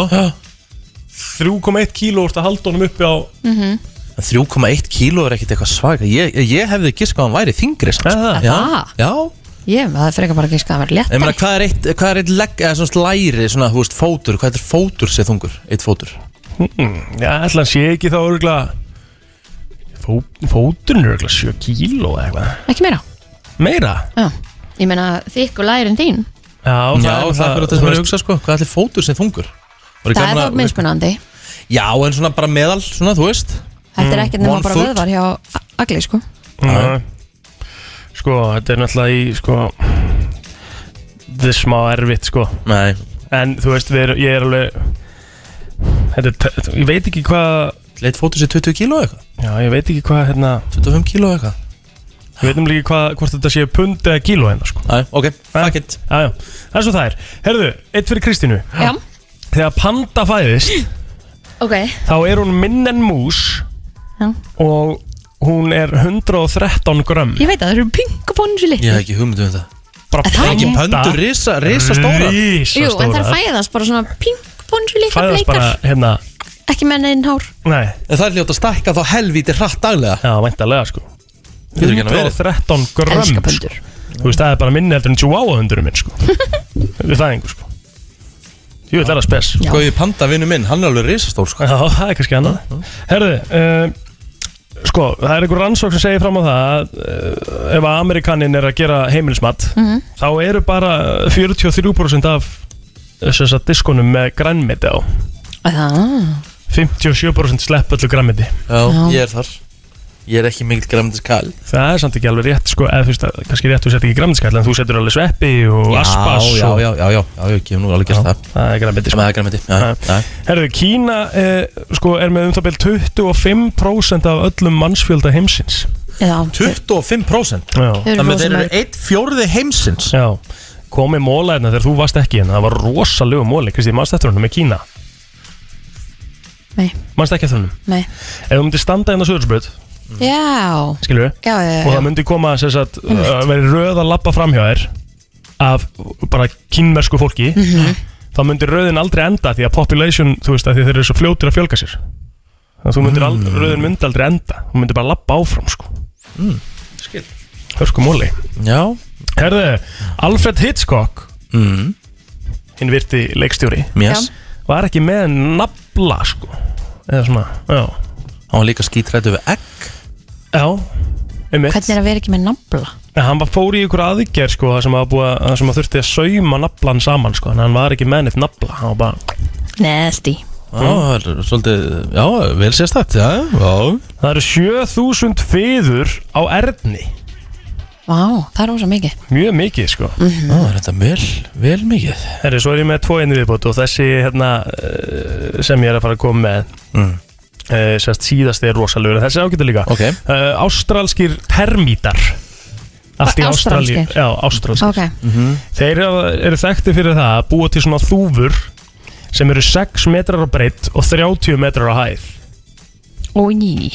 B: 3,1 kíló úr að halda honum uppi á Nei,
A: 3,1 kíló er ekkert eitthvað svaka Ég, ég hefði gisk hvað hann væri þingri samt sko.
B: Er það?
A: Já,
C: Ah.
A: já
C: Ég, það er frekar bara að gíska að vera létt
A: Ég meina, hvað er eitt, hvað er eitt legg, eða svona læri, svona, þú veist, fótur, hvað er fótur sér þungur? Eitt fótur
B: Já, ætla hann sé ekki þá örgla Fó, Fóturinn er örgla 7 kíló eða eitthvað
C: Ekki meira
B: Meira?
C: Já Ég meina þykk og lærin þín
B: Já,
A: Já, það er bara það sem er
B: þú
A: að
B: veist,
A: hugsa, sko, hvað er fótur sér þungur? Væri
C: Það er sko.
A: gaman
C: þá
A: að-
C: mismunandi
A: Já, en svona bara meðal, svona, þú veist
C: Þetta er ekkert
A: One
C: nema bara
A: foot.
C: vöðvar hjá A- Agli sko
B: Nei. Sko, þetta er náttúrulega í, sko Þetta er smá erfitt, sko
A: Nei,
B: En þú veist, við, erum- ég er alveg Þetta er, t- ég veit ekki hvað
A: leitt fótur sér 20 kíló eitthvað
B: Já, ég veit ekki hvað, hérna
A: 25 kíló eitthvað
B: Ég veit um líka hvað, hvort þetta sé pund eða kíló hérna, sko
A: Nei, ok, fuck it
B: Já, já, það er svo það er Herðu, eitt fyrir Kristínu
C: Já
B: Þegar panda fæðist
C: Ok,
B: Þá er hún minn en mús
C: Já.
B: Og hún er 113 grömm
C: ég veit að það eru pingubónir svo litlu
A: ekki hugmyndu um það
B: Bara
C: það ekki?
A: Pöndur risa, risa stóra
C: Jú, en það er fæðast bara svona pingubónir svo litlu
B: Fæðast bara
C: bleikar
B: hérna
C: Ekki menn einn hár
B: Nei
A: En það er ljótt að stækka þá helvíti hratt daglega
B: Já, væntalega sko
A: Getur ekki annað verið.
B: 113 grömm
C: Elska
B: sko. Þú veist, það er bara minni heldur en chihuahua hundurum minn sko Við fæðingu sko Jú, það er að spes
C: Já.
A: Góði panda vinnu minn, hann er alveg risastór sko
B: Já, það er kannski annað Herðu, uh, sko, það er einhver rannsók sem segir fram á það að, uh, ef að Amerikanin er að gera heimilismat
C: Mhm.
B: þá eru bara 43% af þess að diskunum með grænmeti á
C: Það
B: 57% slepp öllu grænmeti
A: Já,
C: Já.
A: ég er þar Ég er ekki mikill græmdiskall
B: Það er samt ekki alveg rétt, sko, eða þú veist, að- kannski rétt þú setur ekki grænmetiskall en þú setur alveg sveppi og aspas
A: já,
B: og
A: já, já, já, sko. já, ég hef nú alveg gert það
B: það er grænmeti sko.
A: Sem að það er græmiti, já,
B: Já.
A: já
B: Herðu, Kína eh, sko, er með um það byrjum 25% af öllum mannsfjölda heimsins
C: Já,
A: 25%
B: Já
C: þau eru
A: Þannig að
C: rosa
A: þeir eru
C: mörg
A: einn fjórði heimsins
B: Já, komið móla hérna þegar þú varst ekki hérna Það var rosalegu móli, Kristi, mannst eftir honum með Kína
C: Nei,
B: Mannst ekki eftir honum
C: nei
B: Ef þú myndir standa hérna á Suðursbraut,
C: Mm. Já,
B: skilur við
C: já, já,
B: Og
C: já, Mm-hmm.
B: það myndi koma sem sagt, að vera röð að labba fram hjá þér Af bara kínversku fólki
C: Mm-hmm.
B: Þá myndi röðin aldrei enda Því að population, þú veist, að því þeir eru svo fljótir að fjölga sér Þannig að þú myndir
C: Mm.
B: aldrei, röðin myndi aldrei enda Þú myndir bara labba áfram, sko mm, Skil Hörku móli
A: Já
B: Herðu, Alfred Hitchcock
A: mm.
B: Hinn virti leikstjóri
A: Mjess,
B: var ekki með nafla sko eða svona, já
A: hann var líka skítrættu við egg
B: já, einmitt
C: hvernig er að vera ekki með nafla?
B: En hann var fór í ykkur aðgerð sko það sem, að búa, það sem að þurfti að sauma naflan saman sko en hann var ekki með neitt nafla hann var bara,
C: Nasty
A: Já, það er svolítið, já, vel sérstætt, já, já
B: það eru 7000 fiður á erðni
C: Vá, það er rosa mikið
B: mjög mikið sko
A: Já, það er þetta vel, vel mikið
B: Herri, svo er ég með tvo einu viðbót og þessi hérna, eh, sem ég er að fara að koma með
A: Mm.
B: uh, sérst síðast er rosalegur en þessi ágættu líka
A: Ok.
B: Eh, Ástralskir termítar allt í Ástralíu
C: Ástralskir?
B: já, ástralskir
C: Ok,
B: Þeir hafa- eru þekkti fyrir það að búa til svona þúfur sem eru 6 metrar á breytt og 30 metrar á hæð
C: og ný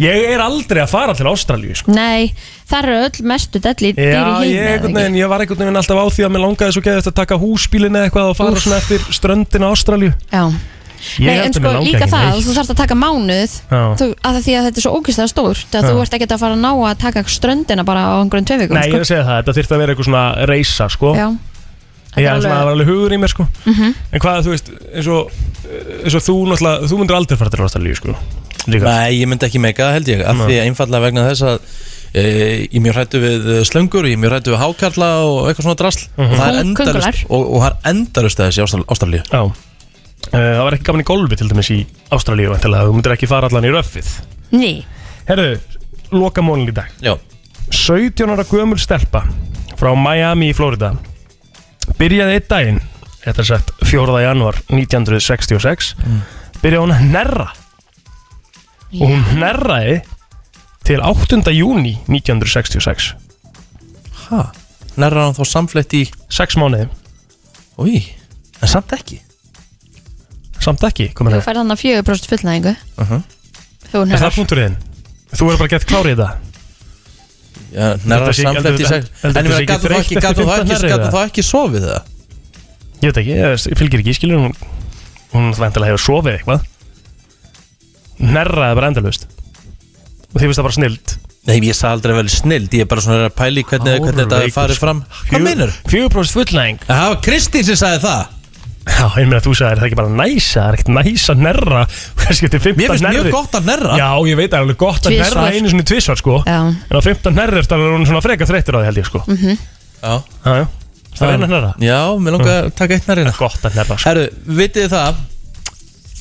B: Ég er aldrei að fara til Ástralíu sko.
C: Nei, það eru öll mestu delli dýr í
B: Já,
C: heimi
B: ég,
C: eða
B: einhvern
C: ekki?
B: veginn, ég var einhvern veginn alltaf á því að mér langaði svo geðist að taka húsbílinn eða eitthvað og fara svona eftir ströndin á Ástralíu
C: Já,
B: Ég
C: nei,
B: held
C: en
B: að
C: sko
B: mig langi
C: líka
B: ekki
C: það,
B: neitt.
C: þú þarfst að taka mánuð
B: Já.
C: þú, að því að þetta er svo ógæslega stórt að
B: Já.
C: þú ert ekkert að fara að ná að taka ströndina bara á einhverjum tvei vikum
B: Nei, ég er
C: sko.
B: að segja það, þetta þyrfti að vera eitthvað svona reysa sko.
C: Já, Mhm.
B: Ég
C: er
B: er svona,
C: alveg-
B: það var alveg hugur í mér sko. -hmm. En hvað, þú veist, eins og, eins og þú náttúrulega, þú myndir aldrei fara til Ástralíu sko. Líka,
A: Nei, ég myndi ekki meika það held ég af
B: Nei.
A: því að einfallega vegna þess að e, ég er mjög hrættu við eh, slöngur ég er mjög hrættu við hákarla og eitthvað svona drasl og það er
C: Kóng-
A: endalaust
C: kóngulær.
A: og, og það er endalaust að þessi ástall- ástallíu
B: Já Eh, Það var ekki gaman í golfi til dæmis í Ástralíu væntanlega. Þú myndir ekki fara allan í röffið
C: ný,
B: Herðu, loka mónin í dag
A: Já,
B: 17 ára gömul stelpa frá Miami í Florida byrjaði einn daginn þetta er sagt 4. januar 1966 byrjaði hún að hnerra og hún hnerraði til 8. júni 1966
A: hæ, nærra hann þá samfleytt í
B: 6 mánuði,
A: Úi, en samt ekki
B: samt ekki komið
C: þú
B: það,
C: færð þannig að fjögur bróst fullnæðingu
A: Mhm.
C: Þú
B: er það
C: nefnir
B: punkturinn? Þú verður bara gett klárið þetta
A: Já, Nærra
B: Þetta sé ekki-
A: samfleytt í
B: heldur-
A: sex
B: heldur
A: En ég
B: þetta
A: meina,
B: sé
A: gætu þá
B: ekki þreytt
A: ekki,
B: eftir
A: gætu þá
B: 15
A: ekki,
B: nærri
A: gætu
B: það?
A: þá ekki sofið það
B: Ég veit ekki, ég fylgir ekki, ég skilur hún hún vantilega hefur sofið eitthvað hnerraði bara endalust og því finnst það bara snild
A: Nei, ég sagði aldrei vel snild, ég er bara svona að pæli hvernig, hvernig þetta
B: Hárveikur,
A: farið
B: sko.
A: fram Hvað meinar?
B: Fjögur prófist fullnæðing
A: Það var Kristín sem sagði það
B: Já, ég meina þú sagði, er það ekki bara næsa? Það er ekkert næsa nerra Kannski til 15
A: Mér finnst
B: nerri
A: mjög gott að nærra
B: Já, ég veit að það er alveg gott að
C: Tvisvar.
B: nerra einu svona tvisvar sko
C: Já. Mhm.
B: En á 15 nerri er það alveg svona freka þreyttur á því held ég sko mm -hmm.
A: Já,
B: Já, já Það er einu nerra
A: já, mér langar að taka eitt nærrina
B: Gott að nerra sko
A: Herru, vitið þið það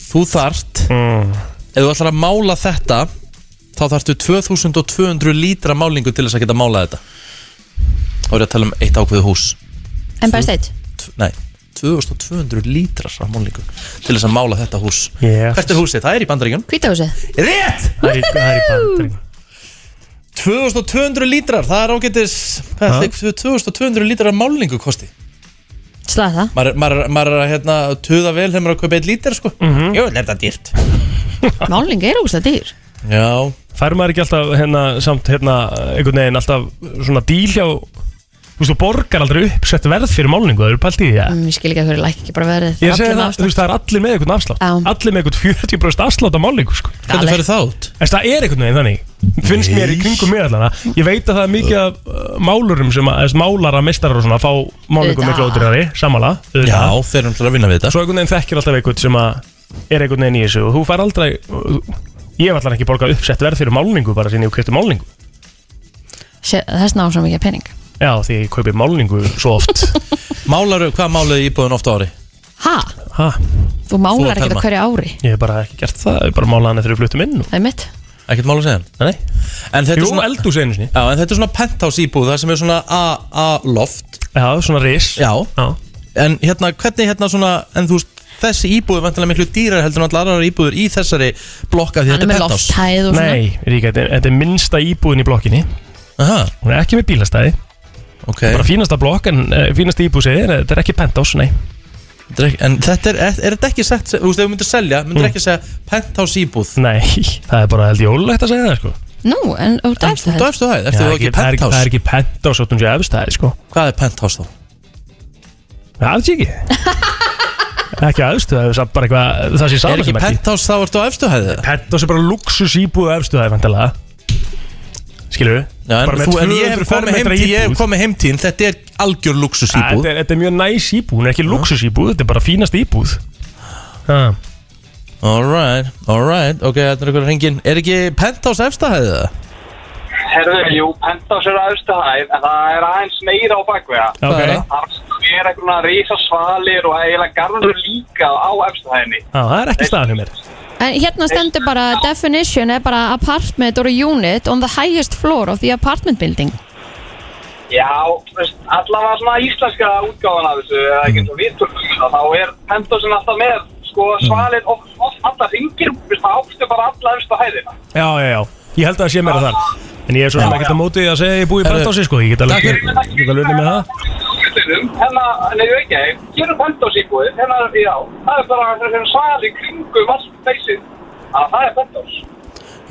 A: Þú þart
B: mm.
A: Ef þú ætlar að mála þetta Þá þarftu 2200 lítra málingu Til þess að geta mála þetta Og er að tala um eitt ákveðu hús
C: En bara steitt
A: Tv- Nei, 2200 lítrar af málingu Til þess að mála þetta hús
B: Yes.
A: Hvert er húsið? Það er í bandaríkjum
C: Hvítahúsið
A: Rétt!
B: Það er í- það er í bandring
A: 2200 lítrar, það er ágætis Hvað er
B: Ha?
A: þetta 2200 lítrar af málingu kosti?
C: Slæða það
A: Maður maður- maður er að hérna, tuða vel þegar maður er að kaupa eitt lítir sko. Jú, er þetta dýrt
B: Ah.
C: Málning er ógust að dýr
A: Já
B: Fær maður ekki alltaf hérna samt hérna einhvern veginn alltaf svona díl hjá Þú veist, þú borgar aldrei uppsett verð fyrir málningu, það eru pælt í því ja.
C: mm, Ég skil ekki að hverju læk ekki bara verið
B: Ah. Ég segi það, þú veist, það er allir með einhvern afslátt Allir með einhvern 40% afslátt á málningu, sko
C: Hvernig Galið. fer
A: það út?
B: Þess, það er einhvern veginn þannig Finnst mér í kringum mér allan að- Ég veit að það er mikið af uh, málurum sem að, þess, málara mestarar og svona fá málningu
A: Auðvitað.
B: miklu ódýrari, samanlega
A: Já, þeir eru alltaf að vinna við þetta
B: Svo einhvern veginn þekkir alltaf einhvern sem að er einhvern veginn í þessu og þú fær aldrei Ég hef allan ekki borgað uppsett verð fyrir málningu bara sinni og kefti málningu
C: Þess ná svo mikið pening
B: Já, því ég kaupi málningu svo oft
A: Málaru, hvað málaðu íbúðin ofta ári?
C: Ha?
B: Ha?
C: Þú
B: Þú
C: málar
B: og
C: ekki
B: Telma.
C: á hverju ári
B: Ég hef bara ekki gert það, ég hef bara málað hann eftir við fluttum inn
C: Það er mitt
A: Ekkert mála segjan?
B: Nei
A: En þetta
B: Jú,
A: er svona
B: eldhús einu sinni
A: Já, en þetta er svona penthouse íbúð Það sem er svona A-loft
B: Já, svona ris
A: Já.
B: Já
A: En hérna, hvernig hérna svona En þú veist, þessi íbúð er vantilega miklu dýrar heldur en allar aðrar íbúður í þessari blokka því þetta er penthouse
B: Nei, Ríka, þetta er, þetta er minnsta íbúðin í blokkinni
A: Aha.
B: Hún er ekki með bílastæði
A: okay.
B: Bara fínasta blokk, en uh, fínasta íbúð segir Þetta er ekki penthouse, nei
A: Þetta er ekki- En þetta er, er, er þetta ekki sett, þú veist, ef þú myndir selja, myndir ekki segja penthouse íbúð?
B: Nei, það er bara held ég ólulegt að segja það, sko
C: Nú, en þú ert eftir
A: Þú efstu það, eftir
B: Já,
A: þú ekki
B: það er
A: penthouse?
B: Það er ekki penthouse, þótt hún sé efstæði, sko
A: Hvað er penthouse þá?
B: Það er ekki Ekki aðstu, það er samt bara eitthvað Það sé
A: Er
B: saman
A: ekki penthouse þá ertu á efstu hæðið?
B: Penthouse er bara luxus íbúð á efstu hæðið, vantilega Skilur við?
A: Já, en, þú, en ég hef komið heim til, ég hef komið heim til, þín, þetta er algjör luxus íbúð.
B: Þetta er, þetta er mjög næs íbúð, hún er ekki luxus íbúð, þetta er bara fínast íbúð ah.
A: Alright, alright, ok, þetta er einhverja hringin. Er ekki penthouse efsta hæðið það?
K: Herðu, jú, Penthouse er aðstu hæð en það er aðeins meira á bakvega
A: Ok.
K: Það er eitthvað rísa svalir og eiginlega garður líka á efstu hæðinni
B: Já, það er ekki staðan hjá mér
C: En hérna stendur bara definition er bara apartment or unit on the highest floor of the apartment building
K: Já, þú veist, allavega svona íslenska útgáðan af þessu eða ekki eins og við tökum það þá er Penthouse alltaf með sko svalir og oft alltaf ringir það ástu bara alla efstu hæðina
B: Já, já, já, ég held að það sé mér þar En ég er svona ekkert að móti því að segja að ég búi í
K: Herðu,
B: Penthouse sko, ég get alveg
K: takk fyrir.
B: ég get alveg unni með það
K: Hlutinum, hennar, hennar Hérna, ég ekki gerum Penthouse íbúið, hennar, Hérna, já það er bara þessi svali kringum allt feysið að það er Penthouse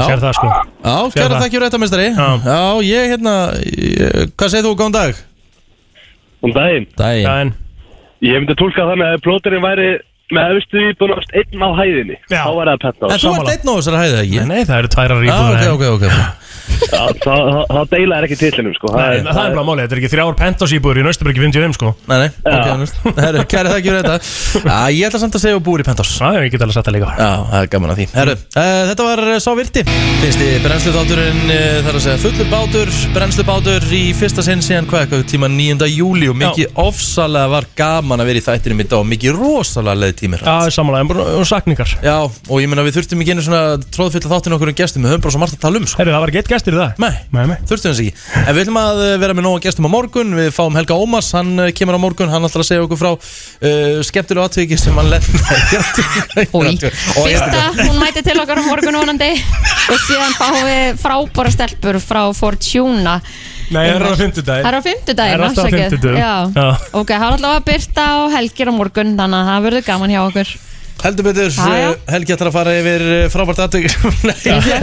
B: Sér það sko
A: Já,
B: Sér
A: kæra
B: það.
A: þakkjur réttamestari. Já. Já, ég hérna, ég, hvað segir þú, góðan dag?
L: Góðan Um daginn.
A: Daginn.
B: Daginn.
L: Ég myndi túlka þannig að ef plóterinn væri með öfstu íbúin oft einn á hæðinni. Já. Þá var það penthouse.
A: En þú ert einn á þessari hæðið, ekki?
B: Nei, það eru tværar íbúðir
A: Já,
B: en-
A: ok, ok, ok.
L: Það, það, það, það deila er ekki tillinum sko.
B: Nei, það er bara málið, þetta er ekki þrjár Penthouse íbúður í Nausturbyrgi 55 sko
A: Nei, nei, ok, annars. Herru, kæra þakkjur rétta. Já, Ah, ég ætla samt að segja að búir í penthouse.
B: Já, ég get alveg satt að líka.
A: Já, það er gaman að því. Herru, Uh, þetta var uh, Sá Virti Fyrsti brennslutáturinn, uh, það er að segja fullur bátur Brennslubátur í fyrsta sinn síðan hvað eitthvað tíma 9. júli Og mikið ofsalega var gaman að vera í þættinum í dag Og mikið rosalega leið tímir
B: Já, samanlega, og sakningar
A: Já, og ég meina við þurftum ekki einu svona tróðfylla þáttin okkur um gestum Við höfum bara svo margt að tala um sko.
B: Herru, það var gett gestir í dag
A: Nei,
B: nei, nei.
A: þurftum þess ekki En við ætlum að uh, vera með nóga gestum á morgun Við fáum Helga Ómas, hann uh, kemur á morgun Hann ætlar að segja okkur frá uh, skemmtilega atviki sem hann lenda
C: Fyrsta, hún mæti til okkar á morgun vonandi og síðan fáum við frábæra stelpur frá Fortuna
B: Nei, það er á fimmtudaginn
C: Það er á fimmtudaginn,
B: Það er alltaf á
C: afsakið.
B: fimmtudaginn.
C: Já.
B: Já.
C: Ok, það er alltaf að byrta á helgir á morgun þannig að það verður gaman hjá okkur
A: Heldur betur,
C: Já, já.
A: eh, Helgi ætlar að fara yfir eh, frábært aðtökk Nei,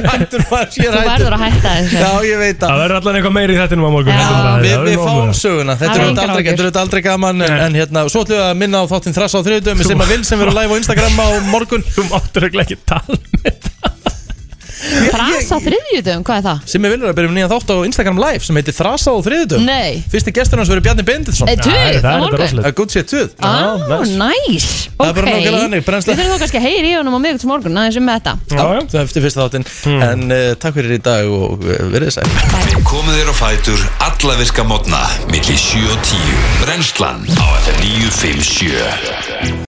A: hættur maður, ég er
C: Þú
A: hættur
C: verður að hætta þessu
A: Já, ég veit Ah,
B: Það verður allan eitthvað meiri í þettinum á morgun heldur en það.
A: Við,
B: Það
A: við
B: verður
A: fáum
B: nóg.
A: söguna, þetta er
B: Það er
A: auðvitað
B: engar
A: aldrei,
B: áhyggjur.
A: þetta er auðvitað aldrei gaman en, en hérna, svo ætlum við að minna á þáttinn þrassa á þriðutum
B: Þú-
A: sem að vil sem verður live á Instagram á morgun
B: Þú máttur ekki tala um
C: Frasa þriðjudum, hvað er það?
A: sem er viljur að byrja um nýjan þátt á Instagram live sem heitir þrassa á þriðutum
C: Nei.
A: Fyrsti gestur hans verður Bjarni Benditsson
C: Eh, Tuð, Já, það er- það er á þetta morgun? rosalegt.
A: Good shit, tuð
C: Á, Ah, næs
A: Það er bara nákvæmlega þannig, brennsla.
C: Við þurfum þá kannski að heyra í honum á miðugt morgun aðeins um þetta
B: Ah.
A: Já, Það er eftir fyrsta þáttinn En uh, takk fyrir í dag og uh, verið sæl
I: Komið þér á fætur alla virka mótna milli 7 og 10 Brennslan á FM 957